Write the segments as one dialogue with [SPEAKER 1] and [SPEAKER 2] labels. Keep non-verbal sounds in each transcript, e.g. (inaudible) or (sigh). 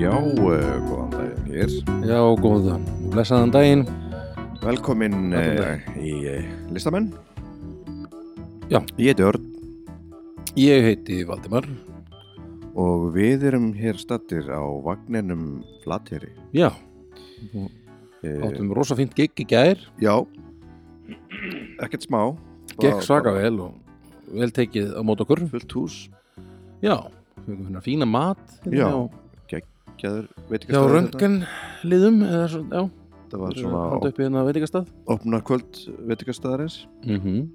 [SPEAKER 1] Já, uh,
[SPEAKER 2] eh,
[SPEAKER 1] góðan daginn hér.
[SPEAKER 2] Já, góðan. Blessaðan daginn.
[SPEAKER 1] Velkomin
[SPEAKER 2] Velkomin
[SPEAKER 1] uh, í uh, listamenn.
[SPEAKER 2] Já.
[SPEAKER 1] Ég heiti Örn
[SPEAKER 2] Ég heiti Valdimar.
[SPEAKER 1] og við erum hér stattir á vagninum Flateri.
[SPEAKER 2] Já,
[SPEAKER 1] Uh,
[SPEAKER 2] áttum rosa fínt gig í gær.
[SPEAKER 1] já, ekkert smá.
[SPEAKER 2] Gekk svaka vel og vel tekið á mót okkur.
[SPEAKER 1] Fullt hús,
[SPEAKER 2] Já, við erum finna fína mat. hérna
[SPEAKER 1] Já.
[SPEAKER 2] hjá-
[SPEAKER 1] geggjaður, veit ekki
[SPEAKER 2] Hjá
[SPEAKER 1] staður
[SPEAKER 2] röntgen liðum, eða svo, já.
[SPEAKER 1] þetta. Það var
[SPEAKER 2] þeir eru
[SPEAKER 1] svona
[SPEAKER 2] handa
[SPEAKER 1] op
[SPEAKER 2] upp í hérna veitingastað.
[SPEAKER 1] opna kvöld veitingastæðarins.
[SPEAKER 2] Mm -hmm.
[SPEAKER 1] Mhm.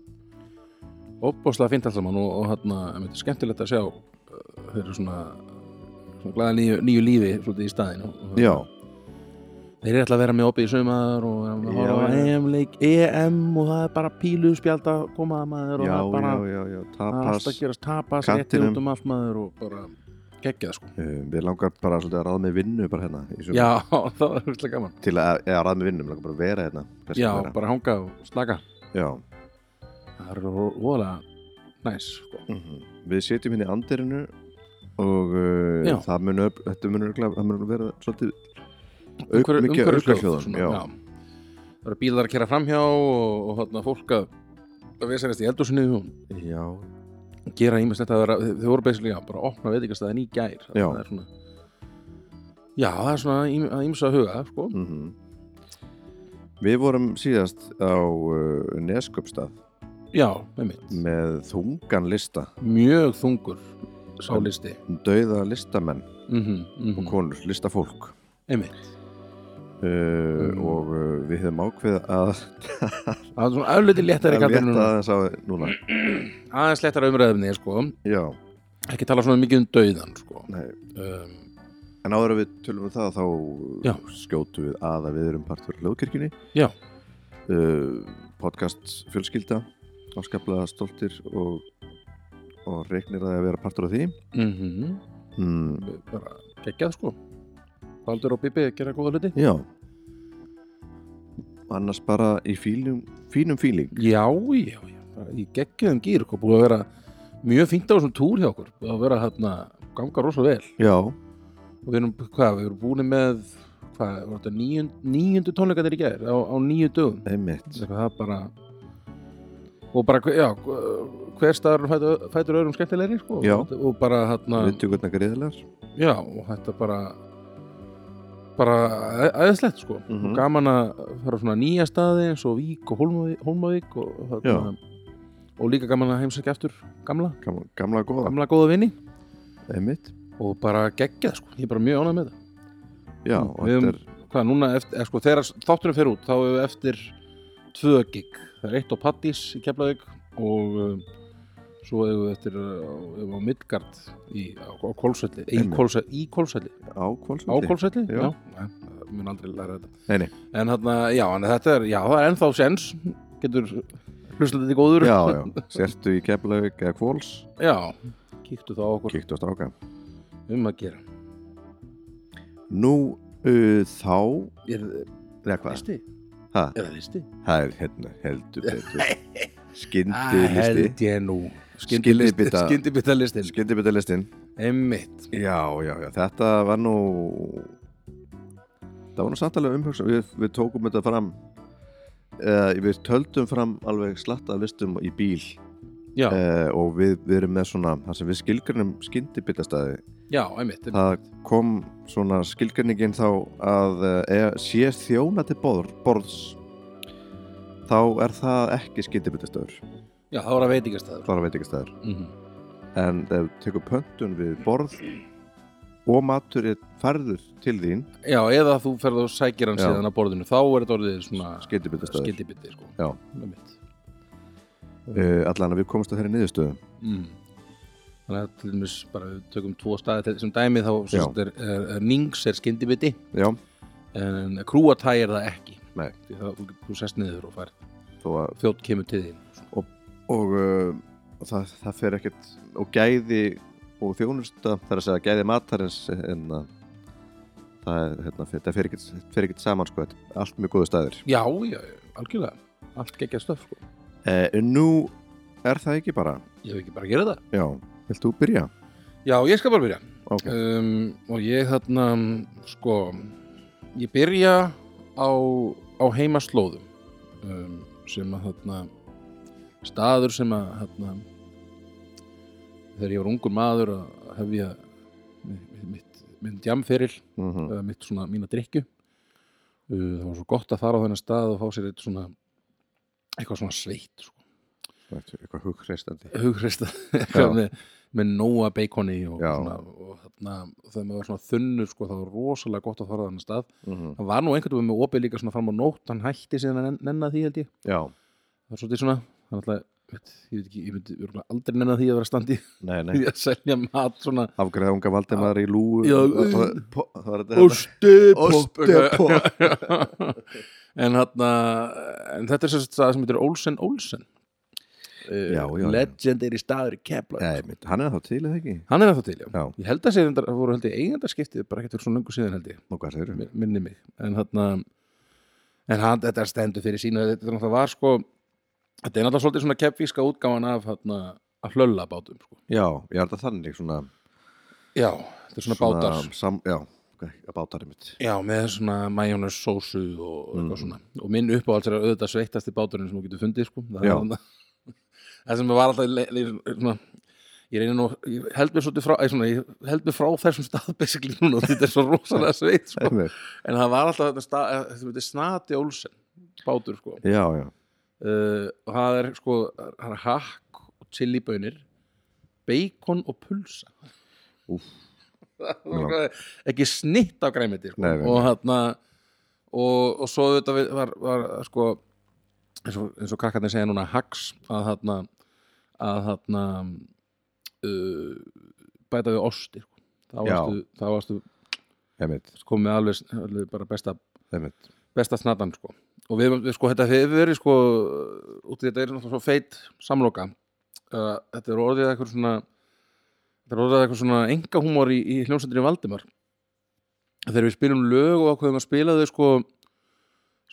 [SPEAKER 2] Opbóðslega fínt allt saman og, og hérna, einmitt, skemmtilegt að sjá uh, þeir eru svona, svona glæða nýju, nýju lífi svolítið í staðin. Og,
[SPEAKER 1] Já,
[SPEAKER 2] Þeir eru ætla að vera með opið í sömar og vera með að horfa
[SPEAKER 1] Já,
[SPEAKER 2] á
[SPEAKER 1] já.
[SPEAKER 2] EM-leik, EM og það er bara pílu spjald að koma að maður og
[SPEAKER 1] já,
[SPEAKER 2] það er bara
[SPEAKER 1] já, já, já,
[SPEAKER 2] það er allt að
[SPEAKER 1] tapas.
[SPEAKER 2] gerast tapas rétti
[SPEAKER 1] kantinum.
[SPEAKER 2] út um allt maður og bara geggjað sko.
[SPEAKER 1] Uh, við langar bara svolítið að ráða með vinnu bara hérna. í sumar.
[SPEAKER 2] Já, (laughs) það var virkilega gaman.
[SPEAKER 1] Til að, eða ráða með vinnu, við langar bara að vera hérna. kannski
[SPEAKER 2] Já,
[SPEAKER 1] meira.
[SPEAKER 2] bara hanga og slaka.
[SPEAKER 1] já.
[SPEAKER 2] Það er ólega næs sko.
[SPEAKER 1] Mhm. Við setjum hérna í andirinu og uh,
[SPEAKER 2] Já.
[SPEAKER 1] það mun upp, þetta mun örgla, það mun vera svolítið auk,
[SPEAKER 2] Umhverf-
[SPEAKER 1] mikið
[SPEAKER 2] umhverfishljóð,
[SPEAKER 1] auklahljóðum
[SPEAKER 2] svona,
[SPEAKER 1] já.
[SPEAKER 2] já. Það eru bílar að kera framhjá og, og þarna fólk að að vesenast í eldúsinu og
[SPEAKER 1] já,
[SPEAKER 2] gera ímest þetta vera, þau voru beisilega bara að opna veitingastæðin í gær Þannig
[SPEAKER 1] Já.
[SPEAKER 2] að það er svona, já, það er svona ím- að ímsa að huga sko.
[SPEAKER 1] mhm. Við vorum síðast á uh, Neskjöpstað
[SPEAKER 2] já, með mitt,
[SPEAKER 1] með þungan lista
[SPEAKER 2] mjög þungur sá listi
[SPEAKER 1] dauða listamenn
[SPEAKER 2] mm -hmm, mm
[SPEAKER 1] og konur, listafólk
[SPEAKER 2] einmitt
[SPEAKER 1] uh,
[SPEAKER 2] Mm.
[SPEAKER 1] og uh, við hefum ákveð að
[SPEAKER 2] það er svona auðviti léttari
[SPEAKER 1] að
[SPEAKER 2] kallar núna
[SPEAKER 1] aðeins á núna
[SPEAKER 2] aðeins léttara umræðinni sko.
[SPEAKER 1] já,
[SPEAKER 2] ekki tala svona mikið um dauðan sko.
[SPEAKER 1] nei
[SPEAKER 2] um,
[SPEAKER 1] En áður að við tölum um það þá
[SPEAKER 2] Já.
[SPEAKER 1] skjótu við að að við erum partur af hljóðkirkjunni
[SPEAKER 2] Já.
[SPEAKER 1] uh, Podcast fjölskylda áskaplega stoltir og, og reiknir að vera partur af því
[SPEAKER 2] mm
[SPEAKER 1] mm,
[SPEAKER 2] bara geggjað sko Baldur og Bibi gera góða hluti
[SPEAKER 1] Já Annars bara í fílum, fínum fíling
[SPEAKER 2] já, já, já, bara í geggjaðum gýr og búið að vera mjög fínt á þessum túr hjá okkur búið að vera hérna, ganga rosa vel
[SPEAKER 1] Já,
[SPEAKER 2] og við erum, hvað, við erum búin með hvað, var þetta níund, níundu tónleikandir í gær á, á níu dögum
[SPEAKER 1] einmitt
[SPEAKER 2] Eitthvað, það er bara og bara, hver- já, hver staðar fætur, fætur öðrum skemmtilegri sko
[SPEAKER 1] Já.
[SPEAKER 2] og bara hérna,
[SPEAKER 1] Viðtökurna greiðilegar
[SPEAKER 2] já, og þetta bara bara æ- æðislegt sko
[SPEAKER 1] Mhm.
[SPEAKER 2] og gaman að fara á svona nýja staði eins og Vík og Hólmavík, Hólmavík og, þarna- og líka gaman að heimsækja aftur gamla,
[SPEAKER 1] Gamla, gamla góða,
[SPEAKER 2] gamla góða vinni
[SPEAKER 1] einmitt
[SPEAKER 2] og bara geggjað sko, ég er bara mjög ánægð með þetta
[SPEAKER 1] Já,
[SPEAKER 2] Mm,
[SPEAKER 1] og
[SPEAKER 2] við
[SPEAKER 1] þetta
[SPEAKER 2] höfum-
[SPEAKER 1] er
[SPEAKER 2] hvað núna, eftir, eða, sko, þegar þáttunum fer út þá hefur við eftir tvö gig það er eitt á Pattís í Keflavík og um, svo hefur við eftir uh, á, á Midgard í, á, á Kólsvelli í
[SPEAKER 1] Einmitt.
[SPEAKER 2] Kólsvelli, í Kólsvelli
[SPEAKER 1] á
[SPEAKER 2] á
[SPEAKER 1] kólsvöldi
[SPEAKER 2] Kólsvelli,
[SPEAKER 1] Já.
[SPEAKER 2] já, já. Nei, mun aldrei læra þetta
[SPEAKER 1] Nei, nei,
[SPEAKER 2] en þarna, já, en þetta er, já, það er ennþá sens getur hlustað þetta góður
[SPEAKER 1] já, já Sértu í Keflavík eða Kvols
[SPEAKER 2] já, kíktu þá á okkur
[SPEAKER 1] Kíktu á stráka
[SPEAKER 2] um að gera
[SPEAKER 1] Nú uh, þá
[SPEAKER 2] er
[SPEAKER 1] Eða
[SPEAKER 2] það
[SPEAKER 1] hvað?
[SPEAKER 2] listi?
[SPEAKER 1] Ha,
[SPEAKER 2] er það listi?
[SPEAKER 1] það er hérna, heldur
[SPEAKER 2] (laughs)
[SPEAKER 1] betur
[SPEAKER 2] Ah,
[SPEAKER 1] Skyndilisti
[SPEAKER 2] held ég nú
[SPEAKER 1] Skyndibita-
[SPEAKER 2] skyndibita listin
[SPEAKER 1] Skyndibitalistin
[SPEAKER 2] Emmitt
[SPEAKER 1] Já, já, já, þetta var nú Það var nú samtalið umhugsa við, við tókum þetta fram uh, Við töldum fram alveg slatta af listum í bíl
[SPEAKER 2] Já,
[SPEAKER 1] uh, og við, við erum með svona það sem við skilgrunum skyndibitastæði
[SPEAKER 2] já, emmitt
[SPEAKER 1] Það kom svona skilgreiningin þá að uh, sé þjóna til borð, borðs þá er það ekki skyndibitastæður
[SPEAKER 2] Já, það var að veitingastæður
[SPEAKER 1] bara veitingastæður
[SPEAKER 2] mm
[SPEAKER 1] Mhm. en ef þú tekur pöntun við borð og matur er færður til þín
[SPEAKER 2] Já, eða þú ferð og sækir hann
[SPEAKER 1] Já.
[SPEAKER 2] síðan að borðinu þá er þetta orðið svona
[SPEAKER 1] skyndibitastæður Skil...
[SPEAKER 2] skildibiti sko.
[SPEAKER 1] Já.
[SPEAKER 2] Einmitt.
[SPEAKER 1] uh, allan að við komumst að þeirri niðurstöðu
[SPEAKER 2] mm. Þannig að til dæmis bara við tökum tvo staði til þessum dæmi þá sem
[SPEAKER 1] Já.
[SPEAKER 2] sagt er, er, er Nings er skildibiti
[SPEAKER 1] já,
[SPEAKER 2] en Krúatæ er það ekki
[SPEAKER 1] Nei.
[SPEAKER 2] Því það, þú, þú sest niður og fær
[SPEAKER 1] þó að
[SPEAKER 2] þjótt kemur til þín
[SPEAKER 1] og uh, það, það fer ekkert og gæði og þjónusta það er að segja gæði matarins en að það er, hérna, fer- þetta fer ekkert, fer ekkert saman sko, þetta er allt mjög góðu stæðir
[SPEAKER 2] Já, já, algjörlega Allt gekkja stöf sko.
[SPEAKER 1] uh, en nú er það ekki bara
[SPEAKER 2] Ég hef ekki bara að gera það
[SPEAKER 1] já, vilt þú byrja?
[SPEAKER 2] Já, ég skal bara byrja
[SPEAKER 1] ok
[SPEAKER 2] um, og ég þarna sko ég byrja á, á heimaslóðum um, sem að þarna staður sem að þarna þegar ég var ungur maður að hefja mi- mitt, mitt jamferil
[SPEAKER 1] mm
[SPEAKER 2] eða mitt svona mína drikju Uh, það var svo gott að fara á þennan stað og fá sér eitt svona eitthvað svona sveitt sko.
[SPEAKER 1] eitthvað hugreistandi
[SPEAKER 2] hugreista eitthvað
[SPEAKER 1] Já.
[SPEAKER 2] (laughs) með, með nóa beikoni og,
[SPEAKER 1] Já.
[SPEAKER 2] svona, og þarna, þegar maður var svona þunnur sko, það var rosalega gott að fara á þennan stað
[SPEAKER 1] mm -hmm.
[SPEAKER 2] það var nú einhvern veginn með opið líka svona fram á nótt hann hætti síðan að nen- nenna því held ég
[SPEAKER 1] já,
[SPEAKER 2] það var svolítið svona hann alltaf, veit, ég veit ekki, ég myndi örugglega aldrei nenna því að vera standi
[SPEAKER 1] nei, nei
[SPEAKER 2] því að selja mat svona
[SPEAKER 1] afgræða unga valdemar í lúu
[SPEAKER 2] Já,
[SPEAKER 1] það, það, po- það var þetta hérna?
[SPEAKER 2] Ostepopp
[SPEAKER 1] Ostepopp.
[SPEAKER 2] (laughs) en, þarna, en þetta er svo stað sem heitir Olsen Olsen Eh,
[SPEAKER 1] Já, já, já.
[SPEAKER 2] legendary staður í Kepla
[SPEAKER 1] Nei, mitt, hann er þá til eða ekki
[SPEAKER 2] hann er það til, já.
[SPEAKER 1] Já.
[SPEAKER 2] ég held að sé reyndar- það voru held ég eigandarskiptið bara ekkert fyrir svo löngu síðan held ég
[SPEAKER 1] og hvað segir
[SPEAKER 2] mi- minni mig en þarna en hann, þetta stendur fyrir sína þetta er náttúrulega var sko þetta er náttúrulega svolítið svona keppvíska útgáfan af þarna af hlölla bátum sko.
[SPEAKER 1] já, ég er þetta þannig svona,
[SPEAKER 2] já, þetta er svona, bátar
[SPEAKER 1] sam, já, ok, bátar mitt
[SPEAKER 2] já, með svona majónus sósu og eitthvað svona og minn uppáhalds er auðvitað sveittasti báturinn sem þú getur fundið sko það, er
[SPEAKER 1] Já.
[SPEAKER 2] þarna- (laughs) það sem var alltaf le, le, svona Ég reyna nú, ég held mér svolítið frá, ég, svona, ég held mér frá þessum stað basically núna, (laughs) því þetta er svo rosalega sveit,
[SPEAKER 1] (laughs)
[SPEAKER 2] sko. En það var alltaf þetta stað, þetta heitir Snati Olsen, bátur, sko.
[SPEAKER 1] já, já,
[SPEAKER 2] uh, og það er sko það er hakk og chilibönir bacon og pulsa
[SPEAKER 1] Úff.
[SPEAKER 2] Það var eitthvað- ekki snitt af græmiti sko.
[SPEAKER 1] Nei, nei, nei.
[SPEAKER 2] og þarna og, og svo þetta var, var sko eins og, eins og krakkarnir segja núna hacks að þarna að þarna uh, bæta við ostir sko. þá
[SPEAKER 1] Já.
[SPEAKER 2] varstu, þá varstu
[SPEAKER 1] einmitt,
[SPEAKER 2] komið alveg, alveg bara besta
[SPEAKER 1] einmitt
[SPEAKER 2] besta snatan sko og við, við sko þetta hefur verið sko út í þetta er náttúrulega svo feit samloka uh, þetta er orðið eitthvað svona þetta er orðið eitthvað svona enga húmor í, í hljónsendri Valdimar þegar við spilum lög og ákveðum að spila þau sko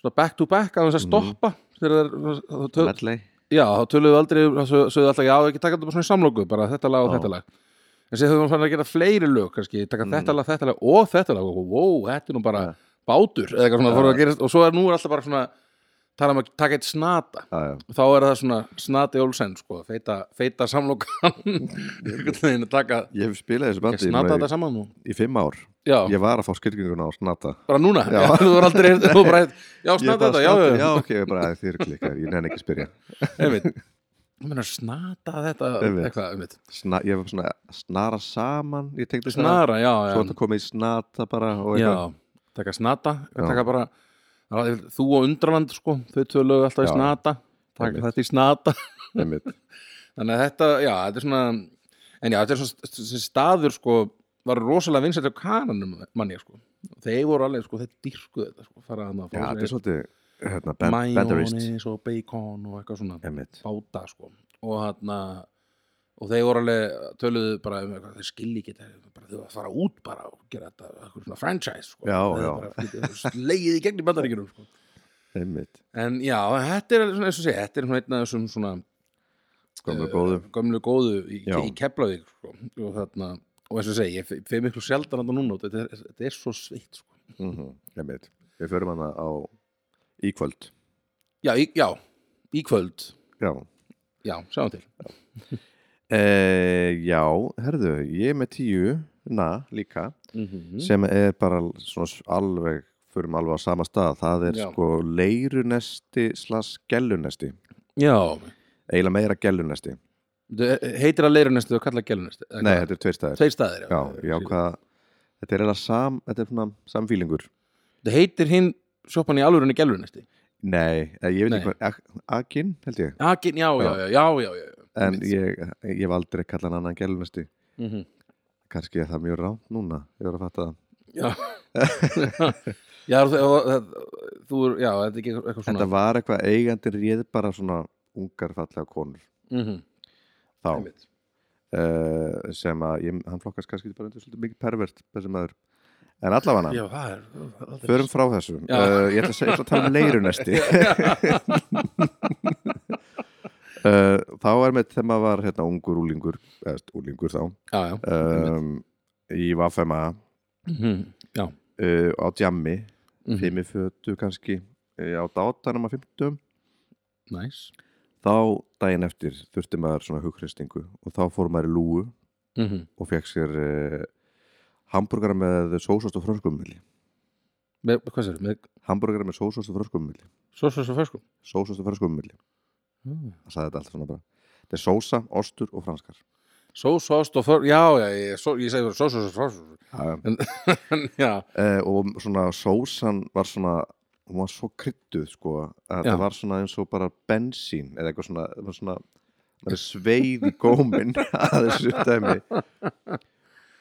[SPEAKER 2] svona back to back að þess að
[SPEAKER 1] Mhm.
[SPEAKER 2] stoppa þegar það er þá töl-
[SPEAKER 1] Medley.
[SPEAKER 2] Já, þá töluðu aldrei, þá sög- sögðu alltaf já, ekki taka þetta bara svona í samlóku, bara þetta lag og
[SPEAKER 1] Já. Mm.
[SPEAKER 2] þetta lag en sér þau fann að gera fleiri lög kannski, taka þetta lag, þetta lag og þetta lag og wow, þetta er nú bara
[SPEAKER 1] Ja.
[SPEAKER 2] bátur eða eitthvað svona,
[SPEAKER 1] Ja.
[SPEAKER 2] ja. að gera, og svo er nú er alltaf bara svona tala um að taka eitt snata
[SPEAKER 1] Já, já.
[SPEAKER 2] þá er það svona snati Olsen sko, feita, feita
[SPEAKER 1] (laughs)
[SPEAKER 2] samlókan einhvern veginn að taka
[SPEAKER 1] ég hef spilað þessu
[SPEAKER 2] ekki
[SPEAKER 1] bandi núna
[SPEAKER 2] snata þetta saman nú
[SPEAKER 1] í, í fimm ár
[SPEAKER 2] Já,
[SPEAKER 1] ég var að fá skilgjönguna á snata
[SPEAKER 2] bara núna,
[SPEAKER 1] Já.
[SPEAKER 2] já. (laughs) þú er aldrei þú bara,
[SPEAKER 1] (laughs)
[SPEAKER 2] já,
[SPEAKER 1] Ég
[SPEAKER 2] snata
[SPEAKER 1] bara
[SPEAKER 2] þetta, já, já,
[SPEAKER 1] já, ok, ég bara þér klikkar, ég nenni ekki að spyrja
[SPEAKER 2] einmitt Ég meina, snata þetta,
[SPEAKER 1] Einmitt.
[SPEAKER 2] eitthvað, einmitt
[SPEAKER 1] Sna, ég var svona að snara saman ég tenkti það,
[SPEAKER 2] Snara, já, já
[SPEAKER 1] svo þetta komið í snata bara og eitthvað,
[SPEAKER 2] Já, taka snata
[SPEAKER 1] Já.
[SPEAKER 2] taka bara, það er- þú og undraland sko, þau tvö lög alltaf í
[SPEAKER 1] Já.
[SPEAKER 2] snata taka
[SPEAKER 1] Einmitt.
[SPEAKER 2] þetta í snata (laughs)
[SPEAKER 1] einmitt
[SPEAKER 2] þannig að þetta, já, þetta er svona en já, þetta er svona st- st- staður sko, var rosalega vinsætt á kananum manni, sko, þeir voru alveg sko, þeir dyrkuðu þetta, sko, fara að
[SPEAKER 1] já, þetta er svolítið hérna, ben, banderist
[SPEAKER 2] majónis og bacon og eitthvað svona
[SPEAKER 1] einmitt,
[SPEAKER 2] báta, sko, og þarna og þeir voru alveg, töluðu bara um eitthvað, þeir skilji ekki þetta, bara þau að fara út bara og gera þetta, eitthvað svona franchise sko.
[SPEAKER 1] Já,
[SPEAKER 2] Þeir
[SPEAKER 1] já.
[SPEAKER 2] bara flytja- slegið í gegn í bandaríkjunum sko.
[SPEAKER 1] einmitt
[SPEAKER 2] en já, þetta er svona, eins og sé, þetta er svona einn af þessum svona
[SPEAKER 1] komið
[SPEAKER 2] Eh.
[SPEAKER 1] góðu
[SPEAKER 2] gömlu góðu í,
[SPEAKER 1] Já.
[SPEAKER 2] í Keflavík sko. og þarna, og eins og segi, ég fe- fer miklu sjaldan þetta núna, og þetta er, þetta er svo sveitt sko.
[SPEAKER 1] mm einmitt, við förum hana á íkvöld
[SPEAKER 2] já, í, já, í kvöld
[SPEAKER 1] já,
[SPEAKER 2] já, sjáum til Eh.
[SPEAKER 1] e, já, herðu ég er með tíu, na, líka
[SPEAKER 2] mm -hmm.
[SPEAKER 1] sem er bara svona s- alveg förum alveg á sama stað, það er
[SPEAKER 2] Já.
[SPEAKER 1] sko leirunesti slags gellunesti
[SPEAKER 2] já,
[SPEAKER 1] eiginlega meira gellunesti,
[SPEAKER 2] Þetta heitir að leirunestu og kalla gælunesti
[SPEAKER 1] nei, þetta er tveir staðir
[SPEAKER 2] tveir staðir
[SPEAKER 1] já, já, hvað þetta er eiginlega sam, þetta er svona samfílingur
[SPEAKER 2] Það heitir hinn sjoppan í alvörunni gelfurnesti
[SPEAKER 1] nei, eh, ég veit ekki
[SPEAKER 2] Nei.
[SPEAKER 1] hvað Akin, held ég
[SPEAKER 2] Akin, já, já, já, já, já, já.
[SPEAKER 1] en ég, eh, ég hef aldrei kallað hann annan gælunesti
[SPEAKER 2] Mm -hmm.
[SPEAKER 1] kannski er það mjög rámt núna ég var að fatta það
[SPEAKER 2] Já, já þú, það, þú, er- já, þetta er ekki eitthvað svona
[SPEAKER 1] þetta var eitthvað eigandi réð bara svona ungar fallega konur
[SPEAKER 2] mm -hmm.
[SPEAKER 1] þá uh, sem að ég, hann flokkast kannski bara undir svolítið mikið pervert þessi maður en allavega
[SPEAKER 2] Já, það er það er-
[SPEAKER 1] förum frá þessu
[SPEAKER 2] Já.
[SPEAKER 1] uh, ég ætla að, seg- ég ætla að tala um (laughs)
[SPEAKER 2] (laughs)
[SPEAKER 1] leirunesti uh, þá er með þegar maður var hérna ungur úlingur eða úlingur þá
[SPEAKER 2] Já, já,
[SPEAKER 1] um, í Vafema
[SPEAKER 2] Já,
[SPEAKER 1] uh, á djammi
[SPEAKER 2] Mhm.
[SPEAKER 1] fimm í fötu kannski uh, á dátanum að fimmtum
[SPEAKER 2] næs
[SPEAKER 1] þá daginn eftir þurfti maður svona hugkristingu og þá fór maður í lúu
[SPEAKER 2] Mhm.
[SPEAKER 1] og fekk sér uh, hambúrgar með sósast og frönskumili
[SPEAKER 2] Með, hvað sér, með
[SPEAKER 1] hambúrgar með sósast og frönskumili
[SPEAKER 2] sósas og ferskum?
[SPEAKER 1] sósast og frönskumili
[SPEAKER 2] Mm.
[SPEAKER 1] það sagði þetta allt svona bara þetta er sósa, ostur og franskar
[SPEAKER 2] Sós, ost og för, já, já, ég, só, ég segi sós, sós, sós,
[SPEAKER 1] ja.
[SPEAKER 2] sós Já,
[SPEAKER 1] uh, og svona sósan var svona hún var svo kryttuð sko að
[SPEAKER 2] Já.
[SPEAKER 1] það var svona eins og bara bensín eða eitthvað svona, það var svona
[SPEAKER 2] (laughs)
[SPEAKER 1] maður sveið í góminn að þessu dæmi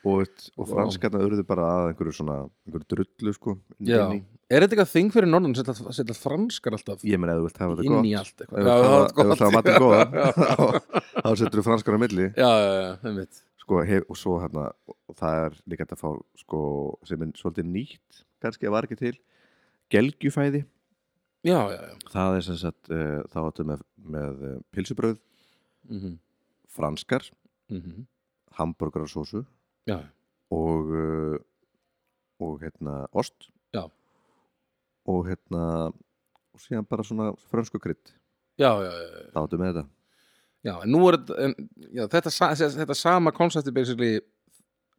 [SPEAKER 1] og, og
[SPEAKER 2] Vá.
[SPEAKER 1] franskarna urðu bara að einhverju svona einhverju drullu sko inn
[SPEAKER 2] já
[SPEAKER 1] í.
[SPEAKER 2] Er þetta eitthvað þing fyrir norðan setja, setja franskar alltaf
[SPEAKER 1] ég meina ef þú vilt hafa þetta
[SPEAKER 2] inn í
[SPEAKER 1] gott ef
[SPEAKER 2] allt eitthvað
[SPEAKER 1] þú vilt hafa- ef þú
[SPEAKER 2] Já, það
[SPEAKER 1] vilt hafa
[SPEAKER 2] var
[SPEAKER 1] matinn
[SPEAKER 2] (laughs) gott
[SPEAKER 1] góðan þá- þá setur þú franskar á milli
[SPEAKER 2] Já, já, já, einmitt
[SPEAKER 1] sko, hef, og svo hérna og það er líka hægt að fá sko, sem er svolítið nýtt kannski að var ekki til gelgjufæði
[SPEAKER 2] Já, já, já
[SPEAKER 1] það er sem sagt uh, þá áttu með, með eh, pilsubrauð,
[SPEAKER 2] mhm,
[SPEAKER 1] franskar
[SPEAKER 2] mhm,
[SPEAKER 1] hambúrgararsósu
[SPEAKER 2] Já,
[SPEAKER 1] og uh, og hérna ost
[SPEAKER 2] Já.
[SPEAKER 1] og hérna og síðan bara svona frönsku krydd
[SPEAKER 2] já, já, já, já.
[SPEAKER 1] þá áttu með þetta
[SPEAKER 2] já en nú er þetta- en, já, þetta, sa- þetta sama konsepti basically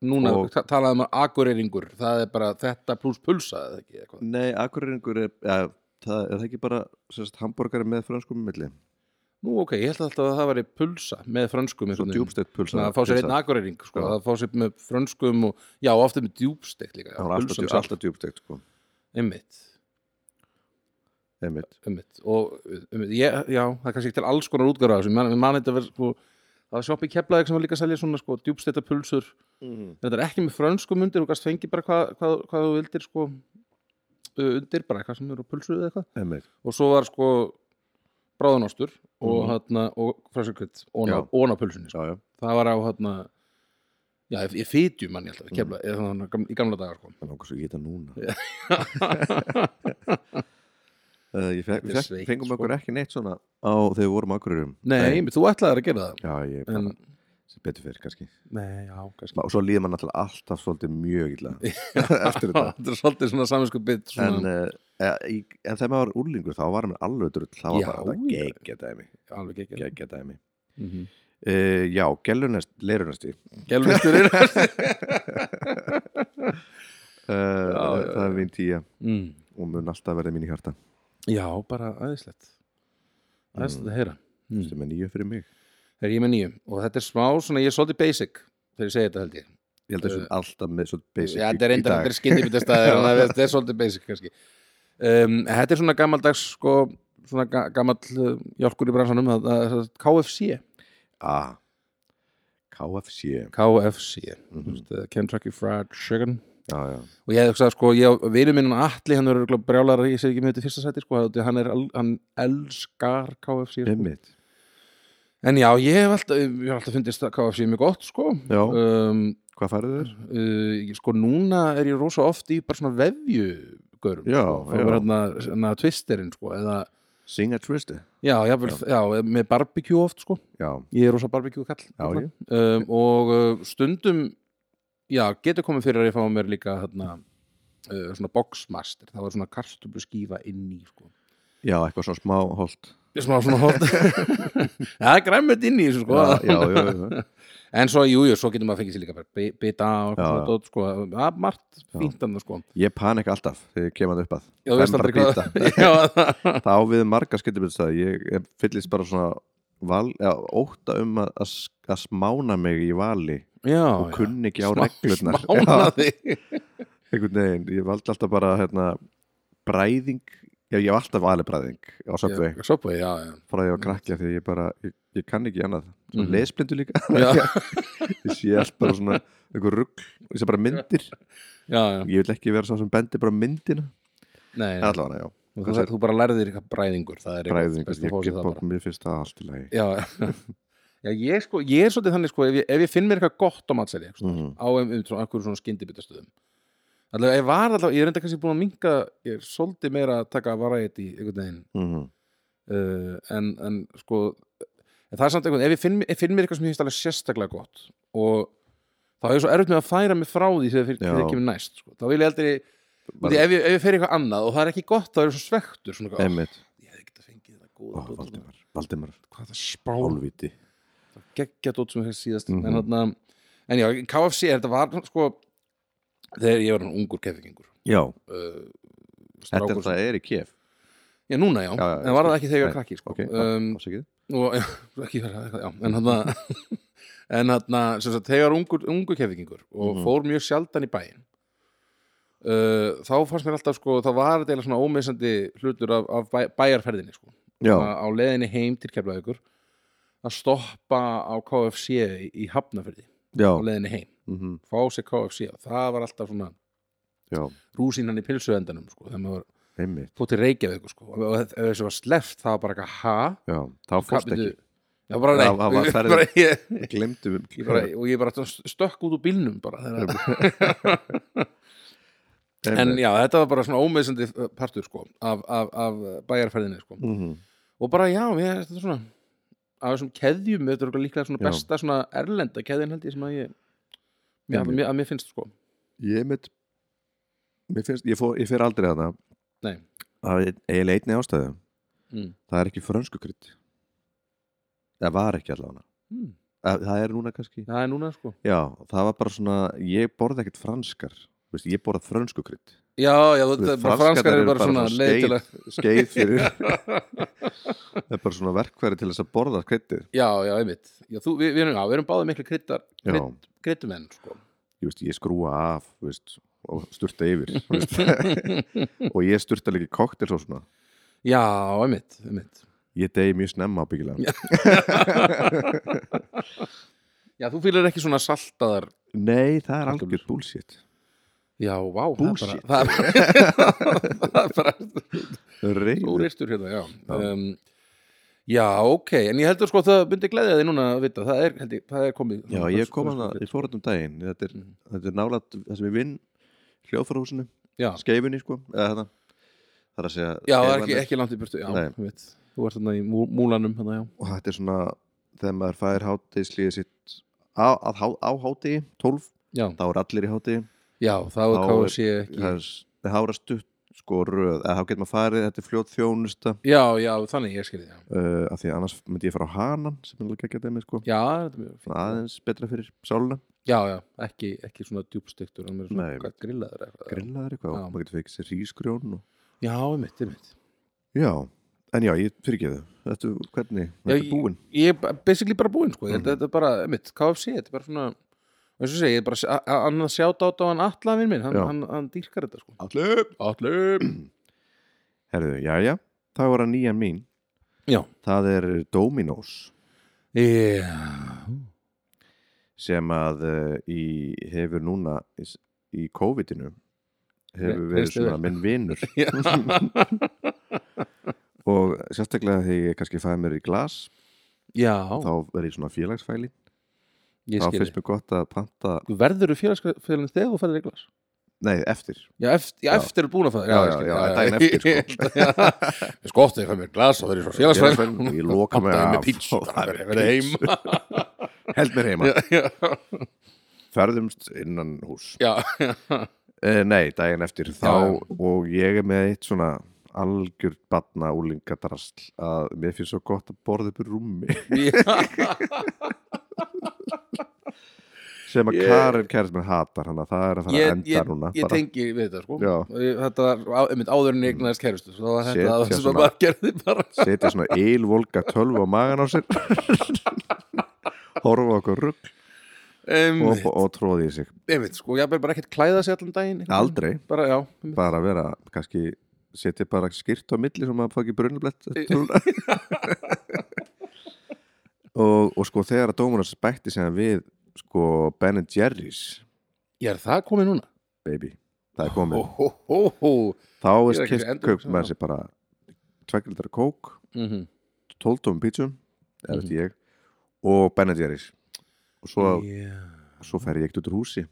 [SPEAKER 2] núna
[SPEAKER 1] Og-
[SPEAKER 2] ta- talaði um akureyringur það er bara þetta pluss pulsa eða ekki eitthvað
[SPEAKER 1] Nei, akureyringur er, ja, það, er það ekki bara sem sagt, hambúrgari með frönskum milli
[SPEAKER 2] Nú ok, ég held alltaf að það væri pulsa með frönskum
[SPEAKER 1] svo djúbstætt pulsa
[SPEAKER 2] Svona að fá sér einn akureyring sko,
[SPEAKER 1] Já.
[SPEAKER 2] að fá sér með frönskum og já, og aftur með djúbstekt líka já,
[SPEAKER 1] það var alltaf,
[SPEAKER 2] pulsan
[SPEAKER 1] djú,
[SPEAKER 2] er
[SPEAKER 1] alltaf djúbstætt sko.
[SPEAKER 2] einmitt,
[SPEAKER 1] einmitt
[SPEAKER 2] einmitt og einmitt, ég, já, það er kannski til alls konar útgára þessu, man, man þetta verið sko það var sjoppi keplaðið sem var líka að selja svona sko, djúbstekta pulsur,
[SPEAKER 1] mm.
[SPEAKER 2] en þetta er ekki með frönskum undir, þú gast fengi bara hvað hva, hva þú vildir sko ö, undir, bara hvað sem eru á pulsu eða eitthvað
[SPEAKER 1] einmitt
[SPEAKER 2] og svo var sko bráðunástur og,
[SPEAKER 1] Mhm.
[SPEAKER 2] mm. og frönsukvitt
[SPEAKER 1] Já.
[SPEAKER 2] óna pulsunni sko.
[SPEAKER 1] já, já.
[SPEAKER 2] það var á hérna já, ég, ég fitjum mann ég alltaf, kemla, ég, þannig, gam- í gamla dagar sko.
[SPEAKER 1] Það langar svo í þetta (laughs) núna uh, Ég fekk,
[SPEAKER 2] Þetta er
[SPEAKER 1] fekk,
[SPEAKER 2] sveitt,
[SPEAKER 1] fengum
[SPEAKER 2] sko.
[SPEAKER 1] okkur ekki neitt svona á þegar við vorum akkururum
[SPEAKER 2] nei, nei. þú ætlaðir að gera það
[SPEAKER 1] Já, ég bara,
[SPEAKER 2] en,
[SPEAKER 1] sem betur fyrir kannski
[SPEAKER 2] nei, já, kannski
[SPEAKER 1] Og svo líður mann alltaf, alltaf svolítið mjög illa (laughs) eftir þetta
[SPEAKER 2] þetta er svolítið svona saminsku bit svona,
[SPEAKER 1] En, uh, í- en þegar maður var úrlingur þá var maður alveg drull þá var
[SPEAKER 2] Já,
[SPEAKER 1] bara þetta
[SPEAKER 2] já.
[SPEAKER 1] geggja dæmi
[SPEAKER 2] alveg ekki
[SPEAKER 1] geggja dæmi
[SPEAKER 2] mm -hmm.
[SPEAKER 1] uh, Já, gellunest, Eh, leirunesti
[SPEAKER 2] gelvesturinn
[SPEAKER 1] uh, Það er mín tíja
[SPEAKER 2] (laughs) mm.
[SPEAKER 1] og mun alltaf verði mín í hjarta
[SPEAKER 2] já, bara aðeinslegt aðeinslegt að heyra Mm.
[SPEAKER 1] sem er nýju fyrir mig
[SPEAKER 2] þegar ég er með nýjum og þetta er smá svona, ég er svolítið basic þegar ég segi þetta held ég
[SPEAKER 1] Ég held að þessu alltaf með svo basic
[SPEAKER 2] Eh, Já,
[SPEAKER 1] í-
[SPEAKER 2] þetta er
[SPEAKER 1] í
[SPEAKER 2] enda,
[SPEAKER 1] dag.
[SPEAKER 2] þetta er
[SPEAKER 1] (laughs)
[SPEAKER 2] skyndibitastæðir þannig að þetta er svolítið basic kannski um, Þetta er svona gammaldags sko, svona ga gammall uh, jálkur í bransanum það, það, er sagt KFC
[SPEAKER 1] Ah, KFC
[SPEAKER 2] KFC,
[SPEAKER 1] Mhm.
[SPEAKER 2] mm -hmm. Kentucky Fried Chicken
[SPEAKER 1] Já, já,
[SPEAKER 2] og ég hefði hugsað, sko, ég vinur minn Atli, hann er brjálar, ég segi ekki með þetta í fyrsta sæti sko, því hann, er, al- hann elskar KFC sko.
[SPEAKER 1] einmitt
[SPEAKER 2] en já, ég hef alltaf, ég hef alltaf fundist að KFC er mjög gott sko
[SPEAKER 1] Já,
[SPEAKER 2] um,
[SPEAKER 1] hvað færðu þér?
[SPEAKER 2] uh, ég- sko núna er ég rosa oft í bara svona
[SPEAKER 1] Já,
[SPEAKER 2] vefjugörum sko,
[SPEAKER 1] já.
[SPEAKER 2] það var hérna, hérna twisterinn sko, eða,
[SPEAKER 1] Sing a twister
[SPEAKER 2] já, jáfnvel, já. með barbecue oft sko,
[SPEAKER 1] Já,
[SPEAKER 2] ég er rosa barbecue kall
[SPEAKER 1] Já,
[SPEAKER 2] kall. um, og uh, stundum já, getur komið fyrir að ég fá mér líka hérna, uh, svona boxmaster, það var svona kartöflu skífa inn í sko
[SPEAKER 1] já, eitthvað svona smá
[SPEAKER 2] (laughs)
[SPEAKER 1] holt
[SPEAKER 2] Ég smá svona hótt það er græmmet inn í þessu sko
[SPEAKER 1] Já, já, já, já, já.
[SPEAKER 2] en svo, jú, jú, svo getur maður að fengið sér líka bara bi- bita og
[SPEAKER 1] Já,
[SPEAKER 2] svona
[SPEAKER 1] já.
[SPEAKER 2] dót sko, það er margt
[SPEAKER 1] Já.
[SPEAKER 2] fínt annað sko
[SPEAKER 1] Ég panik alltaf þegar ég kem að upp að
[SPEAKER 2] Já, þú veist
[SPEAKER 1] En bara
[SPEAKER 2] aldrei hvað (laughs) Já,
[SPEAKER 1] Það á við marga skyttibyrðstæði Ég ég fyllist bara svona val, já, ótta um að, að, að smána mig í vali
[SPEAKER 2] já
[SPEAKER 1] og kunni ekki á
[SPEAKER 2] Smá- (laughs)
[SPEAKER 1] reglurnar
[SPEAKER 2] Smána
[SPEAKER 1] Já,
[SPEAKER 2] þig
[SPEAKER 1] einhvern veginn, ég valdi alltaf bara hérna, bræðing Já, ég hef alltaf valið bræðing á söpvei
[SPEAKER 2] Sopway, já, já
[SPEAKER 1] frá því að ég var krakka því að ég bara, ég, ég kann ekki annað mm.
[SPEAKER 2] Mhm.
[SPEAKER 1] lesblindu líka
[SPEAKER 2] Já.
[SPEAKER 1] (laughs) ég sé allt bara svona einhver rugg, ég sé bara myndir
[SPEAKER 2] Já, já,
[SPEAKER 1] ég vil ekki vera sá sem bendir bara á myndina
[SPEAKER 2] nei,
[SPEAKER 1] en allavega, já,
[SPEAKER 2] þú,
[SPEAKER 1] hvað
[SPEAKER 2] þú, þú bara lærðir eitthvað bræðingur Það er
[SPEAKER 1] bræðing
[SPEAKER 2] best að
[SPEAKER 1] ég
[SPEAKER 2] fá sér
[SPEAKER 1] get
[SPEAKER 2] það bara
[SPEAKER 1] bara, mér finnst það allt í lagi
[SPEAKER 2] Já, já ég, sko, ég er svolítið þannig sko, ef, ég, ef ég finn mér eitthvað gott á matseli mm.
[SPEAKER 1] mm.
[SPEAKER 2] á um, um, svona, einhverjum svona skyndibittastöðum Allavega, ég var allavega, ég er enda kannski búin að minka ég er svolítið meira að taka að vara í þetta í einhvern veginn
[SPEAKER 1] Mm.
[SPEAKER 2] uh, en, en sko en það er samt einhvern, ef ég finn, ég finn mér eitthvað sem ég finnst alveg sérstaklega gott og þá er svo erfitt með að færa mig frá því þegar fyrir,
[SPEAKER 1] Já.
[SPEAKER 2] fyrir kemur næst sko. þá vil ég aldrei,
[SPEAKER 1] Bara-
[SPEAKER 2] Bara... ef, ég, ef ég fer í eitthvað annað og það er ekki gott, þá er ég svo svektur svona, eitthvað,
[SPEAKER 1] Einmitt
[SPEAKER 2] "Ah, ég hef ekki að fengið þetta góða
[SPEAKER 1] Ó,
[SPEAKER 2] dót þarna."
[SPEAKER 1] Valdimar, Valdimar,
[SPEAKER 2] hvað er það spál
[SPEAKER 1] hálfviti
[SPEAKER 2] geggja dót sem ég hef síðast
[SPEAKER 1] Mhm.
[SPEAKER 2] en, þarna, en já, KFC, þetta var sko þegar ég var hann ungur kefingingur
[SPEAKER 1] Já,
[SPEAKER 2] uh,
[SPEAKER 1] þetta
[SPEAKER 2] strákur
[SPEAKER 1] er það er í Kef
[SPEAKER 2] Já, núna já,
[SPEAKER 1] Já, já, já,
[SPEAKER 2] en var það ekki þegar ég var
[SPEAKER 1] Nei,
[SPEAKER 2] krakki sko.
[SPEAKER 1] ok,
[SPEAKER 2] um,
[SPEAKER 1] ásakið
[SPEAKER 2] og já, ekki vera eitthvað, já, en hann (laughs) en hann, sem sagt, þegar ungur, ungur kefingingur og
[SPEAKER 1] Mhm.
[SPEAKER 2] fór mjög sjaldan í bæinn uh, þá fannst mér alltaf sko, það var þetta eiginlega svona ómissandi hlutur af, af bæ, bæjarferðinni sko,
[SPEAKER 1] Já,
[SPEAKER 2] að, á leiðinni heim til keflaðugur að stoppa á KFC í, í Hafnafyrði
[SPEAKER 1] já,
[SPEAKER 2] á leiðinni heim,
[SPEAKER 1] mhm,
[SPEAKER 2] fá sér KFC og það var alltaf svona
[SPEAKER 1] já,
[SPEAKER 2] rúsínan í pilsuendanum sko, þegar maður
[SPEAKER 1] einmitt
[SPEAKER 2] fótt í Reykjavík sko, og ef ef þessu var sleppt það var bara eitthvað, ha?
[SPEAKER 1] Já, þá fórst ekki
[SPEAKER 2] Kapítu- Já, bara nei,
[SPEAKER 1] Já, það
[SPEAKER 2] (laughs)
[SPEAKER 1] var ferðin.
[SPEAKER 2] bara, ég,
[SPEAKER 1] (laughs) Glemdu
[SPEAKER 2] ég bara, og ég bara stökk út úr bílnum bara þegar- en já, þetta var bara svona ómeðsandi partur sko, af, af, af bæjarferðinni sko.
[SPEAKER 1] Mhm.
[SPEAKER 2] og bara já, ég, þetta er svona af þessum keðjum, þetta er örugglega líklega svona
[SPEAKER 1] Já.
[SPEAKER 2] besta svona erlenda keðin held ég sem að ég mér,
[SPEAKER 1] Einmitt.
[SPEAKER 2] að, mér, að mér finnst sko
[SPEAKER 1] Ég mitt Mér finnst, ég, fó, ég fer aldrei að það
[SPEAKER 2] Nei.
[SPEAKER 1] Það er eiginlega einni ástæðu
[SPEAKER 2] mm.
[SPEAKER 1] Það er ekki frönsku krydd Það var ekki allavega
[SPEAKER 2] Mm.
[SPEAKER 1] Það það er núna kannski
[SPEAKER 2] það er núna sko
[SPEAKER 1] Já, það var bara svona Ég borði ekkert franskar Vist, Ég borði frönsku krydd
[SPEAKER 2] já, já, þetta er bara franskar er bara svona leið til að
[SPEAKER 1] Skeið fyrir Það
[SPEAKER 2] (laughs)
[SPEAKER 1] er bara svona verkfæri til þess að borða kryddið
[SPEAKER 2] já, já, einmitt já, þú, við, við, erum, já, við erum báðið miklu kryddar
[SPEAKER 1] Já,
[SPEAKER 2] krydd, kryddumenn sko
[SPEAKER 1] ég veist, ég skrúa af þú veist, og sturta yfir þú veist. (laughs) og ég sturta líka koktel svo svona
[SPEAKER 2] já, einmitt, einmitt
[SPEAKER 1] Ég degi mjög snemma ábyggilega
[SPEAKER 2] já, þú fýlar ekki svona saltaðar
[SPEAKER 1] Nei, það er
[SPEAKER 2] Kokteilur.
[SPEAKER 1] algjör bullshit
[SPEAKER 2] Já, vá,
[SPEAKER 1] Bullshit.
[SPEAKER 2] það er bara, (laughs) það er bara, það er bara
[SPEAKER 1] Reyður
[SPEAKER 2] úristur hérna, já.
[SPEAKER 1] Já.
[SPEAKER 2] Um, já, ok, en ég heldur sko að það myndi gleðja þig núna að vita, það er, held ég, það er komið.
[SPEAKER 1] Já, ég kom hana, ég fór hann um daginn Þetta er,
[SPEAKER 2] Mhm.
[SPEAKER 1] þetta er nálægt það sem ég vinn hljóðfórhúsinu,
[SPEAKER 2] Já,
[SPEAKER 1] skeifinni sko eða þetta Það er að segja
[SPEAKER 2] já, það er ekki,
[SPEAKER 1] Skeifarnar.
[SPEAKER 2] ekki langt í burtu, já,
[SPEAKER 1] Nei.
[SPEAKER 2] ég veit, þú ert þarna í mú, múlanum, þannig, já.
[SPEAKER 1] og þetta er svona þegar maður fær hátíðslíði sitt á, að, há- á hátíði, 12
[SPEAKER 2] Já,
[SPEAKER 1] þá er allir í hátíði
[SPEAKER 2] já, það
[SPEAKER 1] Þá
[SPEAKER 2] er
[SPEAKER 1] er-
[SPEAKER 2] KFC ekki.
[SPEAKER 1] það er s- það er hára stutt sko röð, eða þá getur maður farið þetta er fljótt þjónusta
[SPEAKER 2] Já, já, þannig ég skilði, já.
[SPEAKER 1] uh, af því að annars myndi ég fara á hanan sem er alveg ekki að dæmi sko
[SPEAKER 2] Já, þetta er mjög
[SPEAKER 1] Svona
[SPEAKER 2] fínt.
[SPEAKER 1] aðeins betra fyrir sáluna
[SPEAKER 2] Já, já, ekki, ekki svona djúbstyktur, hann er svona
[SPEAKER 1] Nei,
[SPEAKER 2] hvað, grillaður eitthvað.
[SPEAKER 1] grillaður eitthvað,
[SPEAKER 2] Já.
[SPEAKER 1] og maður getur fekk sér rísgrjón og...
[SPEAKER 2] Já, ég mitt, ég mitt.
[SPEAKER 1] já, en já, ég fyrirgeðu þetta, hvernig, þetta er
[SPEAKER 2] ég-
[SPEAKER 1] búin
[SPEAKER 2] ég er ba- basically bara búinn sko. mm
[SPEAKER 1] Mhm.
[SPEAKER 2] -hmm. þetta er bara, mitt, KFC, þetta er bara svona eins og segi, ég er bara að- að- annað sjáta át á hann Atlavin minn, hann,
[SPEAKER 1] Já.
[SPEAKER 2] hann, hann dýrkar þetta sko.
[SPEAKER 1] allir,
[SPEAKER 2] Atli (clears throat)
[SPEAKER 1] herðu, já, já það var að nýjan mín
[SPEAKER 2] Já.
[SPEAKER 1] það er Dominos
[SPEAKER 2] yeah.
[SPEAKER 1] sem að uh, í, hefur núna í, s- í COVID-inu hefur
[SPEAKER 2] Re-
[SPEAKER 1] verið
[SPEAKER 2] reynst þér
[SPEAKER 1] svona minn
[SPEAKER 2] (laughs)
[SPEAKER 1] vinur
[SPEAKER 2] Já.
[SPEAKER 1] (laughs) og sérstaklega þegar ég kannski fæði mér í glas
[SPEAKER 2] já,
[SPEAKER 1] þá verið ég svona félagsfæli
[SPEAKER 2] ég
[SPEAKER 1] þá
[SPEAKER 2] skil
[SPEAKER 1] finnst mér gott að panta
[SPEAKER 2] verður þú félagsfélagin þegar þú fælir í glas
[SPEAKER 1] nei, eftir
[SPEAKER 2] já, eft, já,
[SPEAKER 1] Já.
[SPEAKER 2] eftir er búin að fæða
[SPEAKER 1] Já, já, já, daginn eftir, sko.
[SPEAKER 2] sko sko, þegar ég fæði mér í glas og það er svo
[SPEAKER 1] (laughs)
[SPEAKER 2] félagsfélagin (laughs)
[SPEAKER 1] Félagsfælin, ég loka mig
[SPEAKER 2] Pantaði
[SPEAKER 1] af
[SPEAKER 2] með pítsu,
[SPEAKER 1] og (laughs) það er
[SPEAKER 2] (laughs) ég verið heim (laughs)
[SPEAKER 1] held mér heima,
[SPEAKER 2] já, já,
[SPEAKER 1] ferðumst innan hús
[SPEAKER 2] já,
[SPEAKER 1] eh, nei, daginn eftir
[SPEAKER 2] Já,
[SPEAKER 1] þá og ég er með eitt svona algjör batna úlingadrasl að mér finnst svo gott að borða upp í rúmi (laughs)
[SPEAKER 2] já.
[SPEAKER 1] sem að
[SPEAKER 2] Ég-
[SPEAKER 1] Karin kærist mér hatar hann að það er að fara að
[SPEAKER 2] ég,
[SPEAKER 1] enda
[SPEAKER 2] ég,
[SPEAKER 1] núna
[SPEAKER 2] ég
[SPEAKER 1] bara.
[SPEAKER 2] tengi við þetta sko
[SPEAKER 1] Já.
[SPEAKER 2] Ég- þetta var á- einmitt áður en ég egnaðist kærustu þá var
[SPEAKER 1] Setja
[SPEAKER 2] þetta að sem
[SPEAKER 1] svona-
[SPEAKER 2] að maður gerði bara
[SPEAKER 1] setja
[SPEAKER 2] (laughs)
[SPEAKER 1] svona eilvolga tölvu á magan á sér horfa okkur rugg og,
[SPEAKER 2] einmitt,
[SPEAKER 1] og tróði í sig
[SPEAKER 2] einmitt sko, ég bara ekkert klæða sig allan daginn
[SPEAKER 1] aldrei,
[SPEAKER 2] bara já, einmitt.
[SPEAKER 1] bara vera kannski setja bara skýrt á milli sem maður fá ekki brunublett tölvuna. (laughs) og, og sko þegar að dómurinn spætti sem við sko Ben Jerry's
[SPEAKER 2] ég er það komið núna
[SPEAKER 1] baby, það er komið
[SPEAKER 2] hó, hó, hó, hó.
[SPEAKER 1] þá
[SPEAKER 2] Ég er
[SPEAKER 1] er
[SPEAKER 2] ekki
[SPEAKER 1] kist
[SPEAKER 2] endur-
[SPEAKER 1] kaup með sér bara tveggildar kók,
[SPEAKER 2] Mm -hmm.
[SPEAKER 1] 12 tómum pítsum eða
[SPEAKER 2] Mhm.
[SPEAKER 1] veist ég og Ben Jerry's og svo
[SPEAKER 2] yeah.
[SPEAKER 1] og svo fer ég ekkert út úr húsi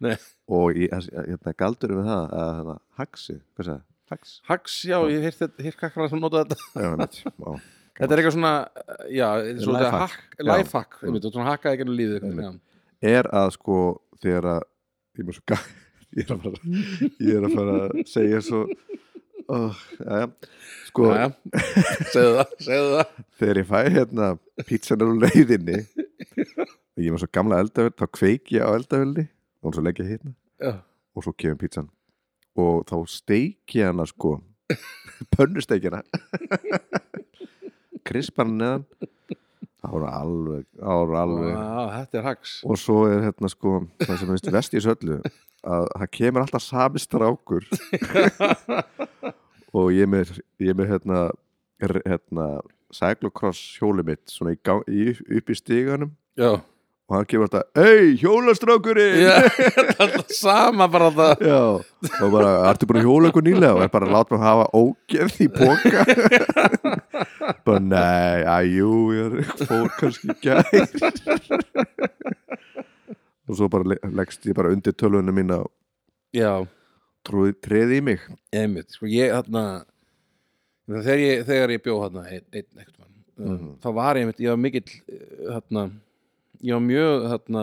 [SPEAKER 2] Nei.
[SPEAKER 1] og ég, þess- hérna, galdur við það að hérna, haxi, hvað sagði hax
[SPEAKER 2] Hax, já, ég hef heyrt kakkar að nota þetta
[SPEAKER 1] já, einmitt, á,
[SPEAKER 2] þetta er eitthvað svona, eh, já, þetta er svona
[SPEAKER 1] Lifehack.
[SPEAKER 2] hack, lifehack einmitt, og svona hakkaði ekki enn lífið einhvern
[SPEAKER 1] Einmitt.
[SPEAKER 2] veginn,
[SPEAKER 1] er að sko þegar að ég, er með svo, ga- (laughs) ég, er að fara, ég er að fara að segja svo oh, ja, sko
[SPEAKER 2] Jæja, segðu það, segðu það
[SPEAKER 1] þegar ég fæ hérna pítsan er úr leiðinni og ég er með svo gamla eldavél þá kveik ég á eldavelni og svo leggja hérna
[SPEAKER 2] Já,
[SPEAKER 1] og svo kemur pítsan og þá steik ég hana sko (laughs) pönnusteik (laughs) hana krispar hana neðan það voru alveg, það voru alveg
[SPEAKER 2] Vá, þetta er hags
[SPEAKER 1] og svo er hérna sko það sem er vest í þessu öllu að það kemur alltaf sami strákur og ég er með, ég er með hérna, r- hérna cyclocross hjólið mitt svona í, gang- í, upp í stíganum
[SPEAKER 2] Já, (laughs)
[SPEAKER 1] og hann kemur alltaf Ei, hjólastrákurinn!
[SPEAKER 2] Já, þetta er sama bara það
[SPEAKER 1] Já, (laughs) og bara, ertu búin að hjóla eitthvað nýlega og er bara að láta mig hafa ógeð í póka (laughs) bara, nei, að jú ég er fór kannski í gær (laughs) og svo bara le- leggst ég bara undir tölvunum mína og
[SPEAKER 2] Já,
[SPEAKER 1] trúði treði í mig
[SPEAKER 2] einmitt, sko ég hérna ég meina, þegar ég, þegar ég bjó hérna einn, einn, einhvern mann
[SPEAKER 1] Mhm.
[SPEAKER 2] þá var ég einmitt, ég var mikill eh, hérna, ég var mjög hérna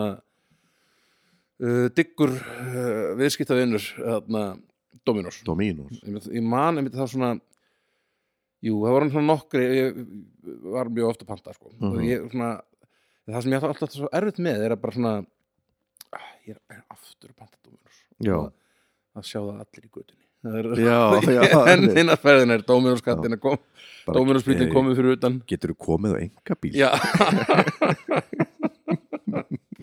[SPEAKER 2] uh, diggur uh, viðskiptavinur hérna, Dominos
[SPEAKER 1] Dominos
[SPEAKER 2] ég, meina, ég man einmitt það svona jú, það voru svona nokkri ég var mjög ofta panta sko.
[SPEAKER 1] Mhm.
[SPEAKER 2] og ég svona það sem ég alltaf, alltaf svo erfitt með er að bara svona ah, ég er, er aftur að panta Dominos
[SPEAKER 1] Já,
[SPEAKER 2] að sjá það allir í götunni Það er- (laughs)
[SPEAKER 1] Já, já,
[SPEAKER 2] en
[SPEAKER 1] einmitt.
[SPEAKER 2] hinnar ferðin er Dominos kattina kom
[SPEAKER 1] bara-
[SPEAKER 2] Dominos bílinn
[SPEAKER 1] Hey,
[SPEAKER 2] komið fyrir utan
[SPEAKER 1] Geturðu komið á enga bíl? (laughs)
[SPEAKER 2] já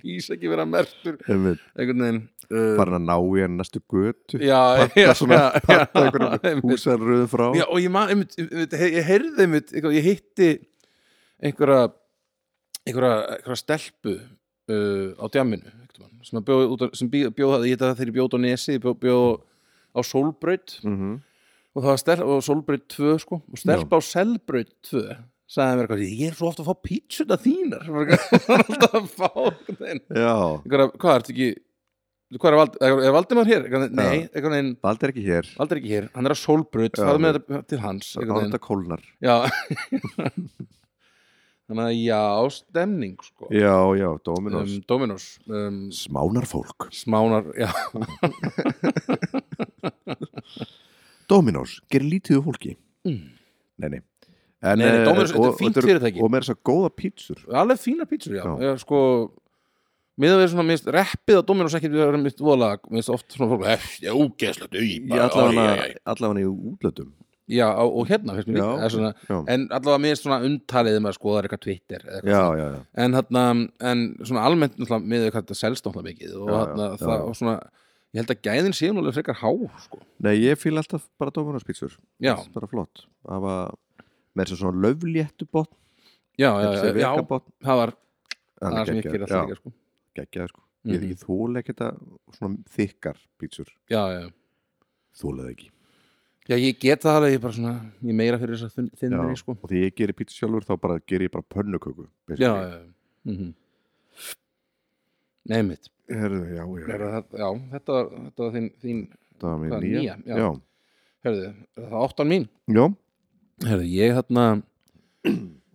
[SPEAKER 2] ís ekki vera mertur einhvern veginn uh,
[SPEAKER 1] farin að ná í henni næstu götu
[SPEAKER 2] já,
[SPEAKER 1] Panta
[SPEAKER 2] já,
[SPEAKER 1] svona,
[SPEAKER 2] já, já,
[SPEAKER 1] panta einhverjum
[SPEAKER 2] (laughs) einmitt.
[SPEAKER 1] húsarröðum frá
[SPEAKER 2] Já, og ég, man, einmitt, einmitt, he- ég heyrði einmitt, eitthvað, ég hitti einhverja, einhverja, einhverja stelpu uh, á djamminu einhvern tímann, sem, að bjó, út á- sem bjó, bjó, það- ég hitti það þegar ég bjóð á Nesi, ég bjó, bjó á Solbraut
[SPEAKER 1] Mhm.
[SPEAKER 2] og það var stelpa á Solbraut 2 sko, og stelpa á Selbraut 2 sagði mér eitthvað, ég er svo ofta að fá pítsuna þínar (laughs) Bara eitthvað, það er alltaf að fá einhvern veginn.
[SPEAKER 1] Já,
[SPEAKER 2] einhverja, hvað ertu ekki hvað er, Vald, er Valdimar hér? Einhvern veginn, Nei,
[SPEAKER 1] Já.
[SPEAKER 2] einhvern veginn
[SPEAKER 1] Baldur er ekki hér
[SPEAKER 2] Aldrei ekki hér, hann er á Solbraut,
[SPEAKER 1] Já,
[SPEAKER 2] það með þetta til hans einhvern veginn.
[SPEAKER 1] Árnda kólnar
[SPEAKER 2] Já (laughs) Þannig að já, stemning sko
[SPEAKER 1] Já, já, Dominos
[SPEAKER 2] um, Dominos um,
[SPEAKER 1] Smánarfólk
[SPEAKER 2] Smánar, já,
[SPEAKER 1] Dominos, gerir lítið úr fólki
[SPEAKER 2] Mm.
[SPEAKER 1] Nei, nei En,
[SPEAKER 2] Nei, nei,
[SPEAKER 1] eh,
[SPEAKER 2] Dominos, þetta er
[SPEAKER 1] og-
[SPEAKER 2] fínt
[SPEAKER 1] og eru-
[SPEAKER 2] fyrirtæki.
[SPEAKER 1] Og meira þess að góða pítsur
[SPEAKER 2] alveg fína pítsur, já,
[SPEAKER 1] Já.
[SPEAKER 2] já. sko, miðað við svona mist, reppið á Dominos ekkert við erum mist voðalega, mist oft svona fólk "Hef, já, ógeðslegt, í, bara, æ, æ, æ."
[SPEAKER 1] allavega í útlöndum
[SPEAKER 2] já, á- og hérna finnst mér
[SPEAKER 1] Já,
[SPEAKER 2] líka, það er svona,
[SPEAKER 1] já.
[SPEAKER 2] en allavega mér er svona umtalið um að skoða eitthvað Twitter eða eitthvað
[SPEAKER 1] Já,
[SPEAKER 2] svona.
[SPEAKER 1] já, já,
[SPEAKER 2] en hérna, en svona almennt náttúrulega miðað við hvað þetta selst náttúrulega mikið
[SPEAKER 1] Já,
[SPEAKER 2] og
[SPEAKER 1] já,
[SPEAKER 2] hérna,
[SPEAKER 1] já, já.
[SPEAKER 2] það, og svona ég held að gæðin séu náttúrulega frekar há, sko
[SPEAKER 1] Nei, ég fíl alltaf bara Dominos pítsur
[SPEAKER 2] Já,
[SPEAKER 1] Bara flott Það var meira þess að svona löfléttu botn
[SPEAKER 2] já, já, já,
[SPEAKER 1] Þessi
[SPEAKER 2] já,
[SPEAKER 1] vekabotn
[SPEAKER 2] það var
[SPEAKER 1] Hann
[SPEAKER 2] það
[SPEAKER 1] er
[SPEAKER 2] sem ég gerir
[SPEAKER 1] geggjaður.
[SPEAKER 2] alltaf
[SPEAKER 1] Já,
[SPEAKER 2] líka sko.
[SPEAKER 1] geggjaður sko Ég er
[SPEAKER 2] Mhm.
[SPEAKER 1] ekki þóla ekkert að svona þykkar pítsur
[SPEAKER 2] já, já.
[SPEAKER 1] Þólaði ekki
[SPEAKER 2] já, ég get það alveg, ég bara svona ég meira fyrir þess að
[SPEAKER 1] Já,
[SPEAKER 2] þinnri sko.
[SPEAKER 1] Og því ég gerir pítsu sjálfur þá bara gerir ég bara pönnuköku
[SPEAKER 2] já,
[SPEAKER 1] basically.
[SPEAKER 2] já, já mm -hmm. neymitt
[SPEAKER 1] Herðu, já, já, já.
[SPEAKER 2] já, þetta var, þetta var þín, þín
[SPEAKER 1] Það var mér
[SPEAKER 2] Það er
[SPEAKER 1] um nýja,
[SPEAKER 2] nýja, já. herðu, það var áttan mín
[SPEAKER 1] já.
[SPEAKER 2] herðu, ég hérna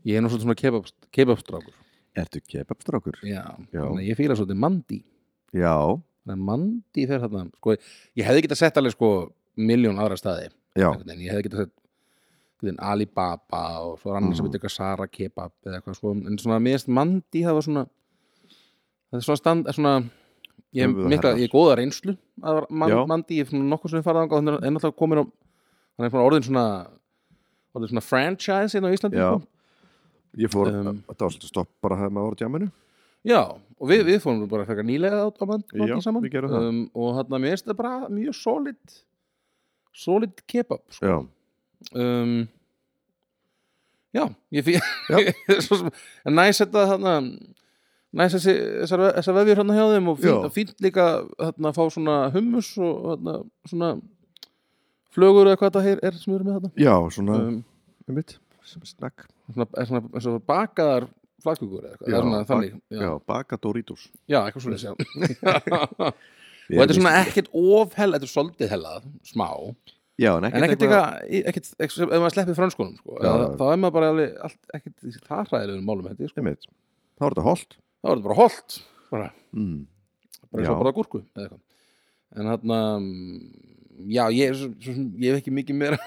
[SPEAKER 2] ég er nú svolítið svona kebab- kebabstrákur
[SPEAKER 1] Ertu kebabstrákur?
[SPEAKER 2] já,
[SPEAKER 1] Já.
[SPEAKER 2] þannig að ég fíla svolítið mandi
[SPEAKER 1] Já,
[SPEAKER 2] þannig að mandi fer hérna sko, ég hefði getað sett alveg sko miljón aðra staði
[SPEAKER 1] já,
[SPEAKER 2] einhvern veginn, ég hefði getað sett einhvern veginn Alibaba og svo er annars sem
[SPEAKER 1] Mhm.
[SPEAKER 2] heitir eitthvað Sara Kebab eða eitthvað sko, en svona miðast Mandi það var svona það er svona stand, er svona ég hef
[SPEAKER 1] Höfuðið
[SPEAKER 2] mikla,
[SPEAKER 1] herrar.
[SPEAKER 2] ég er góða reynslu að var man,
[SPEAKER 1] Já.
[SPEAKER 2] Mandi, ég er nokkuð sem farað þangað, hann er- er náttúrulega komin á hann er svona orðin svona orðin svona franchise inn á Íslandi
[SPEAKER 1] já
[SPEAKER 2] sko.
[SPEAKER 1] Ég fór,
[SPEAKER 2] Um,
[SPEAKER 1] þetta var svolítið stopp bara hefði maður á djamminu
[SPEAKER 2] já, og við, við fórum bara frekar nýlega á, á Mandi
[SPEAKER 1] Já,
[SPEAKER 2] saman Um,
[SPEAKER 1] við gerum það.
[SPEAKER 2] og hann mér finnst það bara mjög solid solid kebab sko.
[SPEAKER 1] Já,
[SPEAKER 2] um, já, (laughs) ég
[SPEAKER 1] Já.
[SPEAKER 2] fyrir svo sem, en næs þetta þarna næs þessi, þessar, ve- þessar vefjur hérna hjá þeim og fínt,
[SPEAKER 1] Já.
[SPEAKER 2] og fínt líka þarna að fá svona hummus og þarna svona flögur eða hvað það er, er sem við erum með þarna
[SPEAKER 1] já, svona um,
[SPEAKER 2] um,
[SPEAKER 1] mitt, sem snakk
[SPEAKER 2] svona, er svona, er svona bakaðar flagkukur eða eitthvað,
[SPEAKER 1] Já,
[SPEAKER 2] eða svona
[SPEAKER 1] bak-
[SPEAKER 2] þannig
[SPEAKER 1] Já,
[SPEAKER 2] já,
[SPEAKER 1] baka Doritos
[SPEAKER 2] já eitthvað svona já. og þetta er svona ekkert of hella, þetta er soldið hella smá,
[SPEAKER 1] Já, en
[SPEAKER 2] en
[SPEAKER 1] ekkert
[SPEAKER 2] ekkert eitthvað, ekkert, ekkert ef maður sleppir franskunum, sko,
[SPEAKER 1] Já,
[SPEAKER 2] já,
[SPEAKER 1] já.
[SPEAKER 2] þá er maður bara alveg, allt, ekkert það hræðilegum málum hætti, sko
[SPEAKER 1] Einmitt. Þá er þetta holt
[SPEAKER 2] þá er þetta bara holt bara,
[SPEAKER 1] mm.
[SPEAKER 2] bara
[SPEAKER 1] Já.
[SPEAKER 2] svo bara gúrku eða eitthvað. en þarna mm, já, ég, er svo, svo, sem- ég hef ekki mikið meira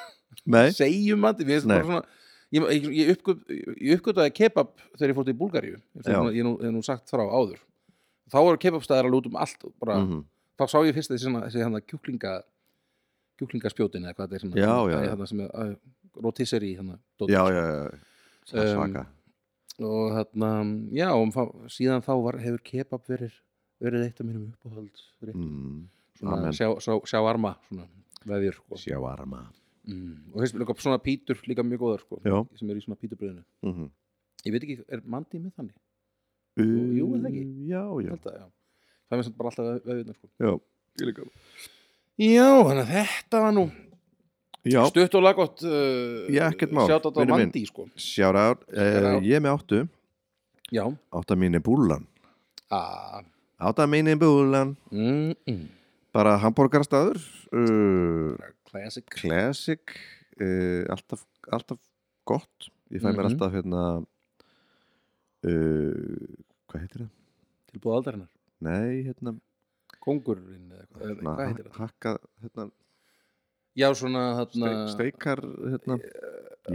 [SPEAKER 1] Nei,
[SPEAKER 2] að segja um matinn, mér finnst
[SPEAKER 1] Nei.
[SPEAKER 2] bara svona ég, ég, ég, uppgöt, ég uppgötaði kebab þegar ég fór til Búlgaríu eins og
[SPEAKER 1] Já.
[SPEAKER 2] svona- ég hef nú, hef nú sagt frá áður þá voru kebabstæðar að lúta um allt og bara,
[SPEAKER 1] mhm,
[SPEAKER 2] þá sá ég fyrst þessi, svona- þessi hann kjúklinga kjúklingaspjótin eða hvað þetta er sem,
[SPEAKER 1] Já, já, já.
[SPEAKER 2] Hana, sem að, hérna, rotisserí hana, dótið.
[SPEAKER 1] já, já, já Það er
[SPEAKER 2] Um,
[SPEAKER 1] Svaka
[SPEAKER 2] og þarna, mm, já, og fá- síðan þá var, hefur kebab verið verið eitt af mínum uppáhald
[SPEAKER 1] mm.
[SPEAKER 2] svona,
[SPEAKER 1] Amen.
[SPEAKER 2] sjá, sjá, sjá arma svona, veðir sko.
[SPEAKER 1] Sjáarma
[SPEAKER 2] mm. og hefst, líka, svona pítur líka mjög góðar sko,
[SPEAKER 1] Já.
[SPEAKER 2] sem eru í svona píturbröðinu
[SPEAKER 1] mm -hmm.
[SPEAKER 2] ég veit ekki, er mandi með þannig? jú,
[SPEAKER 1] Jú,
[SPEAKER 2] er það ekki?
[SPEAKER 1] Já, já,
[SPEAKER 2] Held að, já. það er mér samt bara alltaf veðirna sko.
[SPEAKER 1] já.
[SPEAKER 2] já, þannig að þetta var nú
[SPEAKER 1] já.
[SPEAKER 2] stutt og laggott uh,
[SPEAKER 1] Já, ekkert mál,
[SPEAKER 2] sjátt á
[SPEAKER 1] vinur minn.
[SPEAKER 2] mandi sko.
[SPEAKER 1] Sjára,
[SPEAKER 2] Shout
[SPEAKER 1] eh,
[SPEAKER 2] out.
[SPEAKER 1] ég er með áttu
[SPEAKER 2] já,
[SPEAKER 1] Átta mín er búlan
[SPEAKER 2] ah.
[SPEAKER 1] Átta mín er búlan
[SPEAKER 2] mm -mm.
[SPEAKER 1] Bara hambúrgarstaður uh,
[SPEAKER 2] classic
[SPEAKER 1] Classic uh, alltaf, alltaf gott Ég fæ mér
[SPEAKER 2] Mhm.
[SPEAKER 1] alltaf hérna uh, Hvað heitir það?
[SPEAKER 2] tilbúð aldarinnar
[SPEAKER 1] Nei, hérna,
[SPEAKER 2] kongurinn eða eitthvað, eða
[SPEAKER 1] na,
[SPEAKER 2] Eh, hvað heitir það?
[SPEAKER 1] hakka hérna,
[SPEAKER 2] Já, svona eh, þarna,
[SPEAKER 1] steik, Steikar hérna.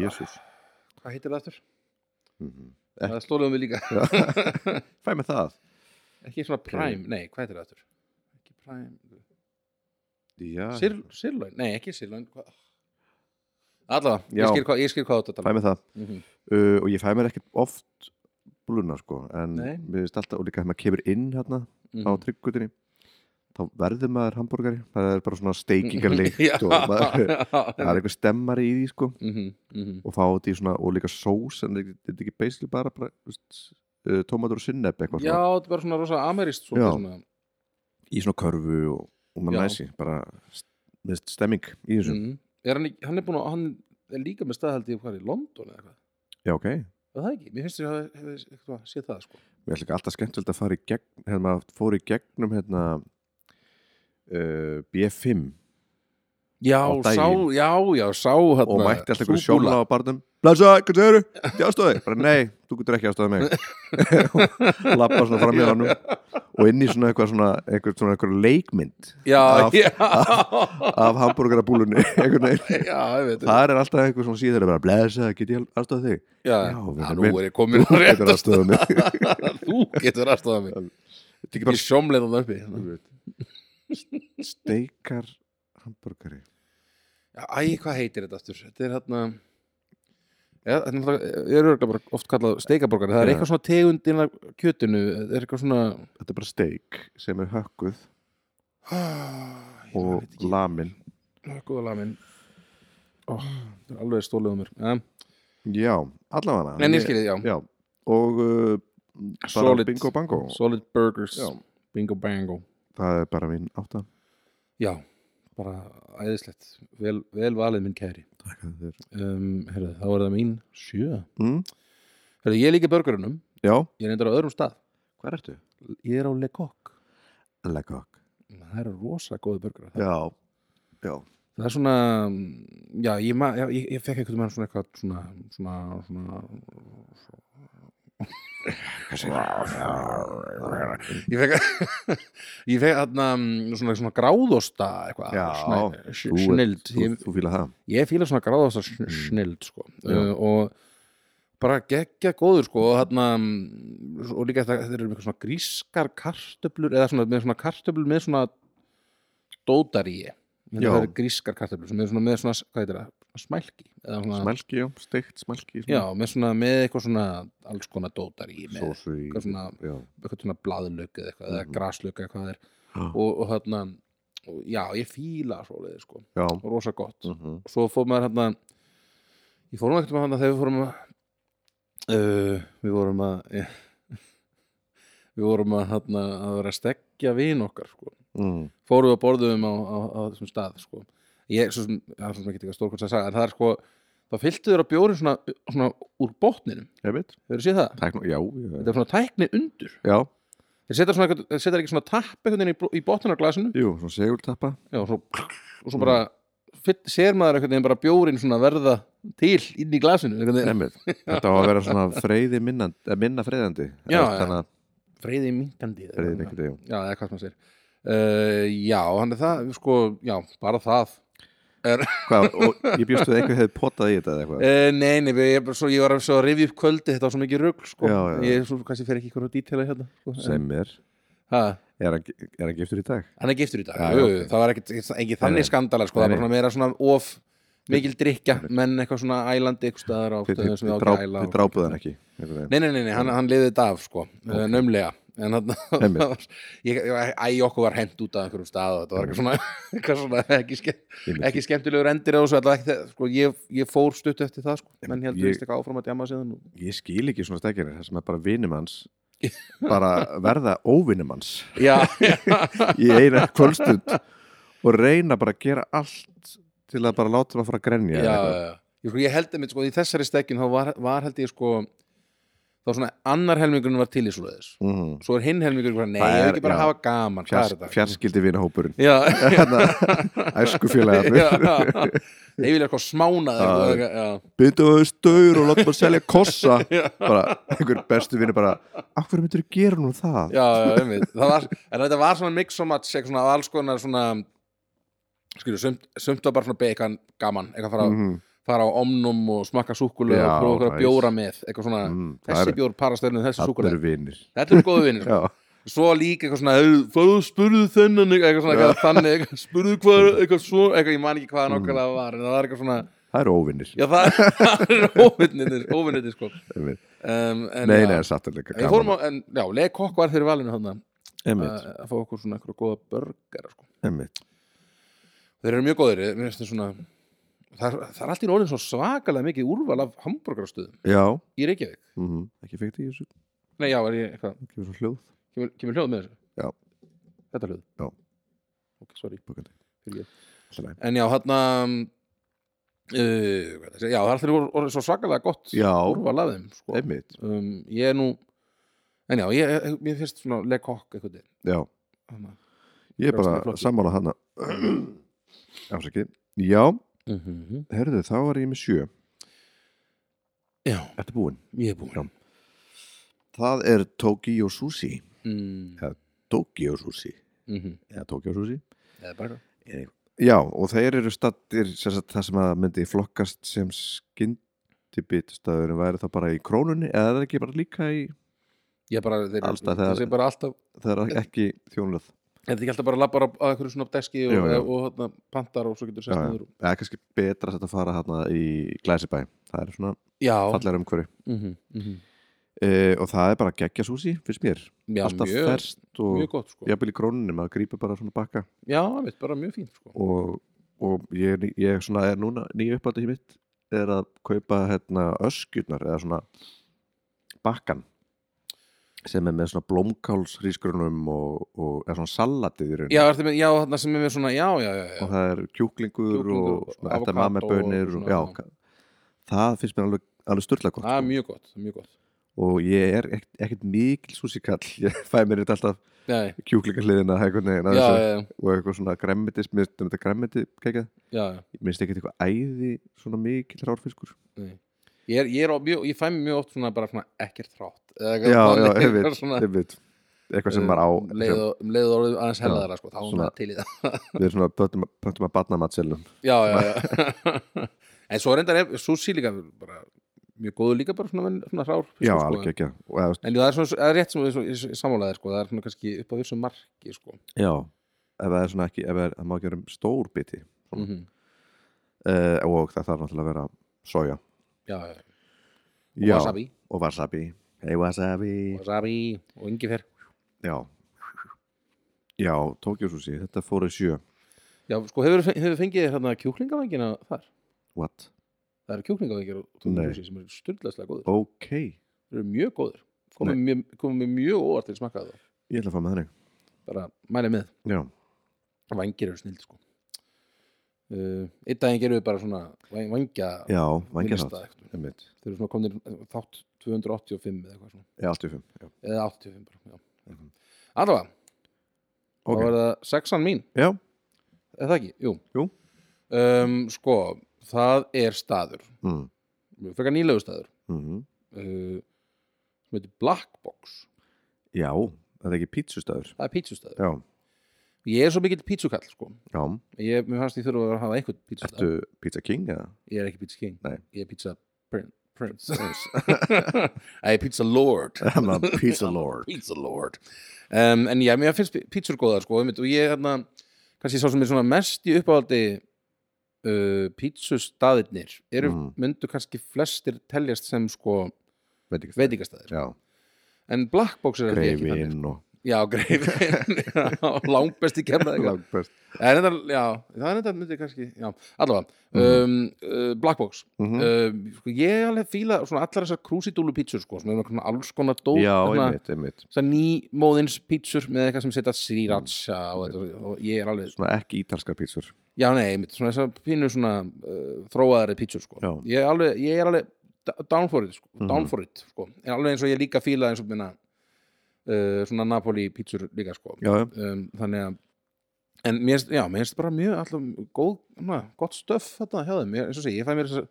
[SPEAKER 1] Jésús
[SPEAKER 2] hvað heitir það aftur?
[SPEAKER 1] mm -hmm.
[SPEAKER 2] Það slóðum við líka,
[SPEAKER 1] Fæ mér það
[SPEAKER 2] ekki svona prime, nei, hvað heitir það aftur? Ekki prime,
[SPEAKER 1] Já,
[SPEAKER 2] Sirl, sirloin, nei, ekki sirloin, hvað? Alla,
[SPEAKER 1] Já.
[SPEAKER 2] ég skil hvað, ég skil hvað þetta
[SPEAKER 1] fæ mér það
[SPEAKER 2] mm -hmm.
[SPEAKER 1] uh, og ég fæ mér ekkert oft bluna sko, en
[SPEAKER 2] Nei.
[SPEAKER 1] mér finnst alltaf og líka þegar maður kemur inn hérna á
[SPEAKER 2] Mhm.
[SPEAKER 1] trygggutinni þá verður maður hambúrgari það er bara svona
[SPEAKER 2] (laughs) Mm.
[SPEAKER 1] steikingarleikt og maður, það er
[SPEAKER 2] Já,
[SPEAKER 1] eitthvað stemmari í því sko
[SPEAKER 2] Mhm, mhm.
[SPEAKER 1] og fá þetta í svona, og líka sós en þetta er ekki basically bara, bara veist, uh, tómatur og sinneb eitthvað
[SPEAKER 2] Já,
[SPEAKER 1] svona,
[SPEAKER 2] þetta er bara svona rosa amerist svona,
[SPEAKER 1] Já.
[SPEAKER 2] svona.
[SPEAKER 1] í svona körfu og, og
[SPEAKER 2] Já.
[SPEAKER 1] maður næsi, bara st- mér finnst stemming í þessu
[SPEAKER 2] Mm. Er hann, ekki- hann er búin að, hann er líka með staðhaldi í hvað er í London eða eitthvað,
[SPEAKER 1] já ok,
[SPEAKER 2] Er það ekki, mér finnst þér að hefði eitthvað séð það sko
[SPEAKER 1] mér finnst líka alltaf skemmtilegt að fara í gegn, hérna maður fór í gegnum hérna uh, B5
[SPEAKER 2] Já,
[SPEAKER 1] Á daginn.
[SPEAKER 2] sá, já, já, sá hérna,
[SPEAKER 1] og mætti alltaf einhverju
[SPEAKER 2] súkkula.
[SPEAKER 1] sjóla á barnum Blessa, hvað segirðu? Ég aðstoði Bara nei, þú getur ekki aðstoði mig
[SPEAKER 2] (laughs)
[SPEAKER 1] Lappa svona fram í hann og inn í svona eitthvað svona eitthvað svona eitthvað leikmynd
[SPEAKER 2] Já,
[SPEAKER 1] af-
[SPEAKER 2] já,
[SPEAKER 1] af hambúrgarabúlunni (laughs) einhvern veginn
[SPEAKER 2] (laughs) já, ég veit
[SPEAKER 1] Þar er alltaf einhver svona síðar bara Blessa, get ég aðstoði þig?
[SPEAKER 2] Já,
[SPEAKER 1] Já, vinur
[SPEAKER 2] já, nú
[SPEAKER 1] minn.
[SPEAKER 2] er ég komin (laughs) á
[SPEAKER 1] Þú
[SPEAKER 2] rétt
[SPEAKER 1] getur aðstoði mig
[SPEAKER 2] að þú getur aðstofað mig
[SPEAKER 1] Þetta er ekki
[SPEAKER 2] Ég sjómleita það uppi
[SPEAKER 1] bara steikar hambúrgari
[SPEAKER 2] Já, Æ, hvað heitir þetta aftur? Þetta er hérna Já, þetta er náttúrulega- er örgulega bara oft kallað steikaborgari Það er
[SPEAKER 1] Já.
[SPEAKER 2] eitthvað svona tegund innan kjötinu Það er eitthvað svona
[SPEAKER 1] Þetta er bara steik sem er hökkuð
[SPEAKER 2] Ah, Ég veit
[SPEAKER 1] og
[SPEAKER 2] ekki.
[SPEAKER 1] lamin
[SPEAKER 2] Góða lamin Ó, Það er alveg stólið um mér ja.
[SPEAKER 1] Já, allavega
[SPEAKER 2] En ég skilið, já
[SPEAKER 1] Já, og uh, bara
[SPEAKER 2] Solid.
[SPEAKER 1] bingo bango
[SPEAKER 2] Solid burgers
[SPEAKER 1] Já.
[SPEAKER 2] Bingo bango
[SPEAKER 1] Það er bara mín átta
[SPEAKER 2] Já, bara æðislegt Vel, vel valið minn kæri
[SPEAKER 1] Takk að þér
[SPEAKER 2] um, herrðu, Þá er það mín sjö
[SPEAKER 1] mm?
[SPEAKER 2] Herrðu, ég er líka í burgerunum
[SPEAKER 1] Já,
[SPEAKER 2] Ég er reyndar á öðrum stað
[SPEAKER 1] hvað ertu?
[SPEAKER 2] Ég er á Le Coq
[SPEAKER 1] Legokk
[SPEAKER 2] Það eru rosa góði burgerar það,
[SPEAKER 1] Já, já
[SPEAKER 2] það er svona Já, ég, ma, já, ég, ég fekk einhvern veginn svona eitthvað Svona, svona, svona Ég fekk (laughs) Ég fekk þarna mm, svona, svona gráðosta eitthvað
[SPEAKER 1] Já,
[SPEAKER 2] svona,
[SPEAKER 1] þú ert-
[SPEAKER 2] Snild
[SPEAKER 1] Þú,
[SPEAKER 2] ég,
[SPEAKER 1] þú fíla það
[SPEAKER 2] ég fíla svona gráðasta
[SPEAKER 1] Mm.
[SPEAKER 2] sn- snild sko. uh, og bara geggja góður sko, og, þarna, mm, og líka þetta, þetta eru eitthvað svona grískar kartöflur eða svona, með svona kartöflur með svona dótarí
[SPEAKER 1] Já.
[SPEAKER 2] það eru grískar kartöflur sem eru svona með svona, hvað heitir það, smælki eða svona,
[SPEAKER 1] Smelki, já, steikt smelki
[SPEAKER 2] já, með svona með eitthvað svona alls konar dótarí með
[SPEAKER 1] Sósu í
[SPEAKER 2] eitthvað svona
[SPEAKER 1] Já,
[SPEAKER 2] eitthvað svona blaðlauk eða eitthvað, eða graslauk eða hvað það er
[SPEAKER 1] Mhm. Já.
[SPEAKER 2] og, og þarna, og, já, ég fíla svoleiði sko,
[SPEAKER 1] já
[SPEAKER 2] og rosa gott
[SPEAKER 1] mhm.
[SPEAKER 2] og svo fór maður hérna ég fór nú ekkert maður hérna þegar við fórum að uh, við vorum að (laughs) við vorum að hérna að vera að stekja vin okkar sko.
[SPEAKER 1] mm.
[SPEAKER 2] fórum við að borðum á, á, á þessum stað sko. ég, svo sem, það er svo sem ekki ekki stórkvæmst að sagði, en það er sko þá fylltu þér að bjórin svona, svona úr botninum,
[SPEAKER 1] Ég veit
[SPEAKER 2] hefur þið séð það?
[SPEAKER 1] Tækn, Já, já,
[SPEAKER 2] þetta er svona tækni undur
[SPEAKER 1] já
[SPEAKER 2] þeir setja, svona, eitthvað- þeir setja ekki svona tapp einhvern veginn í, bl- í botnunarglasinu
[SPEAKER 1] Jú, svona segultappa
[SPEAKER 2] Já, og svo,
[SPEAKER 1] Mm.
[SPEAKER 2] og svo bara fyll, sér maður einhvern veginn bara bjórin svona verða til inn
[SPEAKER 1] (laughs)
[SPEAKER 2] í glasinu einhvern veginn.
[SPEAKER 1] Einmitt. Þetta á að vera svona freyði minna, minna freyðandi
[SPEAKER 2] Já,
[SPEAKER 1] eh, Þannig að
[SPEAKER 2] Freyði minkandi eða
[SPEAKER 1] Freyði
[SPEAKER 2] eitthvað.
[SPEAKER 1] minkandi, já.
[SPEAKER 2] Já, eða hvað sem maður segir uh, Já, hann er það, sko, já, bara það
[SPEAKER 1] Hvað, og ég bjóst við að einhver hefði potað í þetta eða eitthvað
[SPEAKER 2] Uh, nei, nei, ég, bara svo, ég var að- svo að rifja upp kvöldi þetta var svo mikið rugl sko.
[SPEAKER 1] Já, já.
[SPEAKER 2] ég svo, kannski fer ekki ykkur á dítela hérna sko. En-
[SPEAKER 1] sem er,
[SPEAKER 2] Ha,
[SPEAKER 1] er hann, er hann giftur í dag?
[SPEAKER 2] hann er giftur í dag
[SPEAKER 1] Já,
[SPEAKER 2] jú,
[SPEAKER 1] já,
[SPEAKER 2] jú, það var ekkit, ekki
[SPEAKER 1] Nei, nei.
[SPEAKER 2] þannig skandala sko. það
[SPEAKER 1] Nei,
[SPEAKER 2] var svona meira svona of mikil drikja menn eitthvað svona ælandi eitthvað staðar á
[SPEAKER 1] Þið
[SPEAKER 2] stöðum sem
[SPEAKER 1] þið
[SPEAKER 2] ég á
[SPEAKER 1] dráp-
[SPEAKER 2] ekki að æla
[SPEAKER 1] þið
[SPEAKER 2] og-
[SPEAKER 1] drápuð hann ekki einhvern veginn.
[SPEAKER 2] Nei, nei, nei, nei hann, hann liðið þetta af sko, okay. nömlega en hann, það
[SPEAKER 1] Einmitt.
[SPEAKER 2] var, (laughs) ég, ég, æ, okkur var hent út af einhverjum stað og þetta var eitthvað svona, (laughs) eitthvað svona ekki, ske,
[SPEAKER 1] Einmitt.
[SPEAKER 2] ekki skemmtilegur endir á þessu, allavega ekki, það- sko, ég, ég fór stutt eftir það sko,
[SPEAKER 1] Einmitt,
[SPEAKER 2] menn heldur
[SPEAKER 1] ég-
[SPEAKER 2] ég... eitthvað áfram að djama síðan og
[SPEAKER 1] ég skil ekki svona stekkinir það sem er bara vinum
[SPEAKER 2] (laughs)
[SPEAKER 1] hans bara verða óvinum hans
[SPEAKER 2] Já,
[SPEAKER 1] í eina kvöldstund og reyna bara að gera allt til að bara láta maður fara að grenja
[SPEAKER 2] (laughs) já,
[SPEAKER 1] eða
[SPEAKER 2] já,
[SPEAKER 1] eitthvað.
[SPEAKER 2] já. Ég, sko, ég held að mitt sko, í þessari stekkin þá var, var held ég sko þá svona annar helmingurinn var til í svo leiðis
[SPEAKER 1] Mhm.
[SPEAKER 2] svo er hinn helmingurinn bara, nei,
[SPEAKER 1] Það
[SPEAKER 2] ég
[SPEAKER 1] er-
[SPEAKER 2] vil ekki bara
[SPEAKER 1] já.
[SPEAKER 2] hafa gaman hvað
[SPEAKER 1] Fjars,
[SPEAKER 2] er þetta?
[SPEAKER 1] fjarskildi vinahópurinn
[SPEAKER 2] (laughs) Já,
[SPEAKER 1] æsku félagarnir
[SPEAKER 2] já Nei, ég vil eitthvað smánaði
[SPEAKER 1] Já.
[SPEAKER 2] já, já.
[SPEAKER 1] byndu að þau staur og láta maður selja
[SPEAKER 2] (laughs)
[SPEAKER 1] kossa bara einhver bestu vinur bara akkur myndir að gera nú það
[SPEAKER 2] já, já, einmitt Það var, en þetta var svona mix og match eitthvað svona af alls konar svona skilur, sumt, sumt var bara svona bekan gaman, eitthvað fara,
[SPEAKER 1] Mhm.
[SPEAKER 2] fara á omnum og smakka súkulega
[SPEAKER 1] Já,
[SPEAKER 2] og prófa okkur að
[SPEAKER 1] nice.
[SPEAKER 2] bjóra með eitthvað svona,
[SPEAKER 1] Mm, það
[SPEAKER 2] þessi
[SPEAKER 1] er-
[SPEAKER 2] bjór parastöðlun þessi
[SPEAKER 1] það
[SPEAKER 2] súkulega,
[SPEAKER 1] eru vinir
[SPEAKER 2] þetta eru góðu vinir sko.
[SPEAKER 1] já,
[SPEAKER 2] svo líka eitthvað svona "Heyrðu, fáðu spurðu þennan eitthvað svona eitthvað þannig, eitthvað, spurðu hvað eitthvað svo, eitthvað ég man ekki
[SPEAKER 1] Mm.
[SPEAKER 2] hvað nokkala var en það var eitthvað svona,
[SPEAKER 1] það eru óvinir
[SPEAKER 2] já það, það er (laughs) óvinnir óvinnir sko um,
[SPEAKER 1] nei,
[SPEAKER 2] en,
[SPEAKER 1] nei,
[SPEAKER 2] já,
[SPEAKER 1] það er satt alveg
[SPEAKER 2] en við fórum á, en já, leik kokk var fyrir valinu þannig
[SPEAKER 1] einmitt,
[SPEAKER 2] að fá okkur svona eitthvað góða börgar sko.
[SPEAKER 1] einmitt
[SPEAKER 2] þeir eru mjög góðir, mér finnst þeir svona það, er- það er alltaf orðin svo svakalega mikið úrval af hambúrgarastöðum
[SPEAKER 1] já,
[SPEAKER 2] í Reykjavík,
[SPEAKER 1] mm ekki fengt í þessu
[SPEAKER 2] nei já, er ég eitthvað
[SPEAKER 1] kemur svona hljóð
[SPEAKER 2] kemur, kemur hljóð með þessu?
[SPEAKER 1] Já.
[SPEAKER 2] Þetta hljóð?
[SPEAKER 1] Já.
[SPEAKER 2] Ok, sorry.
[SPEAKER 1] Búkandi.
[SPEAKER 2] Fyrirgefðu.
[SPEAKER 1] Allt í lagi.
[SPEAKER 2] En já, þarna um, uh, hvað ætla ég að segja? Já, það er allir orðið svo svakalega gott
[SPEAKER 1] já,
[SPEAKER 2] úrval að þeim sko.
[SPEAKER 1] einmitt
[SPEAKER 2] um, Ég er nú En já, ég, ég- mér finnst svona Le Coq eitthvað til.
[SPEAKER 1] já,
[SPEAKER 2] Þarna.
[SPEAKER 1] ég er
[SPEAKER 2] Frjálslega
[SPEAKER 1] bara
[SPEAKER 2] flokki.
[SPEAKER 1] sammála hana (clears throat) afsakið, já,
[SPEAKER 2] Mhm.
[SPEAKER 1] herðu þá var ég með sjö
[SPEAKER 2] Já,
[SPEAKER 1] Þetta búinn
[SPEAKER 2] ég er búin
[SPEAKER 1] Já. Það er Tokyo Sushi
[SPEAKER 2] mm,
[SPEAKER 1] Tokyo Sushi
[SPEAKER 2] mm -hmm.
[SPEAKER 1] Eða Tokyo Sushi
[SPEAKER 2] Eða bara
[SPEAKER 1] Já, og þeir eru stattir sagt, það sem að myndi flokkast sem skyndibitstaðurinn væri það bara í krónunni eða er það ekki bara líka í
[SPEAKER 2] Ég er bara, þeir,
[SPEAKER 1] Alls staðar,
[SPEAKER 2] þeir,
[SPEAKER 1] það
[SPEAKER 2] þeir
[SPEAKER 1] er-
[SPEAKER 2] bara alltaf
[SPEAKER 1] það er ekki þjónlöð
[SPEAKER 2] Er þetta ekki alltaf bara að labba á einhverju svona deski og,
[SPEAKER 1] Jú, jú.
[SPEAKER 2] og, og þarna, pantar og svo getur sest
[SPEAKER 1] Já, já.
[SPEAKER 2] niður og-
[SPEAKER 1] eða kannski betra að þetta fara hérna í Glæsibæ það er svona
[SPEAKER 2] Já,
[SPEAKER 1] fallegar umhverju
[SPEAKER 2] mm -hmm. Mm -hmm.
[SPEAKER 1] e, og það er bara geggja sushi finnst mér,
[SPEAKER 2] já
[SPEAKER 1] alltaf
[SPEAKER 2] mjög,
[SPEAKER 1] ferst
[SPEAKER 2] mjög
[SPEAKER 1] og
[SPEAKER 2] gott sko.
[SPEAKER 1] jafnvel í krónunni, maður grípur bara svona bakka
[SPEAKER 2] Já, mitt, bara mjög fínt sko.
[SPEAKER 1] og, og ég, ég svona er núna nýja uppáldið mitt er að kaupa hérna öskjurnar eða svona bakkan sem er með svona blómkálsrísgrunum og, og eða svona salatið í raun
[SPEAKER 2] Já, ertu með, já, þarna sem er með svona, já, já, já, já.
[SPEAKER 1] og það er kjúklingur,
[SPEAKER 2] Kjúklingur,
[SPEAKER 1] og svona eftir
[SPEAKER 2] avocado
[SPEAKER 1] maður bönir
[SPEAKER 2] og
[SPEAKER 1] og,
[SPEAKER 2] svona,
[SPEAKER 1] já,
[SPEAKER 2] já.
[SPEAKER 1] ka- það finnst mér alveg, alveg styrla gott
[SPEAKER 2] það er
[SPEAKER 1] sko.
[SPEAKER 2] mjög gott, það er mjög gott.
[SPEAKER 1] og ég er ekkert, ekkert mikil súsikall (laughs) ég fæ mér þetta alltaf
[SPEAKER 2] Nei,
[SPEAKER 1] kjúklingahliðina einhvern veginn
[SPEAKER 2] já,
[SPEAKER 1] að þessu.
[SPEAKER 2] já, já,
[SPEAKER 1] og eitthvað svona gremmitis, mér finnst um þetta gremmiti kegja
[SPEAKER 2] já, já.
[SPEAKER 1] minnst ekki eitthvað æði svona mikil rárfiskur
[SPEAKER 2] Ég, er, ég, er, á mjög, ég fæ mér mjög oft svona bara svona ekkert rátt. Eða
[SPEAKER 1] já,
[SPEAKER 2] (laughs) eitthvað
[SPEAKER 1] já,
[SPEAKER 2] þannig, eitthvað
[SPEAKER 1] einmitt,
[SPEAKER 2] svona,
[SPEAKER 1] einmitt eitthvað sem maður á
[SPEAKER 2] um leið og- um leið og orðið aðeins
[SPEAKER 1] Já,
[SPEAKER 2] hellaðara, sko, þá hún
[SPEAKER 1] svona-
[SPEAKER 2] það til í það.
[SPEAKER 1] sem við svona pöntum, pöntum að batna matselum
[SPEAKER 2] Já, já, já. (laughs) en svo reyndar er sushi líka bara mjög góður líka bara svona, svona rár.
[SPEAKER 1] já,
[SPEAKER 2] sko.
[SPEAKER 1] alveg ekki og, eða,
[SPEAKER 2] En það er svona, það er rétt sem við- svo- ég sammálaðið, sko, það er svona kannski upp á þessu marki, sko.
[SPEAKER 1] já, ef það er svona ekki ef það er- það má ekki vera um stór biti
[SPEAKER 2] Mm
[SPEAKER 1] uh, og það þarf náttúrulega að vera soja
[SPEAKER 2] Já, já. Og
[SPEAKER 1] já,
[SPEAKER 2] wasabi.
[SPEAKER 1] og wasabi hey wasabi
[SPEAKER 2] Wasabi og yngifer.
[SPEAKER 1] já já, Tokyo Sushi, þetta fór í sjö
[SPEAKER 2] Já, sko, hefur, hefur fengið hérna kjúklingavengina þar?
[SPEAKER 1] what?
[SPEAKER 2] Það eru kjúklingavengir og
[SPEAKER 1] Nei.
[SPEAKER 2] tónljósi sem eru styrlaðslega góður.
[SPEAKER 1] ok,
[SPEAKER 2] Þeir eru mjög góður. Komum mjög, komum mjög, mjög óvart til smakkaði það.
[SPEAKER 1] ég ætla að fá með þannig
[SPEAKER 2] Bara mæli með.
[SPEAKER 1] já,
[SPEAKER 2] Vangir eru snild, sko. Uh, einn daginn gerum við bara svona væng- vangja
[SPEAKER 1] já, vangja það
[SPEAKER 2] minnsta eitthvað.
[SPEAKER 1] einmitt,
[SPEAKER 2] Þeir eru svona komnir eh, þátt 285 eða eitthvað svona.
[SPEAKER 1] já, 85 já.
[SPEAKER 2] Eða 85 bara, já.
[SPEAKER 1] Mhm.
[SPEAKER 2] Allavega,
[SPEAKER 1] ok,
[SPEAKER 2] þá er það sexan mín.
[SPEAKER 1] já,
[SPEAKER 2] Er það ekki? Jú.
[SPEAKER 1] Jú.
[SPEAKER 2] Um, sko, það er staður.
[SPEAKER 1] mm.
[SPEAKER 2] Frekar nýlegu staður.
[SPEAKER 1] Mm
[SPEAKER 2] uh, sem heitir Black Box
[SPEAKER 1] Já, þetta er ekki pítsustæður
[SPEAKER 2] það er pítsustæður
[SPEAKER 1] Já,
[SPEAKER 2] ég er svo mikill pítsukall sko
[SPEAKER 1] já,
[SPEAKER 2] ég, mér fannst ég þurfa að hafa einhvern pítsustæð
[SPEAKER 1] ertu pizza king eða?
[SPEAKER 2] ég er ekki pizza king,
[SPEAKER 1] Nei.
[SPEAKER 2] ég er pizza prin- prince
[SPEAKER 1] (laughs)
[SPEAKER 2] (laughs) ég er pizza lord
[SPEAKER 1] I'm a (laughs) pizza lord
[SPEAKER 2] pizza lord um, en já, mér finnst pítsur góðar sko einmitt, og ég hérna, kannski sá sem er svona mest í uppáhaldi uh, pítsustæðirnir eru,
[SPEAKER 1] Mm.
[SPEAKER 2] myndu kannski flestir teljast sem sko
[SPEAKER 1] Veit ekki
[SPEAKER 2] veitingastæðir
[SPEAKER 1] Já,
[SPEAKER 2] en black box er held ég ekki þannig
[SPEAKER 1] greifin og
[SPEAKER 2] já, greifin,
[SPEAKER 1] (laughs)
[SPEAKER 2] já, langbest í kemlaði
[SPEAKER 1] langbest
[SPEAKER 2] En þetta, já, það er þetta myndi kannski, já, allavega,
[SPEAKER 1] Mhm.
[SPEAKER 2] um, uh, Black Box,
[SPEAKER 1] mm
[SPEAKER 2] um, sko, ég alveg fíla svona allar þessar krúsidúlu pítsur, sko, sem er svona alls konar hérna, dót,
[SPEAKER 1] Já,
[SPEAKER 2] svona,
[SPEAKER 1] einmitt, einmitt
[SPEAKER 2] svona nýmóðins pítsur með eitthvað sem setja sriracha og, þetta, og ég er alveg,
[SPEAKER 1] Svona ekki ítalskar pítsur
[SPEAKER 2] já, nei, einmitt, svona þessar pínu svona uh, þróaðari pítsur, sko,
[SPEAKER 1] Já.
[SPEAKER 2] ég er alveg, ég er alveg d- down for it, sko,
[SPEAKER 1] Mhm.
[SPEAKER 2] down for it, sko, en alveg eins og ég líka fíla eins og minna, uh, svona Napoli pítsur líka, sko,
[SPEAKER 1] Já, já,
[SPEAKER 2] um, þannig að en mér finnst, já, mér finnst bara mjög alltaf góð, na, gott stöf þetta hjá þeim, ég, eins og sé, ég fæ mér þessar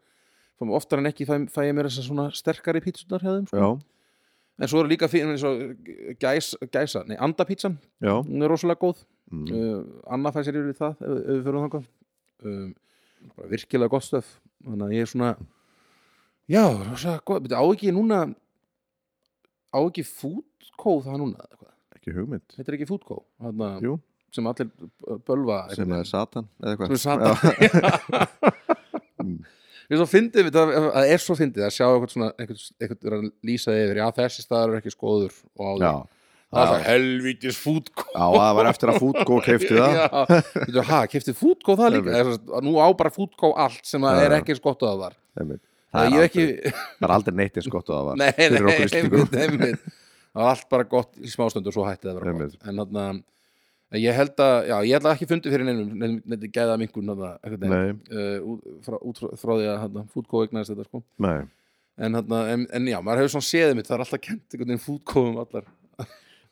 [SPEAKER 2] fæ- oftar en ekki fæ, fæ ég mér þessar svona sterkari pítsunar hjá þeim, sko.
[SPEAKER 1] já,
[SPEAKER 2] en svo eru líka fyrir eins og gæs, gæsa, nei, andapítsan
[SPEAKER 1] já
[SPEAKER 2] hún er rosalega góð,
[SPEAKER 1] mm.
[SPEAKER 2] uh, Anna fæ sér yfir í það, ef, ef við fyrir þangað um, bara virkilega gott stöf þannig að ég er svona já, rosalega góð, Bíddu, á ekki núna á ekki fútkóð það núna, eða hvað
[SPEAKER 1] Ekki hugmynd
[SPEAKER 2] heitir ekki Fútkó þarna,
[SPEAKER 1] Jú.
[SPEAKER 2] sem allir b- bölva
[SPEAKER 1] Sem er Satan eða
[SPEAKER 2] sem
[SPEAKER 1] hvað
[SPEAKER 2] er satan við svo fyndið við það, það er svo fyndið að sjá eitthvað svona eitthvað, eitthvað er að lýsa því yfir já þessi staðar er ekki skoður og áður
[SPEAKER 1] Já,
[SPEAKER 2] það er það helvítis Fútkó
[SPEAKER 1] já, það var eftir að fútgó keifti það
[SPEAKER 2] (laughs) já, ha, kefti Fútkó það líka Eða, svo- nú á bara Fútkó allt sem að
[SPEAKER 1] Já,
[SPEAKER 2] er
[SPEAKER 1] já.
[SPEAKER 2] ekki skottað að var
[SPEAKER 1] Einmitt.
[SPEAKER 2] það
[SPEAKER 1] er
[SPEAKER 2] ég hef
[SPEAKER 1] aldrei-
[SPEAKER 2] ekki
[SPEAKER 1] Það er aldrei neitt eins gott og það var
[SPEAKER 2] (laughs) nei, nei,
[SPEAKER 1] fyrir okkur Íslendingum.
[SPEAKER 2] einmitt, einmitt. það var allt bara gott í smástund og svo hætti það að vera
[SPEAKER 1] Einmitt.
[SPEAKER 2] gott en þarna en ég held að, já, ég held að ekki fundi fyrir neinum neinum, neinum gæða minkun þarna, einhvern veginn,
[SPEAKER 1] Nei,
[SPEAKER 2] uh, út, frá, út frá, frá því að hérna, fútkó egnaðist þetta sko
[SPEAKER 1] nei
[SPEAKER 2] en, hérna, en, en já, maður hefur svona séðið mitt það er alltaf kent einhvern veginn fútkóum allar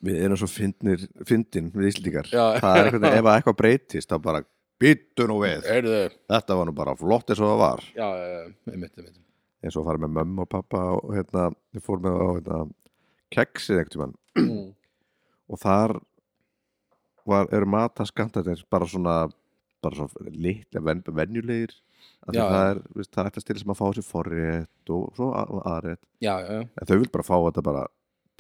[SPEAKER 1] Við erum svo fyndnir, fyndin við Íslendingar
[SPEAKER 2] Já.
[SPEAKER 1] Það er eitthvað, ef að eitthvað breytist þá bara býttu nú við
[SPEAKER 2] Heyrðu,
[SPEAKER 1] Þetta var nú bara flott eins og það var
[SPEAKER 2] já, já, einmitt, einmitt
[SPEAKER 1] eins og farið með mömmu og pappa og hérna, við fórum með á hérna, keksið einhvern tímann
[SPEAKER 2] Mm.
[SPEAKER 1] og þar var, eru mataskantarnir bara svona bara svona litla ven, venjulegir af því
[SPEAKER 2] Já,
[SPEAKER 1] það
[SPEAKER 2] já.
[SPEAKER 1] er, viðst, það er alltaf stil sem að fá sér forrétt og svo a- aðrétt
[SPEAKER 2] já, já, já,
[SPEAKER 1] en þau vil bara fá þetta bara,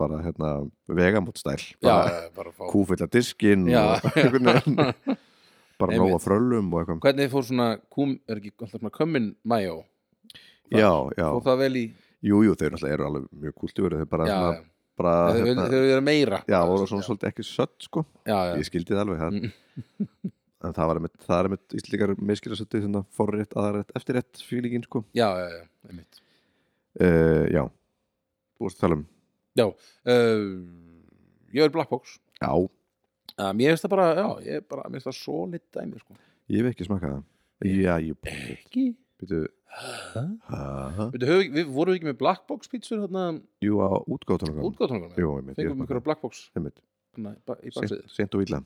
[SPEAKER 1] bara hérna, vegamótstæl
[SPEAKER 2] já,
[SPEAKER 1] bara
[SPEAKER 2] já, bara að fá
[SPEAKER 1] kúfilla diskinn
[SPEAKER 2] Já,
[SPEAKER 1] og (laughs) einhvern
[SPEAKER 2] (laughs)
[SPEAKER 1] veginn bara
[SPEAKER 2] Einmitt.
[SPEAKER 1] nóga fröllum og eitthvað
[SPEAKER 2] hvernig fór svona kúm, er ekki alltaf svona kömmin mæjó Hvað-
[SPEAKER 1] já, já,
[SPEAKER 2] fór það vel í,
[SPEAKER 1] jú, jú, þau náttúrulega eru alveg mjög kultúrið, þau bara,
[SPEAKER 2] já, já,
[SPEAKER 1] svona,
[SPEAKER 2] já.
[SPEAKER 1] bara hérna-
[SPEAKER 2] þau þau- þau eru meira
[SPEAKER 1] Já, voru svona svolítið ekki sött sko
[SPEAKER 2] já, já,
[SPEAKER 1] Ég skildi það alveg það
[SPEAKER 2] Mm.
[SPEAKER 1] (laughs) En það var einmitt, það er einmitt íslíkar miskilja svolítið þannig að forrétt, aðrætt, eftirrétt fílíkin sko
[SPEAKER 2] já, já, já, einmitt
[SPEAKER 1] uh, Já, þú vorst að tala um
[SPEAKER 2] uh, ég er Black Box
[SPEAKER 1] Já,
[SPEAKER 2] um, ég veist það bara, já, ég bara mér finnst það svo lit dæmi, sko
[SPEAKER 1] ég hef ekki smakað það Já, ég
[SPEAKER 2] ekki,
[SPEAKER 1] byrju
[SPEAKER 2] Hæ?
[SPEAKER 1] ha?
[SPEAKER 2] við, höf, við vorum við ekki með Black Box pítsur þarna,
[SPEAKER 1] Jú, á útgáttunum
[SPEAKER 2] útgáttunum
[SPEAKER 1] Jú, einmitt, ég
[SPEAKER 2] fengum
[SPEAKER 1] smakað
[SPEAKER 2] við einhverja Black Box
[SPEAKER 1] Einmitt,
[SPEAKER 2] hana, í ba- í baksið
[SPEAKER 1] Seint- seint og illa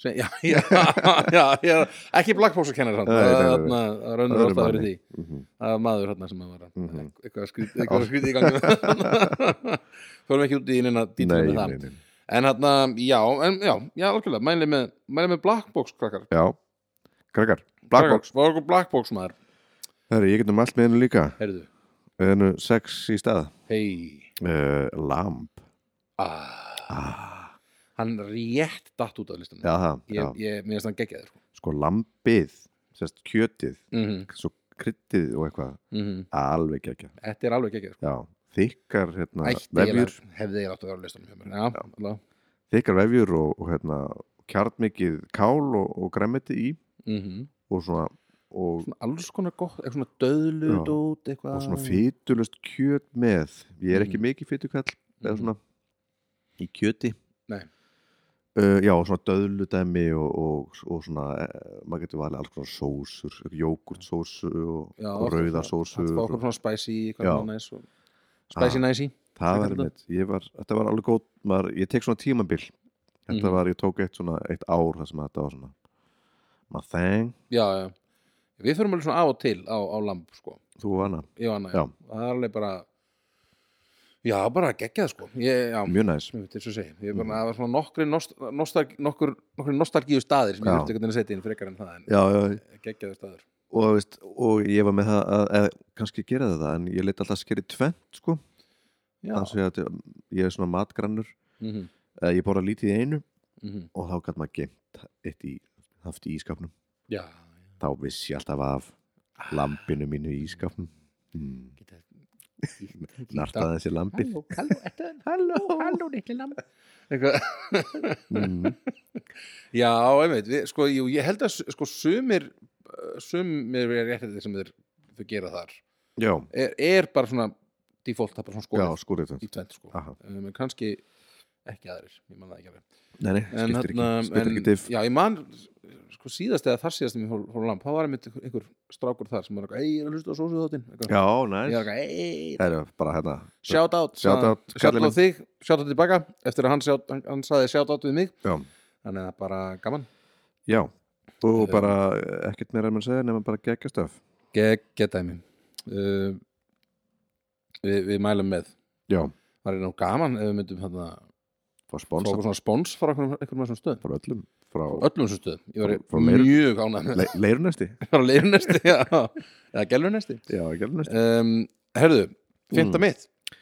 [SPEAKER 2] já, já, (laughs) já, já, ekki Black Box að kenna
[SPEAKER 1] Nei,
[SPEAKER 2] þarna,
[SPEAKER 1] nei, nei, nei.
[SPEAKER 2] þarna það raunir
[SPEAKER 1] Öðrum
[SPEAKER 2] alltaf verið
[SPEAKER 1] manni.
[SPEAKER 2] því
[SPEAKER 1] Mhm.
[SPEAKER 2] að maður þarna sem að var
[SPEAKER 1] Mhm.
[SPEAKER 2] mm eitthvað skrýt- eitthvað skrýti í gangi
[SPEAKER 1] (laughs)
[SPEAKER 2] förum ekki út í innina dýtum
[SPEAKER 1] Nei,
[SPEAKER 2] með það
[SPEAKER 1] nei, nei
[SPEAKER 2] en þarna, já, en, já, já, algjörlega mæli með, mæli með Black Box krakkar
[SPEAKER 1] Já, krakkar, black box
[SPEAKER 2] var okkur Black Box maður
[SPEAKER 1] Herri, ég getum allt með hennu líka
[SPEAKER 2] Heyrðu,
[SPEAKER 1] Hennu sex í stað
[SPEAKER 2] hei Eh,
[SPEAKER 1] uh, Lamb
[SPEAKER 2] ah,
[SPEAKER 1] ah,
[SPEAKER 2] Hann rétt datt út af listanum
[SPEAKER 1] Já, það, já
[SPEAKER 2] Ég, ég mér finnst hann geggjaði sko.
[SPEAKER 1] sko lambið sérst kjötið,
[SPEAKER 2] mm -hmm,
[SPEAKER 1] svo kryttið og eitthvað alveg ekki,
[SPEAKER 2] mhm. Þetta er alveg geggjaði sko.
[SPEAKER 1] já, þykkar hérna,
[SPEAKER 2] Ætti ég
[SPEAKER 1] vefjur,
[SPEAKER 2] að- hefði ég átt að vera á listanum hjá mér Já, alveg
[SPEAKER 1] þykkar vefjur og, og hérna, kjarnmikið kál og, og græmiti í
[SPEAKER 2] mm -hmm.
[SPEAKER 1] og svona og,
[SPEAKER 2] Svona alls konar gott, eitthvað svona döðlut
[SPEAKER 1] Já.
[SPEAKER 2] út eitthvað
[SPEAKER 1] og svona fytulust kjöt með ég er ekki mikið fytukall eða svona Mm. í kjöti
[SPEAKER 2] Nei.
[SPEAKER 1] Uh, já, og svona döðludæmi og, og, og svona, eh, maður getur valið alls konar sósur, jógurtsósu og,
[SPEAKER 2] Já,
[SPEAKER 1] og rauðasósur
[SPEAKER 2] Það var
[SPEAKER 1] og-
[SPEAKER 2] okkur svona spicy eitthvað
[SPEAKER 1] Já.
[SPEAKER 2] svona næs og... Spicy
[SPEAKER 1] Ah.
[SPEAKER 2] næsi
[SPEAKER 1] það
[SPEAKER 2] Taka
[SPEAKER 1] var
[SPEAKER 2] þetta?
[SPEAKER 1] einmitt, ég var, þetta var alveg góð maður, ég tek svona tímabil þetta
[SPEAKER 2] Mhm.
[SPEAKER 1] var, ég tók eitt svona, eitt ár það sem þetta var svona my thing,
[SPEAKER 2] Já, já Við förum alveg svona á og til á, á lamb sko
[SPEAKER 1] þú og hana
[SPEAKER 2] Ég og Anna,
[SPEAKER 1] Já.
[SPEAKER 2] já. Það er alveg bara Já, bara geggja það sko ég, Já,
[SPEAKER 1] mjög næs
[SPEAKER 2] sem við þess að segja ég, bara, það var svona nokkri nost, nostalg, nokkur, nokkur nostalgíu staðir sem ég
[SPEAKER 1] Já.
[SPEAKER 2] vilti einhvern veginn að setja inn frekar en það en
[SPEAKER 1] já, já,
[SPEAKER 2] geggjaður staður
[SPEAKER 1] og, veist, og ég var með það að, að kannski gera það en ég leita alltaf að skeri tvent sko
[SPEAKER 2] já.
[SPEAKER 1] þannig að þetta- ég er svona matgrannur
[SPEAKER 2] Mm -hmm.
[SPEAKER 1] eða ég borða lítið í einu
[SPEAKER 2] mhm.
[SPEAKER 1] og þá gæt maður gemt eitt í haft í ískapnum
[SPEAKER 2] já,
[SPEAKER 1] þá vissi ég alltaf af lampinu mínu í ískapnum mm. (laughs) nartaði þessi lampi
[SPEAKER 2] Halló, halló, ertu enn? Halló, halló, litli lamb Eitthvað (laughs)
[SPEAKER 1] mm.
[SPEAKER 2] Já, einmitt, við, sko, jú, ég held að s- sko, sumir, uh, sumir er rétt þetta sem þeir, þau gera þar
[SPEAKER 1] já,
[SPEAKER 2] er, er bara svona default, það er bara svona
[SPEAKER 1] já,
[SPEAKER 2] skóð
[SPEAKER 1] skórið
[SPEAKER 2] í tvend, sko,
[SPEAKER 1] Aha.
[SPEAKER 2] um, en kannski ekki aðrir, ég man það ekki alveg
[SPEAKER 1] nei, nei,
[SPEAKER 2] en,
[SPEAKER 1] skiptir ekki,
[SPEAKER 2] hérna,
[SPEAKER 1] skiptir
[SPEAKER 2] en,
[SPEAKER 1] ekki diff
[SPEAKER 2] já, ég man sko, síðast eða þar síðast sem ég fór, fór á lamp, þá var einmitt einhver- einhver strákur þar sem var eitthvað, ei, ég er að hlusta á sósu þáttinn
[SPEAKER 1] já, næs,
[SPEAKER 2] nice.
[SPEAKER 1] það er bara hérna
[SPEAKER 2] shout out
[SPEAKER 1] Shout out,
[SPEAKER 2] shout
[SPEAKER 1] kallinn
[SPEAKER 2] out á þig, shout out tilbaka eftir að hann, shout, hann, hann saði shout out við mig
[SPEAKER 1] já,
[SPEAKER 2] þannig að bara gaman
[SPEAKER 1] já og
[SPEAKER 2] Þetta er-
[SPEAKER 1] bara eh, ekkert meira en maður segja nema bara geggja stöf
[SPEAKER 2] Gekkja dæmi uh, við, við mælum með
[SPEAKER 1] já,
[SPEAKER 2] það er nú gaman ef við myndum hérna
[SPEAKER 1] fá
[SPEAKER 2] fá
[SPEAKER 1] spons
[SPEAKER 2] okkur svona spons frá einhverjum einhverjum af þessum stöðum
[SPEAKER 1] frá öllum, frá
[SPEAKER 2] frá öllum þessum stöðum, ég
[SPEAKER 1] Frá- frá
[SPEAKER 2] var
[SPEAKER 1] meir-
[SPEAKER 2] mjög ánægð með (laughs)
[SPEAKER 1] le leirunesti
[SPEAKER 2] það frá leirunesti já, eða gelunesti
[SPEAKER 1] já, leirunesti
[SPEAKER 2] um, herðu, fynda
[SPEAKER 1] Mm.
[SPEAKER 2] mitt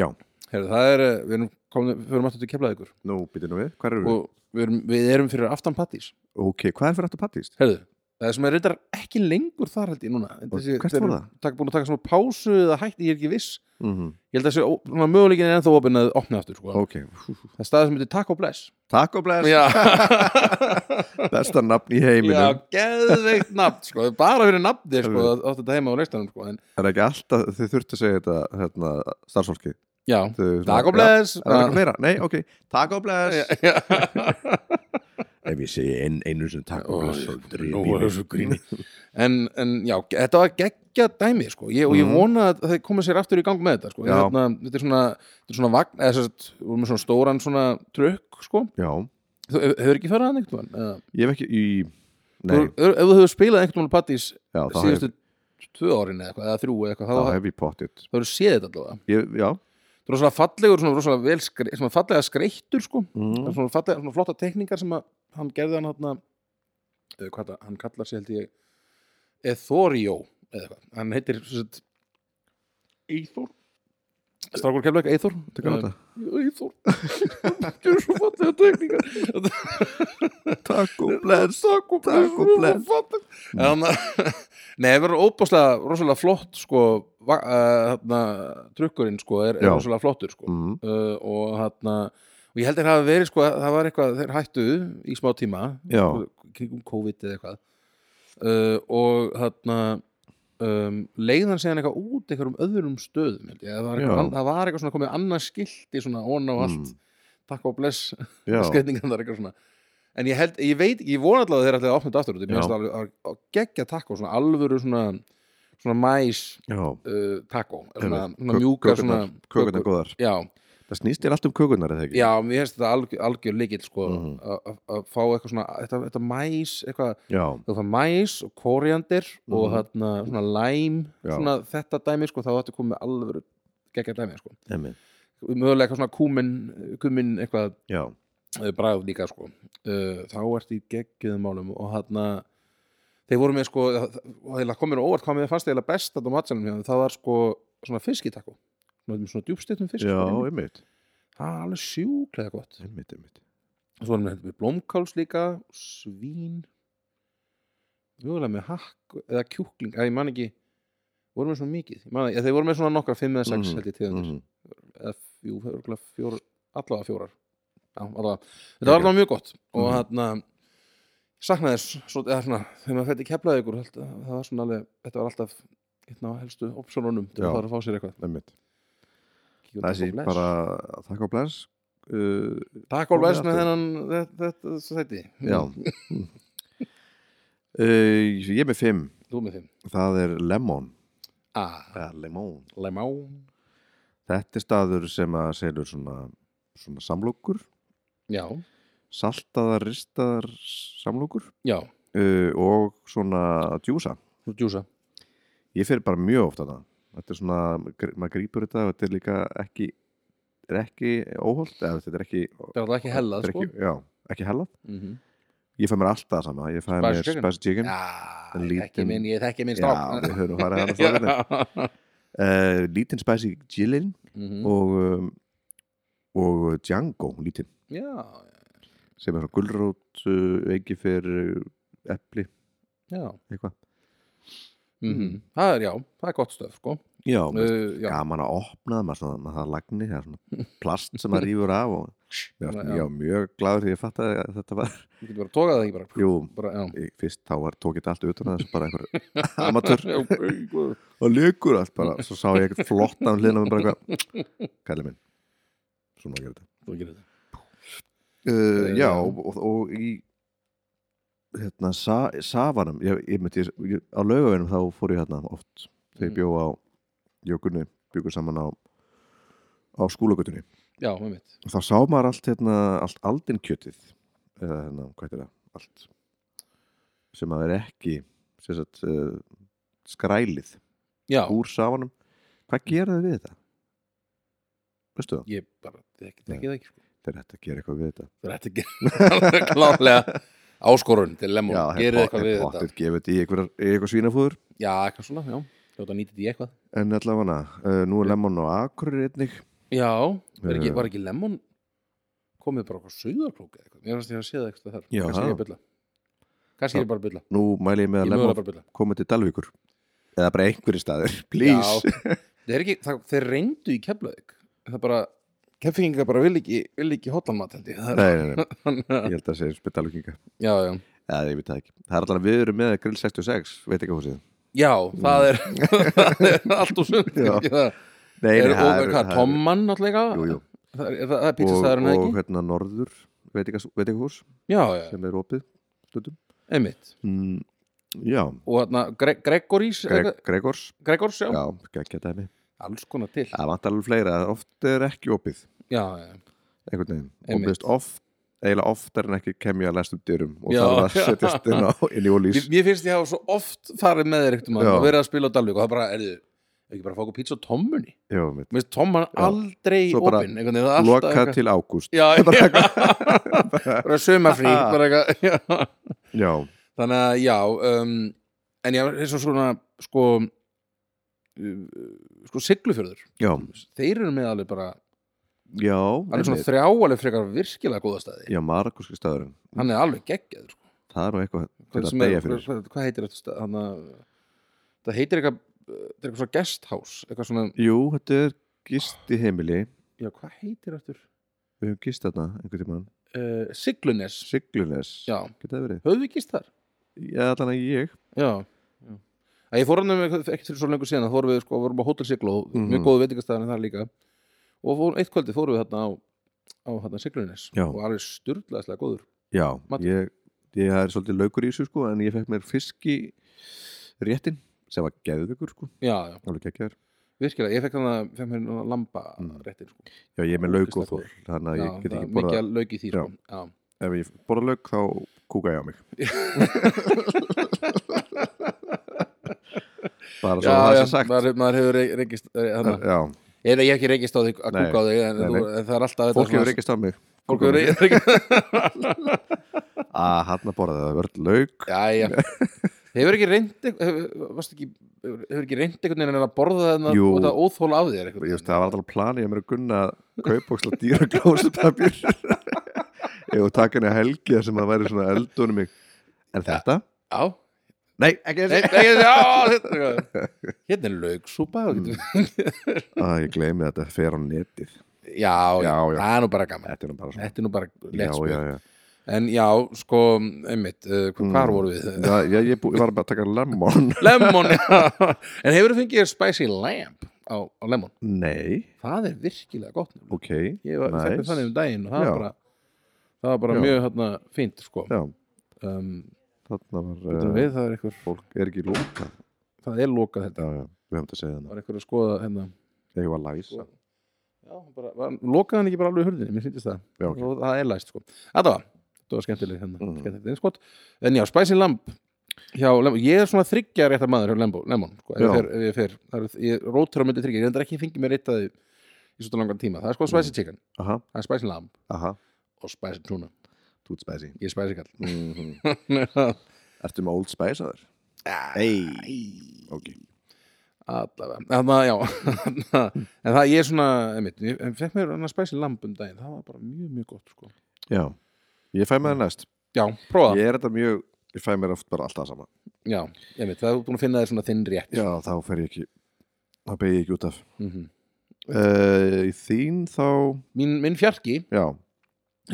[SPEAKER 1] já,
[SPEAKER 2] herðu, það er, uh, við erum komin við erum alltaf til keflað ykkur
[SPEAKER 1] nú býtum við, hvað eru við?
[SPEAKER 2] og við erum, við erum fyrir aftan pattís
[SPEAKER 1] ok, hvað er fyrir aftur pattist?
[SPEAKER 2] herðu, það er sem er reyndar ekki lengur þar held ég núna En
[SPEAKER 1] Og
[SPEAKER 2] þessi-
[SPEAKER 1] hvert
[SPEAKER 2] þeir
[SPEAKER 1] fór
[SPEAKER 2] eru
[SPEAKER 1] það?
[SPEAKER 2] taka- búin að taka svona pásu eða hætti, ég er ekki viss
[SPEAKER 1] Mm
[SPEAKER 2] ég held að þessi möguleikin er ennþá opinn að opna aftur sko.
[SPEAKER 1] ok,
[SPEAKER 2] það er staðið sem heitir Taco Bless
[SPEAKER 1] Taco Bless,
[SPEAKER 2] já,
[SPEAKER 1] besta nafn í heiminum
[SPEAKER 2] já geðveikt nafn sko. bara fyrir nafni sko, að- átti þetta heima á reistanum sko. en,
[SPEAKER 1] Það er ekki alltaf, þið þurftu að segja þetta hérna, starfsfólki
[SPEAKER 2] já,
[SPEAKER 1] Þau svona-
[SPEAKER 2] Taco
[SPEAKER 1] Já,
[SPEAKER 2] Bless
[SPEAKER 1] Það er ekki
[SPEAKER 2] bara-
[SPEAKER 1] meira, nei, ok, Taco Bless
[SPEAKER 2] Já, já.
[SPEAKER 1] (laughs) Ef ég segi ein, einu sem Taco
[SPEAKER 2] Ó,
[SPEAKER 1] Bless
[SPEAKER 2] ég-
[SPEAKER 1] þá drýp
[SPEAKER 2] Nú
[SPEAKER 1] í
[SPEAKER 2] er
[SPEAKER 1] mig.
[SPEAKER 2] þessu gríni. en, en já, ge- þetta var geggja dæmi sko. ég, og ég
[SPEAKER 1] Mhm.
[SPEAKER 2] vona að það komið sér aftur í gang með þetta sko.
[SPEAKER 1] Já.
[SPEAKER 2] hérna, þetta er svona, þetta er svona vagn, eða, sérst, við erum með svona stóran svona trökk sko.
[SPEAKER 1] Já,
[SPEAKER 2] Þú- hefur- hefur ekki farið að einhvern veginn
[SPEAKER 1] ég hef ekki í Nei,
[SPEAKER 2] ef ef þú hefur spilað einhvern veginn pattís
[SPEAKER 1] já, þá hef,
[SPEAKER 2] síðustu tvö árin eða, eitthvað, eða þrjú eða eitthvað,
[SPEAKER 1] þá
[SPEAKER 2] þá,
[SPEAKER 1] hef ég pottit
[SPEAKER 2] þá hefur séð þetta allavega
[SPEAKER 1] ég, Já,
[SPEAKER 2] það er svona fallegur, svona rosalega vel skre, svona fallega skreittur sko Það
[SPEAKER 1] mm.
[SPEAKER 2] er svona, fallega, svona flotta tekningar sem að hann gerði hann hann hvað það, hann kallar sér held ég Ethorio eða eitthvað, hann heitir sem sagt, Eithor Strákur kemleik, Eithor
[SPEAKER 1] tökum þetta (laughs)
[SPEAKER 2] Eithor (laughs) Þetta er svo fallega tekningar Þetta
[SPEAKER 1] Taco Bless, Taco
[SPEAKER 2] Taco Bless. En hann (laughs) Nei, það verður óbáslega rosalega flott sko, va- eh, þarna, trukkurinn sko, er, er
[SPEAKER 1] Já.
[SPEAKER 2] rosalega flottur sko
[SPEAKER 1] mm.
[SPEAKER 2] uh, og hann og ég held þeir hafa verið sko að það var eitthvað þeir hættu í smá tíma
[SPEAKER 1] Já.
[SPEAKER 2] kringum COVID eða eitthvað uh, og hann um, leiðan segjan eitthvað út einhverjum öðrum stöðum held ég, það var eitthvað,
[SPEAKER 1] Já.
[SPEAKER 2] ann- það var eitthvað svona komið annað skilti svona on á allt
[SPEAKER 1] Mm.
[SPEAKER 2] takk og bless (laughs)
[SPEAKER 1] Já,
[SPEAKER 2] skreitingan þar eitthvað svona en ég held, ég veit, ég vona allavega að þeir ætlaði að opna þetta aftur út, ég
[SPEAKER 1] Já.
[SPEAKER 2] minnst það alveg að geggja takk og svona alvöru svona svona mæs
[SPEAKER 1] já
[SPEAKER 2] uh, takó, svona,
[SPEAKER 1] Einmitt.
[SPEAKER 2] svona
[SPEAKER 1] Kök-
[SPEAKER 2] mjúka svona
[SPEAKER 1] kökurnar- Kökurnar góðar
[SPEAKER 2] já,
[SPEAKER 1] Það snýst þér allt um kökurnar eða ekki?
[SPEAKER 2] Já, mér finnst þetta algjör, algjör líkil sko,
[SPEAKER 1] Mhm.
[SPEAKER 2] að- að- að fá eitthvað svona þetta, þetta mæs, eitthvað
[SPEAKER 1] já,
[SPEAKER 2] þetta mæs og koriander og
[SPEAKER 1] Mhm.
[SPEAKER 2] þarna, svona læm
[SPEAKER 1] Já.
[SPEAKER 2] svona þetta dæmi, sko, þá ætti komið alveg geggja dæmi, sko
[SPEAKER 1] emmi
[SPEAKER 2] mögulega eitthvað svona kúmin, kúmin eitthvað
[SPEAKER 1] Já,
[SPEAKER 2] eh, bragð líka, sko uh, þá ert í geggjöðum málum og þarna þeir voru með, sko, og þeir komið óvart hvað mér fannst þeirlega best þetta á matselum hjá þeim, það var sko svona fiskitakko svona, svona djúbstittum fisk sko.
[SPEAKER 1] já,
[SPEAKER 2] það
[SPEAKER 1] einmitt
[SPEAKER 2] var alveg sjúklega gott
[SPEAKER 1] Einmitt, einmitt
[SPEAKER 2] og svo erum við hérna með blómkáls líka svín mögulega með hakk eða kjúkling, að ég man ekki vorum við svona mikið, ég man ekki, þeir voru með svona nokkra fimm eða sex
[SPEAKER 1] Mhm,
[SPEAKER 2] held ég tegundir
[SPEAKER 1] Mhm.
[SPEAKER 2] eða fjú, örugglega fjórar, allavega fjórar já, allavega, þetta var allavega mjög gott og
[SPEAKER 1] Mhm.
[SPEAKER 2] hann mm. saknaði þess, svo, eða svona, þegar maður fætti keflaði ykkur það, það var svona alveg, þetta var alltaf einn af helstu opsjónunum til
[SPEAKER 1] Já.
[SPEAKER 2] að fara að fá sér eitthvað
[SPEAKER 1] Einmitt
[SPEAKER 2] Kíkjum
[SPEAKER 1] Það sé
[SPEAKER 2] Taco Bless.
[SPEAKER 1] bara Taco Bless uh,
[SPEAKER 2] Taco Bless með
[SPEAKER 1] Aftur.
[SPEAKER 2] þennan þetta, þetta, þetta, (laughs)
[SPEAKER 1] Já uh, Ég er með fimm
[SPEAKER 2] þú með þeim
[SPEAKER 1] Það er Lemon
[SPEAKER 2] ah,
[SPEAKER 1] ja, Lemon
[SPEAKER 2] Lemon
[SPEAKER 1] Þetta er staður sem að selur svona, svona samlokur
[SPEAKER 2] Já,
[SPEAKER 1] saltaðar, ristaðar samlokur
[SPEAKER 2] já,
[SPEAKER 1] uh, Eh, og svona djúsa
[SPEAKER 2] þú djúsa
[SPEAKER 1] Ég fer bara mjög ofta það þetta er svona, gr- maður grípur þetta og þetta er líka ekki er ekki óholt eða þetta er ekki,
[SPEAKER 2] Það er alltaf ekki hellað,
[SPEAKER 1] þetta er
[SPEAKER 2] sko.
[SPEAKER 1] ekki já, ekki hellað
[SPEAKER 2] Mm -hmm.
[SPEAKER 1] ég fæ mér alltaf það sama, ég fæ
[SPEAKER 2] Spicy
[SPEAKER 1] mér
[SPEAKER 2] chicken.
[SPEAKER 1] spicy chicken
[SPEAKER 2] Já,
[SPEAKER 1] En
[SPEAKER 2] ekki
[SPEAKER 1] lítinn-
[SPEAKER 2] minn, ég þekki minn
[SPEAKER 1] já,
[SPEAKER 2] strák.
[SPEAKER 1] við höfum farið að það
[SPEAKER 2] (laughs)
[SPEAKER 1] uh, lítinn spicy chillin
[SPEAKER 2] Mhm.
[SPEAKER 1] og um, og Django lítinn
[SPEAKER 2] já,
[SPEAKER 1] sem er svona gulrót uh, ekki fyrir epli
[SPEAKER 2] já.
[SPEAKER 1] eitthvað
[SPEAKER 2] Mm Það er, já, það er gott stöf, sko.
[SPEAKER 1] já, uh,
[SPEAKER 2] Uh, já,
[SPEAKER 1] gaman að opna það, maður svona, maður það lagni það er
[SPEAKER 2] (laughs)
[SPEAKER 1] svona plast sem maður rýfur af og mér varst
[SPEAKER 2] Já.
[SPEAKER 1] mjög, mjög gladur því ég fattaði að þetta var
[SPEAKER 2] þú getur bara að tóka það ekki bara.
[SPEAKER 1] jú,
[SPEAKER 2] bara já.
[SPEAKER 1] ég, fyrst þá var, tók ég þetta allt utan að þessu bara einhver amatör
[SPEAKER 2] (laughs) Já, guð.
[SPEAKER 1] og lögur allt bara svo sá ég eitthvað flottan hliðin á mig bara eitthvað kallið minn svona að gera þetta
[SPEAKER 2] Þú gerir það.
[SPEAKER 1] Uh,
[SPEAKER 2] Eh,
[SPEAKER 1] já,
[SPEAKER 2] já.
[SPEAKER 1] og, og, og í hérna, sa, safanum ég, ég myndi, ég, á laugavinnum þá fór ég hérna oft þegar ég
[SPEAKER 2] Mm.
[SPEAKER 1] bjó á jökunni, byggur saman á á skúlagutunni
[SPEAKER 2] Já, með mitt.
[SPEAKER 1] og þá sá maður allt, hérna, allt aldin kjötið eða hérna, hvað er það, allt sem að er ekki sem sagt, uh, skrælið
[SPEAKER 2] Já,
[SPEAKER 1] úr safanum hvað gera þau við þetta? veistu það,
[SPEAKER 2] ég bara, þekki
[SPEAKER 1] Nei.
[SPEAKER 2] þekki það ekki, sko.
[SPEAKER 1] þeir ættu að gera eitthvað við þetta
[SPEAKER 2] Það er þetta ekki (laughs)
[SPEAKER 1] (laughs)
[SPEAKER 2] klálega áskorun til lemon.
[SPEAKER 1] Já, þeir
[SPEAKER 2] Gerið
[SPEAKER 1] pot-
[SPEAKER 2] eitthvað
[SPEAKER 1] þeir
[SPEAKER 2] við þetta.
[SPEAKER 1] pottir gefið þetta í eitthvað, eitthvað svínafúður
[SPEAKER 2] Já, eitthvað svona, já. Ljóta nýtið í eitthvað.
[SPEAKER 1] En allavega, uh, nú er Lemon og Akureyri einnig
[SPEAKER 2] Já, var ekki,
[SPEAKER 1] Eh.
[SPEAKER 2] var ekki lemon komið bara okkur söðarklók eða eitthvað. Mér finnst ég að sé það eitthvað þar.
[SPEAKER 1] Já.
[SPEAKER 2] Kannski ég er að bylla. Kannski ég er bara að bylla.
[SPEAKER 1] Nú mæli ég með
[SPEAKER 2] Ég
[SPEAKER 1] að
[SPEAKER 2] mögur
[SPEAKER 1] Lemon
[SPEAKER 2] bara að bylla.
[SPEAKER 1] komið til Dalvíkur Eða bara einhverju staðir, please (laughs)
[SPEAKER 2] Já, þeir, eru ekki, það, þeir reyndu í Keflavík það bara, Keflinga bara vil ekki, vil ekki hotlanmat held ég það er,
[SPEAKER 1] Nei, nei, nei,
[SPEAKER 2] (laughs)
[SPEAKER 1] ég held að það segja Dalvíkinga
[SPEAKER 2] já, já,
[SPEAKER 1] Eða ég veit það ekki Það er allavega við erum með Grill 66, veit ekki húsið
[SPEAKER 2] já, það er, (laughs) það er allt og sund
[SPEAKER 1] Mm. Já.
[SPEAKER 2] ekki það
[SPEAKER 1] Nei,
[SPEAKER 2] er, og
[SPEAKER 1] það
[SPEAKER 2] hvað, Tomman náttúrulega
[SPEAKER 1] Jú, jú.
[SPEAKER 2] það er, það er
[SPEAKER 1] Og,
[SPEAKER 2] pítsastæðurinn eða
[SPEAKER 1] og
[SPEAKER 2] ekki
[SPEAKER 1] hérna Norður, veit ekki, veit ekki hús
[SPEAKER 2] já, já,
[SPEAKER 1] sem er opið stundum
[SPEAKER 2] einmitt
[SPEAKER 1] mm, Já,
[SPEAKER 2] og hérna Gre Gregorís
[SPEAKER 1] Greg,
[SPEAKER 2] Gre
[SPEAKER 1] Gregors
[SPEAKER 2] Gregors, já,
[SPEAKER 1] Já, geggja dæmi
[SPEAKER 2] alls konar til já,
[SPEAKER 1] Það vantar alveg fleira, oft er ekki opið
[SPEAKER 2] já,
[SPEAKER 1] einhvern veginn og
[SPEAKER 2] Einmitt.
[SPEAKER 1] byrst oft eiginlega oftar en ekki kem ég að læstum dyrum og
[SPEAKER 2] Já.
[SPEAKER 1] þarf að setjast inn, á,
[SPEAKER 2] (laughs)
[SPEAKER 1] inn í ólís
[SPEAKER 2] mér, mér finnst ég hafa svo oft farið með þér ekkert um að
[SPEAKER 1] Já.
[SPEAKER 2] verið að spila á Dalvík og það bara, er ekki bara að fá okkur pítsa á Tommunni
[SPEAKER 1] já, mitt,
[SPEAKER 2] Mér finnst Tomman
[SPEAKER 1] Já.
[SPEAKER 2] aldrei
[SPEAKER 1] Svo bara
[SPEAKER 2] opinn einhvern veginn, það er alltaf
[SPEAKER 1] loka
[SPEAKER 2] eitthvað-
[SPEAKER 1] til ágúst
[SPEAKER 2] Já,
[SPEAKER 1] (laughs)
[SPEAKER 2] já. bara sömafrí
[SPEAKER 1] Ha.
[SPEAKER 2] bara eitthvað já.
[SPEAKER 1] já,
[SPEAKER 2] þannig að já um, en já, eins og svona sko uh, sko siglufjörður
[SPEAKER 1] já,
[SPEAKER 2] þeir eru með alveg bara
[SPEAKER 1] já
[SPEAKER 2] hann er svona
[SPEAKER 1] einmitt.
[SPEAKER 2] þrjá alveg frekar virkilega góða staði
[SPEAKER 1] já, margurski staðurinn,
[SPEAKER 2] hann er alveg geggjað sko.
[SPEAKER 1] það er nú eitthvað til
[SPEAKER 2] Hvað
[SPEAKER 1] að
[SPEAKER 2] sem er-
[SPEAKER 1] deyja fyrir
[SPEAKER 2] hvað, hvað heitir þetta stað hann að það heitir eitthvað þetta er eitthvað svona guest house eitthvað svona,
[SPEAKER 1] jú, þetta er gisti heimili
[SPEAKER 2] já hvað heitir þetta
[SPEAKER 1] við höfum gist þarna einhvern tímann
[SPEAKER 2] uh, siglunes
[SPEAKER 1] siglunes,
[SPEAKER 2] já,
[SPEAKER 1] geta það verið
[SPEAKER 2] höfðu ekki þar
[SPEAKER 1] já, þannig að ég,
[SPEAKER 2] Já, já. Að ég fór hann um eitthvað- ekki fyrir svo lengur síðan að fórum við sko, vorum á Hotel Siglo,
[SPEAKER 1] Mhm.
[SPEAKER 2] mjög góðu veitingastæðan þar líka og fór, eitt kvöldi fórum við þarna á, á þarna Siglunis
[SPEAKER 1] Já.
[SPEAKER 2] og alveg styrlaðislega góður
[SPEAKER 1] já,
[SPEAKER 2] Matur.
[SPEAKER 1] ég ég er svolítið laukur í þessu sko en ég fekk mér fiski réttin sem var geðveikur sko,
[SPEAKER 2] Já, já,
[SPEAKER 1] alveg geggjar
[SPEAKER 2] virkilega, ég fekk hann að fekk mér núna lamba
[SPEAKER 1] Mm.
[SPEAKER 2] réttin sko.
[SPEAKER 1] Já, ég er með lauk og
[SPEAKER 2] Ógeðslega
[SPEAKER 1] þól, þannig að ég
[SPEAKER 2] Já,
[SPEAKER 1] get ekki
[SPEAKER 2] það er mikið
[SPEAKER 1] borða,
[SPEAKER 2] að lauk í því
[SPEAKER 1] Já.
[SPEAKER 2] sko. Já.
[SPEAKER 1] ef ég borða lauk þá kúka
[SPEAKER 2] (laughs)
[SPEAKER 1] ég á mig. Bara svo
[SPEAKER 2] Já,
[SPEAKER 1] það
[SPEAKER 2] já,
[SPEAKER 1] sé sagt.
[SPEAKER 2] maður, maður hefur re- rekist eh, þarna.
[SPEAKER 1] Já,
[SPEAKER 2] eða ég hef ekki rekist á því að
[SPEAKER 1] Nei,
[SPEAKER 2] kúka á því en,
[SPEAKER 1] nei,
[SPEAKER 2] þú, en það er alltaf þetta
[SPEAKER 1] fólk
[SPEAKER 2] svona-
[SPEAKER 1] hefur reykist á mig. Ah,
[SPEAKER 2] fólk hefur re- rekist
[SPEAKER 1] Að hann að borða það, vörð lauk.
[SPEAKER 2] já, já
[SPEAKER 1] (laughs)
[SPEAKER 2] hefur ekki reynd hefur, varstu ekki, hefur hefur ekki reynd einhvern veginn að borða þennan
[SPEAKER 1] Jú.
[SPEAKER 2] og það óþól af þér einhvern
[SPEAKER 1] Ég veist,
[SPEAKER 2] veginn?
[SPEAKER 1] það var alltaf planið að mér að gunna kaupóksla dýra
[SPEAKER 2] (laughs)
[SPEAKER 1] glósupapir. Ég og taka henni að helgi þar sem að væri svona eldunum mig. En þetta?
[SPEAKER 2] já,
[SPEAKER 1] Nei, ekki
[SPEAKER 2] Nei,
[SPEAKER 1] þessi.
[SPEAKER 2] ekki, já
[SPEAKER 1] (laughs)
[SPEAKER 2] hérna, hérna er laugsúpa mm.
[SPEAKER 1] Að ég gleymi þetta, fer á netið.
[SPEAKER 2] já, já,
[SPEAKER 1] Já, já.
[SPEAKER 2] það er nú bara gaman
[SPEAKER 1] Þetta er nú bara svona.
[SPEAKER 2] þetta er nú bara
[SPEAKER 1] Já,
[SPEAKER 2] lett spil
[SPEAKER 1] já, já.
[SPEAKER 2] en já, sko, einmitt uh, hvar
[SPEAKER 1] Mm.
[SPEAKER 2] mm. voru við?
[SPEAKER 1] Já, ég, ég, bú, ég var bara að taka
[SPEAKER 2] (laughs)
[SPEAKER 1] lemon. (laughs)
[SPEAKER 2] lemon, já en hefur þú fengið spicy lamb á, á lemon?
[SPEAKER 1] Nei,
[SPEAKER 2] það er virkilega gott nefnilega.
[SPEAKER 1] ok.
[SPEAKER 2] ég var nice.
[SPEAKER 1] nice.
[SPEAKER 2] þannig um daginn og það
[SPEAKER 1] Já.
[SPEAKER 2] var bara það var bara
[SPEAKER 1] Já.
[SPEAKER 2] mjög hérna fínt sko
[SPEAKER 1] Já,
[SPEAKER 2] um,
[SPEAKER 1] þarna var uh,
[SPEAKER 2] utan við það er einhver
[SPEAKER 1] fólk er ekki lóka
[SPEAKER 2] það er lokað þetta
[SPEAKER 1] já, já, við höfum þetta að segja
[SPEAKER 2] það
[SPEAKER 1] þannig
[SPEAKER 2] var einhver að skoða hérna
[SPEAKER 1] ég var læsa
[SPEAKER 2] Sko. já, hann bara, var, lokaði hann ekki bara alveg hurðinni, mér sýndist það
[SPEAKER 1] já, ok.
[SPEAKER 2] og það er læst sko þetta var, þetta var skemmtileg hérna,
[SPEAKER 1] Mhm.
[SPEAKER 2] skemmtileg innskot en já, Spicy Lamb hjá Lemon, ég er svona þryggja réttar maður hjá Lemon, Lemon sko, ef
[SPEAKER 1] Já.
[SPEAKER 2] ég fer, ef ég fer það er, ég rótur á myndi þryggja, ég reyndar ekki fengið mér eitt að því í svona langan tíma, það er sko
[SPEAKER 1] Mm.
[SPEAKER 2] spicy chicken
[SPEAKER 1] Aha,
[SPEAKER 2] það er spicy lamb
[SPEAKER 1] aha,
[SPEAKER 2] og spicy tuna
[SPEAKER 1] þú ert spæsi
[SPEAKER 2] ég er spicy kall
[SPEAKER 1] mm -hmm. (laughs)
[SPEAKER 2] allavega,
[SPEAKER 1] Ertu með old spice að þér? Nei, ok
[SPEAKER 2] þannig að já (laughs) en það ég er svona, einmitt ég ég fekk mér annað spicy lamb um daginn, það var bara mjög, mjög gott sko.
[SPEAKER 1] Já, ég fæ mér það næst
[SPEAKER 2] já, prófa,
[SPEAKER 1] Ég er þetta mjög, ég fæ mér oft bara alltaf sama
[SPEAKER 2] já, einmitt það er búin að finna þér svona þinn rétt
[SPEAKER 1] Já, þá fer ég ekki þá beig ég ekki út af
[SPEAKER 2] mm
[SPEAKER 1] uh, Í þín þá,
[SPEAKER 2] mín, minn fjarki,
[SPEAKER 1] já,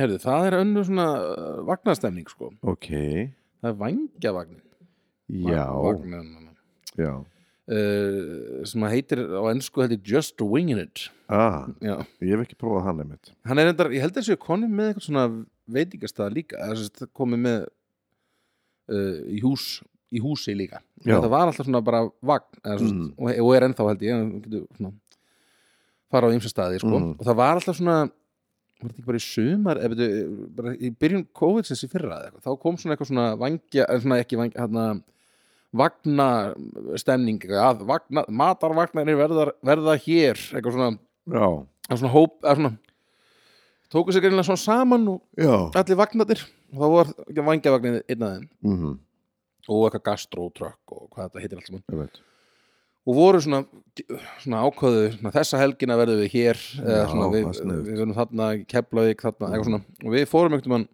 [SPEAKER 2] herðu, það er önnur svona uh, vagnastemning, sko,
[SPEAKER 1] ok
[SPEAKER 2] það er vangjavagnin
[SPEAKER 1] Já,
[SPEAKER 2] Vagninn,
[SPEAKER 1] já
[SPEAKER 2] uh, sem að heitir á ennsku heitir Just Wingin' It
[SPEAKER 1] Ah,
[SPEAKER 2] Já.
[SPEAKER 1] ég hef ekki prófað hann einmitt
[SPEAKER 2] hann er endar, ég held að séu konum með eitthvað svona veitingastað líka eða sem sagt komið með uh, í hús í húsi líka
[SPEAKER 1] Já.
[SPEAKER 2] þetta var alltaf svona bara vagn eða, svo,
[SPEAKER 1] Mm.
[SPEAKER 2] mm. og, og er ennþá held ég en þú getur svona, fara á ymsa staði sko.
[SPEAKER 1] Mhm.
[SPEAKER 2] og það var alltaf svona var þetta ekki bara í sumar eða, veitu, bara í byrjun COVID sinns í fyrra eða eitthvað, þá kom svona eitthvað svona vangja eh, svona ekki vangja hérna, vagna stemning að vagna, matarvagnarnir verða, verða hér eitthvað svona
[SPEAKER 1] Já,
[SPEAKER 2] að svona hóp að svona, tóku sér greinlega svona saman og
[SPEAKER 1] já
[SPEAKER 2] allir vagnarnir og þá var ekki vangjavagnir einn að þeim
[SPEAKER 1] mm -hmm.
[SPEAKER 2] og eitthvað gastrótrökk og hvað þetta heitir allt saman
[SPEAKER 1] Ég veit
[SPEAKER 2] og voru svona, svona ákvöðu svona, þessa helgina verðum við hér eða
[SPEAKER 1] Já,
[SPEAKER 2] svona, við,
[SPEAKER 1] það er sniðugt.
[SPEAKER 2] við verðum þarna Keflavík þarna eitthvað svona og við fórum einhvern veginn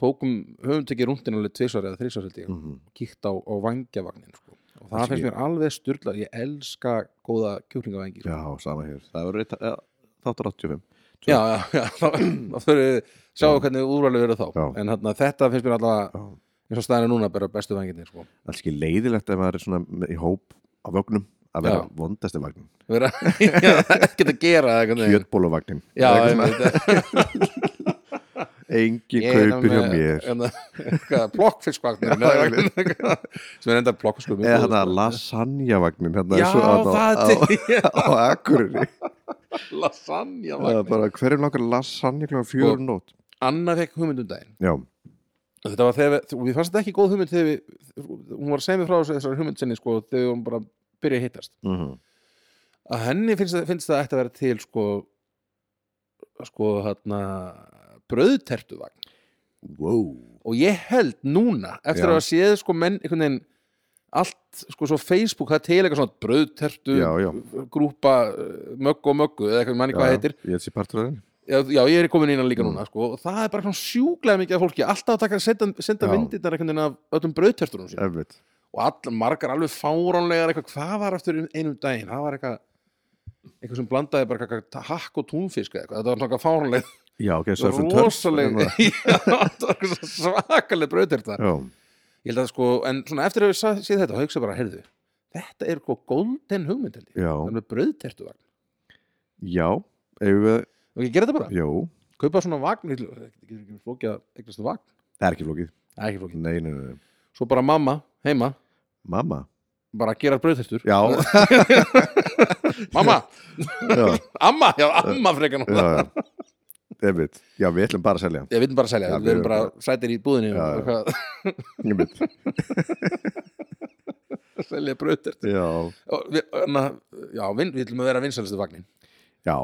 [SPEAKER 2] tókum, höfum tekið rúndin alveg tvisvar eða þrisvar held ég,
[SPEAKER 1] mm -hmm.
[SPEAKER 2] kíkt á, á vangjavagnin sko. og það
[SPEAKER 1] Kannski-
[SPEAKER 2] finnst mér alveg styrla ég elska góða kjúklingavængi sko.
[SPEAKER 1] Já, sama hér, það verður eitt- eh, þáttur 85
[SPEAKER 2] já, já, já, (laughs) þá, þá þurfum við sjáum hvernig úrvalið verður þá
[SPEAKER 1] Já.
[SPEAKER 2] en þarna, þetta finnst mér allavega
[SPEAKER 1] Já
[SPEAKER 2] eins og staðinu núna bara bestu vanginni sko.
[SPEAKER 1] alls ekki leiðilegt ef maður er svona með- í hóp á vögnum að vera
[SPEAKER 2] Já.
[SPEAKER 1] vondasti vagnin (laughs)
[SPEAKER 2] Vera, já, ekkert að gera það einhvern veginn.
[SPEAKER 1] kjötbóluvagnin
[SPEAKER 2] já,
[SPEAKER 1] Eitthvað svona,
[SPEAKER 2] einmitt.
[SPEAKER 1] engin
[SPEAKER 2] Ég er
[SPEAKER 1] kaupir hjá
[SPEAKER 2] með-
[SPEAKER 1] mér
[SPEAKER 2] hérna, eitthvað, plokkfiskvagnir
[SPEAKER 1] (laughs)
[SPEAKER 2] sem er enda plokkfiskur
[SPEAKER 1] eða hann að lasagnavagnin hérna,
[SPEAKER 2] sko. já,
[SPEAKER 1] svo þarna á-
[SPEAKER 2] það er til (laughs)
[SPEAKER 1] á, á Akureyri
[SPEAKER 2] lasagna
[SPEAKER 1] Eða bara hverjum langar lasagne kláðan
[SPEAKER 2] Sko.
[SPEAKER 1] fjörun nót
[SPEAKER 2] Anna fekk hugmynd um daginn
[SPEAKER 1] um já,
[SPEAKER 2] þetta var þegar við, við fannst þetta ekki góð hugmynd þegar við, hún var að segja mér frá þessu- þessari hugmynd sinni sko, þegar hún bara byrja að hittast
[SPEAKER 1] mm
[SPEAKER 2] að henni finnst, það- finnst það ætti að vera til sko sko hérna brauðtertuvagn
[SPEAKER 1] wow
[SPEAKER 2] og ég held núna eftir
[SPEAKER 1] Já.
[SPEAKER 2] að hafa séð sko menn einhvern veginn allt sko svo Facebook það er til eitthvað svona brauðtertu
[SPEAKER 1] já, já,
[SPEAKER 2] grúpa eh, möggu og möggu eða eitthvað manni hvað
[SPEAKER 1] já,
[SPEAKER 2] það heitir
[SPEAKER 1] ég sé partur af þinn
[SPEAKER 2] já, já ég er komin inn líka
[SPEAKER 1] Mm.
[SPEAKER 2] núna sko og það er bara svona sjúklega mikið af fólki alltaf að taka senda, senda
[SPEAKER 1] Já.
[SPEAKER 2] myndirnar einhvern veginn af öllum brauðtertunum sín
[SPEAKER 1] eflut
[SPEAKER 2] og all, margar alveg fáránlegar eitthvað, hvað var eftir einum daginn það var eitthvað eitthvað sem blandaði bara eitthvað, eitthvað hakk og túnfisk eða eitthvað, þetta var náttúrulega fáránleg
[SPEAKER 1] já, ok, surfum
[SPEAKER 2] rosaleg (laughs) Já, þetta var eitthvað svakaleg brautir þetta
[SPEAKER 1] hérna. já,
[SPEAKER 2] ég held að sko, en svona eftir að við sa- séð þetta þá hugsa ég bara, heyrðu, þetta er eitthvað golden hugmynd held ég,
[SPEAKER 1] já,
[SPEAKER 2] það er með brauðtertu vagn
[SPEAKER 1] já eigum við,
[SPEAKER 2] og ég gera þetta bara,
[SPEAKER 1] jú,
[SPEAKER 2] kaupa svona vagn ég getur ekki flókið að eignast vagn
[SPEAKER 1] það er ekki flókið
[SPEAKER 2] það er ekki flókið,
[SPEAKER 1] nei, nei, nei, nei.
[SPEAKER 2] svo bara mamma, heima
[SPEAKER 1] mamma,
[SPEAKER 2] bara gera brauðtertur, (laughs)
[SPEAKER 1] já, (laughs)
[SPEAKER 2] mamma
[SPEAKER 1] já
[SPEAKER 2] amma, já amma frekar nú
[SPEAKER 1] já, já. Einmitt. já, við ætlum bara að selja
[SPEAKER 2] Ég veitum bara að selja,
[SPEAKER 1] Já,
[SPEAKER 2] við erum bara sætir í búðinni
[SPEAKER 1] Já,
[SPEAKER 2] og
[SPEAKER 1] já.
[SPEAKER 2] hvað- (laughs)
[SPEAKER 1] Einmitt.
[SPEAKER 2] selja brautir
[SPEAKER 1] já,
[SPEAKER 2] við, na, já, við, við ætlum að vera vinsælistu vagnin
[SPEAKER 1] já,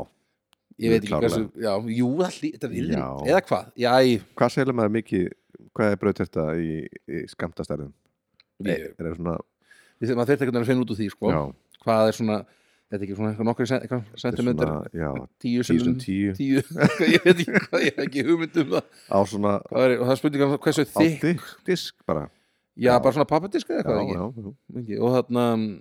[SPEAKER 2] Ég veit ekki
[SPEAKER 1] Klárlega.
[SPEAKER 2] hversu, já, jú, það lí, þetta við
[SPEAKER 1] Já.
[SPEAKER 2] eða hvað, já, ég,
[SPEAKER 1] hvað selur maður mikið hvað er brauð þetta í, í skamtastærðum
[SPEAKER 2] ég,
[SPEAKER 1] er það svona,
[SPEAKER 2] ég maður þurfti einhvern veginn að finna út úr því, sko
[SPEAKER 1] já,
[SPEAKER 2] hvað er svona, þetta er ekki svona eitthvað nokkri sen- eitthvað
[SPEAKER 1] þetta er
[SPEAKER 2] sentimentar,
[SPEAKER 1] svona já,
[SPEAKER 2] tíu
[SPEAKER 1] tíu sem
[SPEAKER 2] sinnum
[SPEAKER 1] tíu
[SPEAKER 2] tíu, (laughs) ég veit ekki hvað, ég hef ekki hugmynd um það
[SPEAKER 1] á svona,
[SPEAKER 2] Hvað er, og það er spurninga um hversu
[SPEAKER 1] á
[SPEAKER 2] þykk
[SPEAKER 1] disk, disk bara Já.
[SPEAKER 2] já, bara svona pappadisk
[SPEAKER 1] já,
[SPEAKER 2] eða eitthvað
[SPEAKER 1] já,
[SPEAKER 2] ekki,
[SPEAKER 1] já.
[SPEAKER 2] ekki, og þarna mm,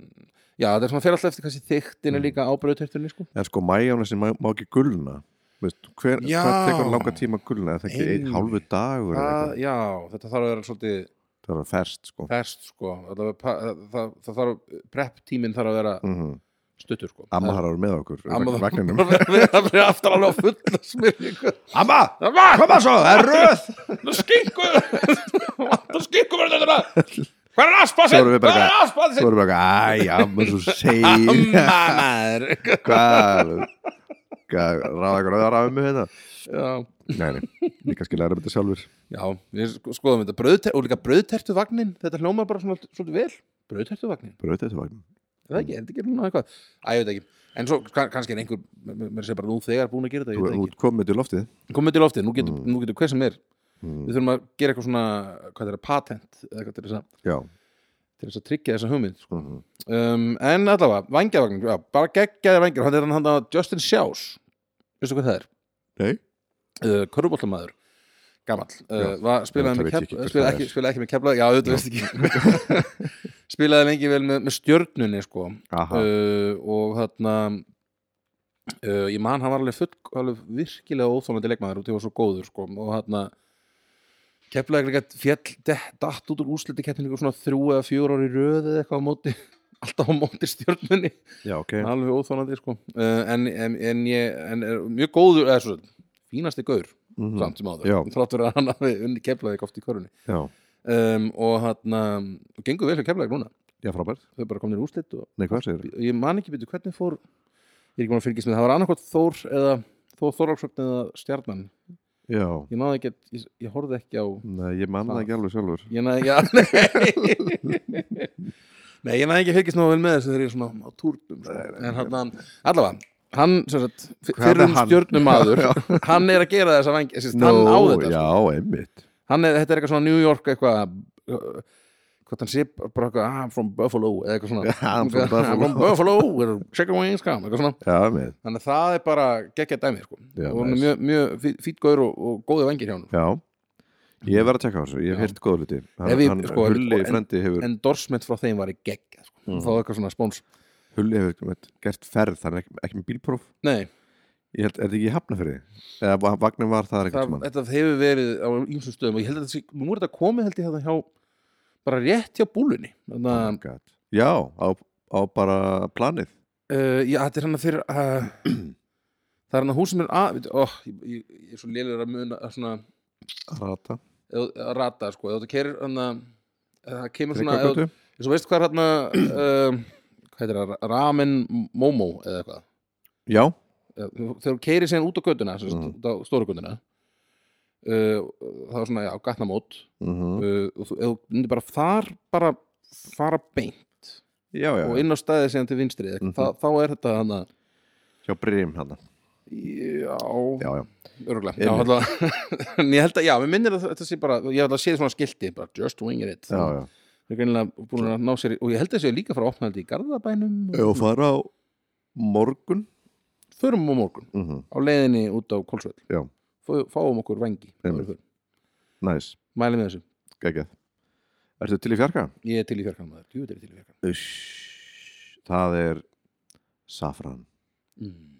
[SPEAKER 2] já, þetta er svona fyrir alltaf eftir hversu þykktinu
[SPEAKER 1] Mm.
[SPEAKER 2] líka á bröðtertunni, sko
[SPEAKER 1] en sko majónesin má, má ekki gulna Veist, hver,
[SPEAKER 2] Já.
[SPEAKER 1] hvað tekur langa tíma að gulna er það ekki einn
[SPEAKER 2] Einmitt.
[SPEAKER 1] hálfu dagur eða
[SPEAKER 2] það,
[SPEAKER 1] eitthvað?
[SPEAKER 2] já, þetta þarf að vera svolítið
[SPEAKER 1] það er ferst sko
[SPEAKER 2] fest, sko það, það, það, það þarf, prep tíminn þarf að vera
[SPEAKER 1] mm -hmm.
[SPEAKER 2] stuttur, sko
[SPEAKER 1] amma þar eru með okkur
[SPEAKER 2] Amma þarf-
[SPEAKER 1] vagninum
[SPEAKER 2] (laughs) það fyrir aftur alveg á fulla smyrningu
[SPEAKER 1] amma,
[SPEAKER 2] Amma,
[SPEAKER 1] koma svo, það er
[SPEAKER 2] (laughs)
[SPEAKER 1] röð
[SPEAKER 2] það skinku það skinku verður þetta hvað er
[SPEAKER 1] Svo
[SPEAKER 2] aspasinn,
[SPEAKER 1] erum við bara
[SPEAKER 2] hvað er
[SPEAKER 1] eitthvað- þú
[SPEAKER 2] aspasinn
[SPEAKER 1] eru bara, æj, amma svo segir
[SPEAKER 2] amma maður
[SPEAKER 1] hvað hvað, ráða eitthvað öðra af mig hérna
[SPEAKER 2] Já.
[SPEAKER 1] Nei, nei, líka skiljaður um þetta sjálfur
[SPEAKER 2] Já, við sko- skoðum þetta brauðter, og líka brauðtertuvagnin, þetta hljómar bara svona svolítið vel, brauðtertuvagnin
[SPEAKER 1] Bröðu þetta vagn
[SPEAKER 2] er það ekki, er þetta ekki núna eitthvað Æ, ég veit ekki, en svo kann- kannski er einhver mér sé bara nú þegar búin að gera þetta, ég
[SPEAKER 1] Þú
[SPEAKER 2] veit það
[SPEAKER 1] þú ert komið til loftið
[SPEAKER 2] ekki komum til loftið, nú getur,
[SPEAKER 1] Mm.
[SPEAKER 2] nú getur hver sem er
[SPEAKER 1] mm.
[SPEAKER 2] við þurfum að gera eitthvað svona, hvað er það, patent eða eitthvað til þess að,
[SPEAKER 1] Já
[SPEAKER 2] til þess að tryggja þessa hugmynd sko.
[SPEAKER 1] mhm.
[SPEAKER 2] um, en allavega, vangjavagn, já, bara geggjaði vangjur hann er hann hann að Justin Sjás veistu hvað það er,
[SPEAKER 1] Nei,
[SPEAKER 2] uh, körubóllamæður gamall, uh,
[SPEAKER 1] Já.
[SPEAKER 2] var,
[SPEAKER 1] Já,
[SPEAKER 2] spilaði,
[SPEAKER 1] það
[SPEAKER 2] með
[SPEAKER 1] veit ég
[SPEAKER 2] kef,
[SPEAKER 1] ekki hver
[SPEAKER 2] spilaði,
[SPEAKER 1] það
[SPEAKER 2] ekki,
[SPEAKER 1] er.
[SPEAKER 2] spilaði ekki með kefla, já, auðvitað veist ekki
[SPEAKER 1] (laughs)
[SPEAKER 2] spilaði lengi vel með, með stjörnunni sko,
[SPEAKER 1] aha
[SPEAKER 2] uh, og þarna uh, ég man hann var alveg, full, alveg virkilega óþólandi leikmaður og það var svo góður sko, og þarna keflaði eitthvað fjall de- datt út úr úsliti keppinu eitthvað svona þrjú eða fjör ári röð eða eitthvað á móti (laughs) alltaf á móti stjörnunni
[SPEAKER 1] Já, ok
[SPEAKER 2] alveg óþólandi sko. uh, en, en, en, ég, en er mjög góður eða svo fínasti gaur
[SPEAKER 1] Mhm.
[SPEAKER 2] samt sem áður
[SPEAKER 1] Já.
[SPEAKER 2] þrátt verið að hann hafi unni keflaði oft í körunni
[SPEAKER 1] Já,
[SPEAKER 2] um, og hann og gengur vel hjá keflaði núna
[SPEAKER 1] já, frábært
[SPEAKER 2] þau bara komnir í úslit og
[SPEAKER 1] Nei, hvað segir
[SPEAKER 2] ég man ekki betur hvernig fór ég er ekki búin að fylgjast með það var annarkot Þór eða Þór Þorláksöfn eða Stjarnan
[SPEAKER 1] Já
[SPEAKER 2] ég náði ekki, að- ég, ég horfði ekki á
[SPEAKER 1] Nei, ég man það
[SPEAKER 2] Það-
[SPEAKER 1] ekki alveg sjálfur
[SPEAKER 2] ég náði ekki að (laughs) nei, ég náði ekki að fylgjast nóg vel með þessu þegar ég er svona á túrnum sko. en hann, allavega hann, sem sagt, f-
[SPEAKER 1] Hvað er
[SPEAKER 2] fyrrum
[SPEAKER 1] hann?
[SPEAKER 2] stjörnum (laughs) maður hann er að gera þessa vangi sérst, hann á
[SPEAKER 1] Nú,
[SPEAKER 2] þetta sko.
[SPEAKER 1] Já, einmitt
[SPEAKER 2] hann er, þetta er eitthvað svona New York eitthvað uh, hvað hann sé, bara eitthvað ah, I'm from Buffalo, eða eitthvað
[SPEAKER 1] (laughs)
[SPEAKER 2] svona
[SPEAKER 1] I'm from
[SPEAKER 2] (laughs) I'm from
[SPEAKER 1] Buffalo.
[SPEAKER 2] Buffalo, where chicken wings come eitthvað svona
[SPEAKER 1] Já, einmitt
[SPEAKER 2] þannig að það er bara geggja dæmi sko.
[SPEAKER 1] Já,
[SPEAKER 2] og nice.
[SPEAKER 1] nice.
[SPEAKER 2] mjög, mjög fí- fínn gaur og, og góði vengir hjá sko. hann
[SPEAKER 1] Já Ég verð að tjekka á þessu, ég hef
[SPEAKER 2] Já.
[SPEAKER 1] heyrt góða hluti Hann,
[SPEAKER 2] Ef ég-
[SPEAKER 1] hann
[SPEAKER 2] sko,
[SPEAKER 1] Hulli
[SPEAKER 2] en-
[SPEAKER 1] frendi hefur,
[SPEAKER 2] endorsement frá þeim var í geggja sko. mm. þá eitthvað svona spóns
[SPEAKER 1] Hulli hefur gert ferð, hann er ekki, ekki með bílpróf
[SPEAKER 2] Nei,
[SPEAKER 1] Ég held, er þetta ekki í hafnafyrði? Eða va- vagninn var það
[SPEAKER 2] það,
[SPEAKER 1] einhvern tímann
[SPEAKER 2] þetta hefur verið á ýmsum stöðum og ég held að þetta sé, nú er þetta komið held ég þetta hjá bara rétt hjá búlunni þannig
[SPEAKER 1] Oh
[SPEAKER 2] að
[SPEAKER 1] my God. Já, á, á bara planið
[SPEAKER 2] uh, já, þetta er hann að fyrir uh, (clears throat) það er hann að húsum er að veit, oh, ég, ég, ég er svo lélegur að muna að svona,
[SPEAKER 1] Rata
[SPEAKER 2] að, að rata sko, ef þú kerir hann að það kemur svona ef þú-
[SPEAKER 1] Tryggvagötu?
[SPEAKER 2] eins og veist hvað er hérna um, hvað heitir það, ramen momo eða eitthvað
[SPEAKER 1] Já,
[SPEAKER 2] Eh, þegar þú keirir síðan út á göttuna mm.
[SPEAKER 1] Mhm.
[SPEAKER 2] út á stóru göttuna uh, það var svona, já, gatnamót
[SPEAKER 1] mm
[SPEAKER 2] uh, og þú, ef þú myndir bara þar bara fara beint
[SPEAKER 1] já, já,
[SPEAKER 2] og inn á staðið síðan til vinstri mm
[SPEAKER 1] Mhm.
[SPEAKER 2] -hmm. þá er þetta hana
[SPEAKER 1] hjá Brim hann
[SPEAKER 2] já,
[SPEAKER 1] Já, já,
[SPEAKER 2] örgulega já,
[SPEAKER 1] Einmitt.
[SPEAKER 2] allavega, en ég held að, (laughs) já, mér minnir að þetta sé bara ég held að sé svona skilti, bara just wing it
[SPEAKER 1] já, já
[SPEAKER 2] Þeir greinilega búin að ná sér í, og ég held að sé líka frá opnaði í Garðabænum
[SPEAKER 1] Ef þú fara á morgun
[SPEAKER 2] förum á morgun
[SPEAKER 1] mm
[SPEAKER 2] á leiðinni út á
[SPEAKER 1] Já.
[SPEAKER 2] Kolsvöll Fá- fáum okkur vengi
[SPEAKER 1] Einmitt. Næs,
[SPEAKER 2] mæli með þessu,
[SPEAKER 1] geggjað Ertu til í fjarka?
[SPEAKER 2] ég er til í fjarkan maður djúið er ég til í fjarkan
[SPEAKER 1] Uss, það er safran
[SPEAKER 2] mm.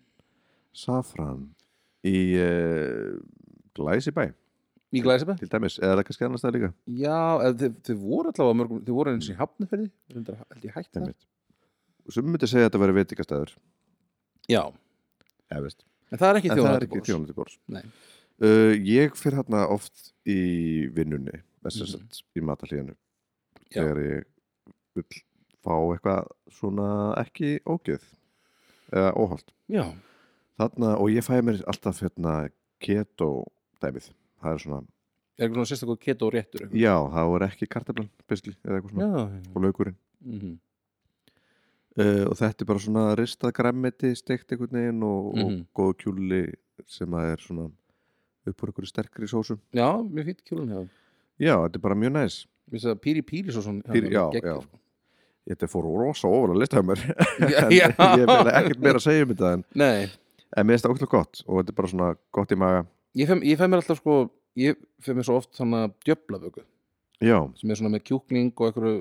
[SPEAKER 1] Safran í uh, Glæsibæ
[SPEAKER 2] í Glæsibæ,
[SPEAKER 1] til dæmis, eða er það kannski annars það líka
[SPEAKER 2] já, eða þið, þið voru allavega á mörgum, þið voru eins og í hafnaferði reyndar held ég hægt það,
[SPEAKER 1] Einmitt. Sum myndi segja að þetta veri veitingastæður
[SPEAKER 2] já
[SPEAKER 1] Eða veist
[SPEAKER 2] en það er ekki
[SPEAKER 1] En það er ekki
[SPEAKER 2] þjóðnættibórs
[SPEAKER 1] þjónandi bórs
[SPEAKER 2] Nei.
[SPEAKER 1] uh, Ég fyrir hérna oft í vinnunni þess að mm í matalíðinu
[SPEAKER 2] Mhm. Já.
[SPEAKER 1] þegar ég vil fá eitthvað svona ekki ógjöð eða óholt
[SPEAKER 2] já,
[SPEAKER 1] Þarna, og ég fæ mér alltaf hérna keto dæmið það er svona,
[SPEAKER 2] er eitthvað sérstaklega keto réttur eitthvað?
[SPEAKER 1] já, það voru ekki kartablan bisli eða eitthvað svona
[SPEAKER 2] já,
[SPEAKER 1] og laukurinn
[SPEAKER 2] mm -hmm.
[SPEAKER 1] uh, og þetta er bara svona ristað græmmeti steikt einhvern veginn og, og
[SPEAKER 2] Mhm.
[SPEAKER 1] góð kjúli sem að er svona upp úr einhverju sterkri sósum
[SPEAKER 2] já, mér fýtt kjólun hjá
[SPEAKER 1] já, þetta er bara mjög næs
[SPEAKER 2] Mér finnst það píri píri svo svona
[SPEAKER 1] Píri- já, já. Þetta fór rosa ofalega list af mér En
[SPEAKER 2] sko. (laughs) já.
[SPEAKER 1] Ég hef eiginlega ekkert meira að segja um þetta En,
[SPEAKER 2] Nei,
[SPEAKER 1] en mér finnst það okkur gott Og þetta er bara svona gott í maga
[SPEAKER 2] ég fæ, ég fæ mér alltaf sko ég fæ mér svo oft þannig að djöflaböku
[SPEAKER 1] Já,
[SPEAKER 2] sem er svona með kjúkling og einhverju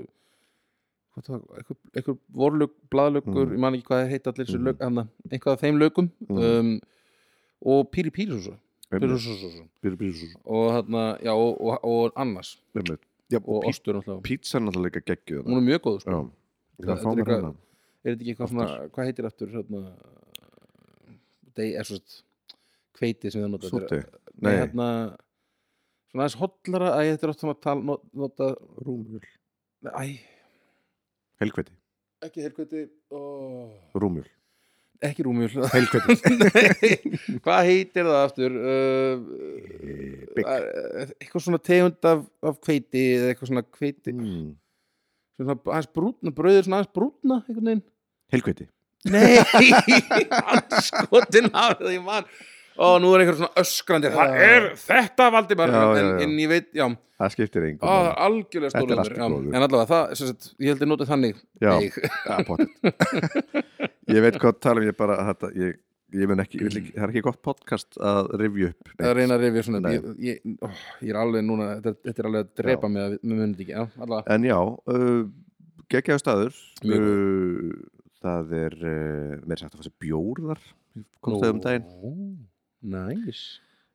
[SPEAKER 2] hvað það var, einhver, einhver vorlög, blaðlögur
[SPEAKER 1] Mm.
[SPEAKER 2] ég man ekki hvað þeir heita allir þessu
[SPEAKER 1] Mhm.
[SPEAKER 2] lög hana, einhvað af þeim lögum
[SPEAKER 1] Mm.
[SPEAKER 2] um, og píri píri svo
[SPEAKER 1] einmitt,
[SPEAKER 2] og
[SPEAKER 1] fyrir písu
[SPEAKER 2] þarna, já, og, og, og annars
[SPEAKER 1] Já,
[SPEAKER 2] og
[SPEAKER 1] og pí-
[SPEAKER 2] ostur náttúrulega,
[SPEAKER 1] pítsan náttúrulega líka geggjuð
[SPEAKER 2] hún
[SPEAKER 1] þarna.
[SPEAKER 2] er mjög góð
[SPEAKER 1] Já,
[SPEAKER 2] sko.
[SPEAKER 1] ég þarf að
[SPEAKER 2] Þetta er
[SPEAKER 1] fá mér
[SPEAKER 2] eitthvað-
[SPEAKER 1] hana
[SPEAKER 2] er þetta ekki eitthvað svona, hvað heitir aftur hérna deg, er svo kveiti sem það nota
[SPEAKER 1] Súti,
[SPEAKER 2] nei,
[SPEAKER 1] nei,
[SPEAKER 2] hérna svona aðeins hollara að ég þetta er oft svona að tala not- nota,
[SPEAKER 1] rúmjöl
[SPEAKER 2] æ,
[SPEAKER 1] Helgveiti,
[SPEAKER 2] ekki helgveiti oh.
[SPEAKER 1] rúmjöl
[SPEAKER 2] ekki rúmjöl (laughs)
[SPEAKER 3] Heilköttur
[SPEAKER 2] hvað heitir það aftur uh,
[SPEAKER 1] Eh,
[SPEAKER 3] Bygg
[SPEAKER 2] uh, eitthvað svona tegund af, af hveiti eða eitthvað svona hveiti
[SPEAKER 1] mm.
[SPEAKER 2] svona aðeins brúna, brauðir svona aðeins brúna einhvern
[SPEAKER 1] (laughs)
[SPEAKER 2] veginn
[SPEAKER 1] Helgveiti
[SPEAKER 2] Nei, (laughs) anskotin af því mann Og nú er einhver svona öskrandi Það er þetta Valdimar
[SPEAKER 1] Já, já,
[SPEAKER 2] en,
[SPEAKER 1] já.
[SPEAKER 2] en ég veit, já, á,
[SPEAKER 1] Það skiptir engum
[SPEAKER 2] það er algjörlega
[SPEAKER 1] Þetta er
[SPEAKER 2] stóra
[SPEAKER 1] allt í góðu.
[SPEAKER 2] En allavega, það, sem sagt, ég held ég notið þannig
[SPEAKER 1] Já,
[SPEAKER 2] Nei,
[SPEAKER 1] ja,
[SPEAKER 2] (laughs)
[SPEAKER 1] pottet Ég veit hvað tala um ég bara þetta, ég, ég mun
[SPEAKER 2] (clears throat)
[SPEAKER 1] ekki, ég vil ekki, það er ekki gott podcast að revju upp
[SPEAKER 2] að reyna að rifja svona
[SPEAKER 1] Nei.
[SPEAKER 2] ég, ég, ó, ég er alveg núna, þetta, þetta er alveg að drepa mig að Mér munið ekki, já, allavega
[SPEAKER 1] En já, uh, geggjaðu staður
[SPEAKER 2] Mjög
[SPEAKER 1] uh, Það er uh, mér er sagt að fá sér bjór þar komst það um daginn,
[SPEAKER 2] Næs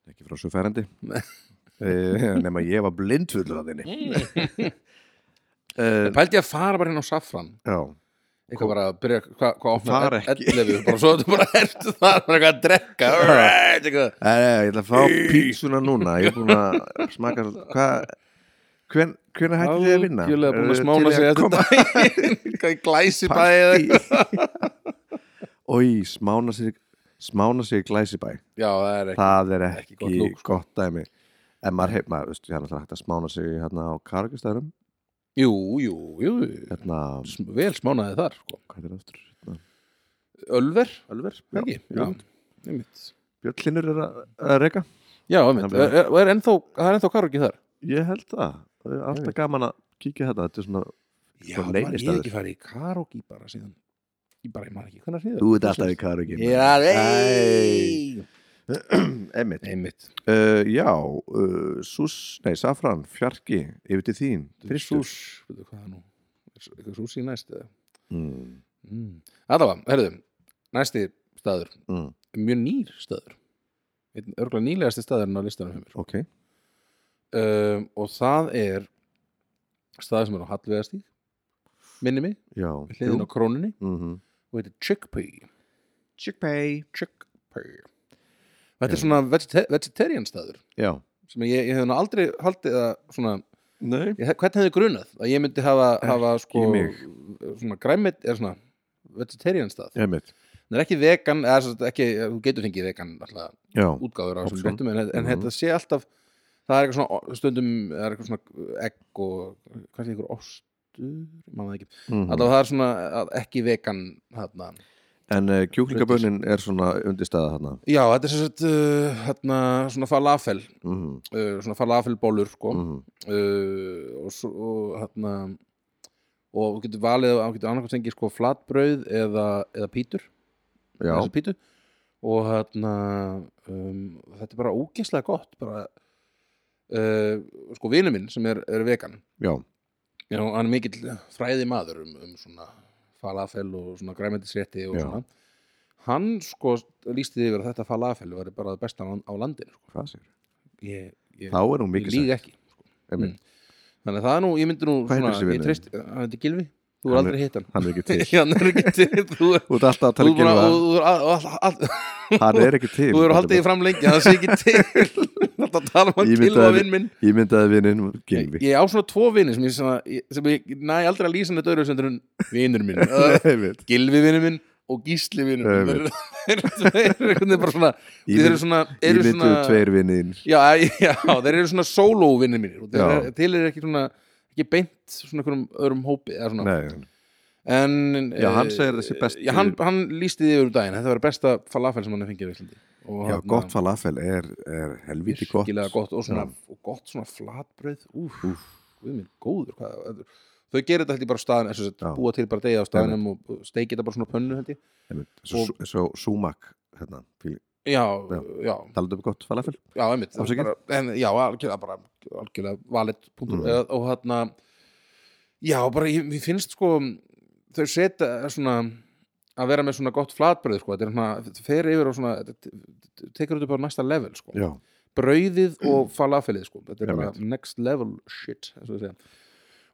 [SPEAKER 1] ekki frá svo
[SPEAKER 2] (laughs)
[SPEAKER 1] færandi
[SPEAKER 2] Nei.
[SPEAKER 1] uh, Nefn að ég var blindfullur að þinni
[SPEAKER 2] (laughs) Það
[SPEAKER 1] uh,
[SPEAKER 2] pældi ég að fara bara inn á Safran
[SPEAKER 1] Já,
[SPEAKER 2] Eitthvað bara að byrja, hvað hva
[SPEAKER 1] Fara
[SPEAKER 2] opnar
[SPEAKER 1] ekki.
[SPEAKER 2] Ellefu, bara svo þetta bara (laughs) ertu það Bara eitthvað að drekka all right, eitthvað.
[SPEAKER 1] Nei, nei, ég ætla að fá pítsuna núna Ég er búin að smaka Hvað Hven, hvenær hætti þið að vinna?
[SPEAKER 2] Algjörlega búin að
[SPEAKER 1] Eru
[SPEAKER 2] smána
[SPEAKER 1] til í
[SPEAKER 2] sig eftir
[SPEAKER 1] koma
[SPEAKER 2] daginn (laughs) Hvað í glæsibæ eða eitthvað
[SPEAKER 1] partí? (laughs) Ói, smána sig smána sig í glæsibæ
[SPEAKER 2] Já, það er ekki
[SPEAKER 1] Það er
[SPEAKER 2] Ekki
[SPEAKER 1] ekki, sko.
[SPEAKER 2] gott lúk,
[SPEAKER 1] gott, dæmi En maður hef, maður, veistu, hérna hægt að smána sig hérna á kargastæðurum
[SPEAKER 2] Jú, jú, jú
[SPEAKER 1] Hérna,
[SPEAKER 2] Sm- Vel smánaði þar sko.
[SPEAKER 1] hvað er það aftur? Hérna,
[SPEAKER 2] Ölver, Ölver,
[SPEAKER 1] Já,
[SPEAKER 2] ekki
[SPEAKER 1] já.
[SPEAKER 2] einmitt
[SPEAKER 1] Bjöllinur er að, að reyka?
[SPEAKER 2] Já, einmitt,
[SPEAKER 1] Það er-
[SPEAKER 2] er, er, er ennþá, það er ennþá karokki þar
[SPEAKER 1] Ég held það, það er alltaf gaman að kíkja hérna. þetta Þetta er svona,
[SPEAKER 2] Já,
[SPEAKER 1] Bara
[SPEAKER 2] man, ég hef
[SPEAKER 1] leynistaður.
[SPEAKER 2] ekki farið í karokki bara síðan Ég bara, ég man ekki, hvernig hriður
[SPEAKER 1] þú ert alltaf í kargi
[SPEAKER 2] Já,
[SPEAKER 1] Æ.
[SPEAKER 2] ei
[SPEAKER 1] Einmitt
[SPEAKER 2] Einmitt
[SPEAKER 1] Uh, já, uh, Sús, nei, Safran, Fjarki, yfir til þín, Tristur.
[SPEAKER 2] Sús, veitu hvað það nú Er- Eitthvað súsi næst eða
[SPEAKER 1] Mm,
[SPEAKER 2] mm. Allavega, herðu, næsti staður
[SPEAKER 1] mm,
[SPEAKER 2] mjög nýr staður einn örgulega nýlegasti staðurinn á listanum hjá
[SPEAKER 1] ok,
[SPEAKER 2] mér um, og það er staður sem er á Hallvegastíð minni mig,
[SPEAKER 1] já.
[SPEAKER 2] við hliðin á króninni
[SPEAKER 1] Mm -hmm.
[SPEAKER 2] og heitir Chickpea
[SPEAKER 1] Chickpay.
[SPEAKER 2] Chickpea Þetta er svona vegeta vegetarian staður
[SPEAKER 1] Já.
[SPEAKER 2] sem ég, ég hef nú aldrei haldið að svona,
[SPEAKER 1] Nei.
[SPEAKER 2] ég, hvernig hefði grunað að ég myndi hafa, hafa sko
[SPEAKER 1] mig.
[SPEAKER 2] svona græmit er svona vegetarian stað
[SPEAKER 1] Einmitt.
[SPEAKER 2] það er ekki vegan, eða sem sagt ekki, þú getur fengið vegan alltaf
[SPEAKER 1] Já,
[SPEAKER 2] útgáður á þessum
[SPEAKER 1] Option.
[SPEAKER 2] réttum en, en
[SPEAKER 1] Mhm.
[SPEAKER 2] þetta sé alltaf það er eitthvað svona stundum það er eitthvað svona egg og kannski einhver ostur mann það ekki
[SPEAKER 1] mm
[SPEAKER 2] allavega það er svona að- ekki vegan þarna
[SPEAKER 1] en uh, kjúklingabönnin er svona undirstaða þarna.
[SPEAKER 2] já þetta er sem sagt uh, þarna svona falafel
[SPEAKER 1] Mm -hmm.
[SPEAKER 2] uh, svona falafelbólur sko
[SPEAKER 1] Mm -hmm.
[SPEAKER 2] uh, og, svo- og þarna og þú getur valið að getur annarkvæmt fengið sko flatbrauð eða, eða pítur
[SPEAKER 1] Já,
[SPEAKER 2] þessi pítu og hérna um, þetta er bara ógeðslega gott bara uh, sko vinur minn sem er, er vegan
[SPEAKER 1] já,
[SPEAKER 2] já, hann er mikill fræði maður um, um svona falafel og svona græmetisrétti og
[SPEAKER 1] Já.
[SPEAKER 2] svona hann sko lýsti yfir að þetta falafel var bara það besta á, á landinu sko.
[SPEAKER 1] hvað sér?
[SPEAKER 2] ég, ég,
[SPEAKER 1] Þá er hún
[SPEAKER 2] ég Mm.
[SPEAKER 1] mikið
[SPEAKER 2] líg ekki
[SPEAKER 1] Einmitt.
[SPEAKER 2] þannig að það er nú, ég myndi nú
[SPEAKER 1] Hvað heitir þessi
[SPEAKER 2] ég
[SPEAKER 1] vinur þinn?
[SPEAKER 2] treyst, hann heitir Gilvi, þú er
[SPEAKER 1] Hann
[SPEAKER 2] aldrei hitt hann
[SPEAKER 1] Hann er
[SPEAKER 2] (laughs)
[SPEAKER 1] ekki (laughs) til.
[SPEAKER 2] hann er ekki
[SPEAKER 1] (laughs)
[SPEAKER 2] til þú er
[SPEAKER 1] Þú ert alltaf að tala
[SPEAKER 2] Þú er
[SPEAKER 1] ekki
[SPEAKER 2] búin
[SPEAKER 1] um
[SPEAKER 2] að,
[SPEAKER 1] það.
[SPEAKER 2] þú er að, að, að,
[SPEAKER 1] Hann er ekki til.
[SPEAKER 2] (laughs) þú er haldið því fram lengi, það sé ekki
[SPEAKER 1] (laughs)
[SPEAKER 2] til Þetta tala um að
[SPEAKER 1] Ég myndi
[SPEAKER 2] gilva
[SPEAKER 1] að-
[SPEAKER 2] vinn minn
[SPEAKER 1] Ég myndaði vinnin, Gilvi.
[SPEAKER 2] Ég á svona tvo vinni sem ég, svona, ég- sem ég næ aldrei að lýsa neitt öðru sem en vinnur
[SPEAKER 1] (laughs)
[SPEAKER 2] minn Það er
[SPEAKER 1] Einmitt.
[SPEAKER 2] Gilvi vinnu minn og gísli vinnu minn
[SPEAKER 1] Einmitt.
[SPEAKER 2] Þeir eru þeir eru einhvern veginn bara svona
[SPEAKER 1] Ég
[SPEAKER 2] Þeir eru
[SPEAKER 1] mynd-
[SPEAKER 2] svona,
[SPEAKER 1] Ég
[SPEAKER 2] eru
[SPEAKER 1] myndaði
[SPEAKER 2] svona
[SPEAKER 1] tveir vinnin.
[SPEAKER 2] já, (laughs) já, þeir eru svona solo vinnir mínir og þeir
[SPEAKER 1] Já.
[SPEAKER 2] eru- Til er ekki svona ekki beint svona einhverjum öðrum hópi eða svona.
[SPEAKER 1] Nei,
[SPEAKER 2] en,
[SPEAKER 1] Já, hann
[SPEAKER 2] eh,
[SPEAKER 1] segir þessi besti-
[SPEAKER 2] já, hann, hann lísti því yfir daginn, þetta var besta falafel sem hann hefði fengið í Íslandi og
[SPEAKER 1] já,
[SPEAKER 2] þarna-
[SPEAKER 1] gott falafel er, er helviti gott.
[SPEAKER 2] virkilega gott og, svona,
[SPEAKER 1] Já.
[SPEAKER 2] og gott svona flatbröð úf, úf. Minn, góður hvað, þetta er- þau gerir þetta held ég bara á staðan
[SPEAKER 1] Já.
[SPEAKER 2] þess að búa til bara degi á staðanum og steikið þetta bara svona á pönnu held ég
[SPEAKER 1] Einmitt, svo,
[SPEAKER 2] Og-
[SPEAKER 1] svo Sumac hérna,
[SPEAKER 2] já,
[SPEAKER 1] Já.
[SPEAKER 2] já,
[SPEAKER 1] talaðu upp gott falafel
[SPEAKER 2] já, einmitt það
[SPEAKER 1] Afsakið.
[SPEAKER 2] er bara, en, já, algjörlega bara algjörlega valit punktur
[SPEAKER 1] Mm.
[SPEAKER 2] eða, og þarna já, bara ég, ég finnst sko þau setja svona að vera með svona gott flatbröð sko, þetta er svona, þetta fer yfir og svona þetta te- te- tekur þetta bara næsta level sko
[SPEAKER 1] já,
[SPEAKER 2] brauðið
[SPEAKER 1] (clears throat)
[SPEAKER 2] og falafelið sko. þetta er bara
[SPEAKER 1] Einmitt.
[SPEAKER 2] next level shit eins og við segja.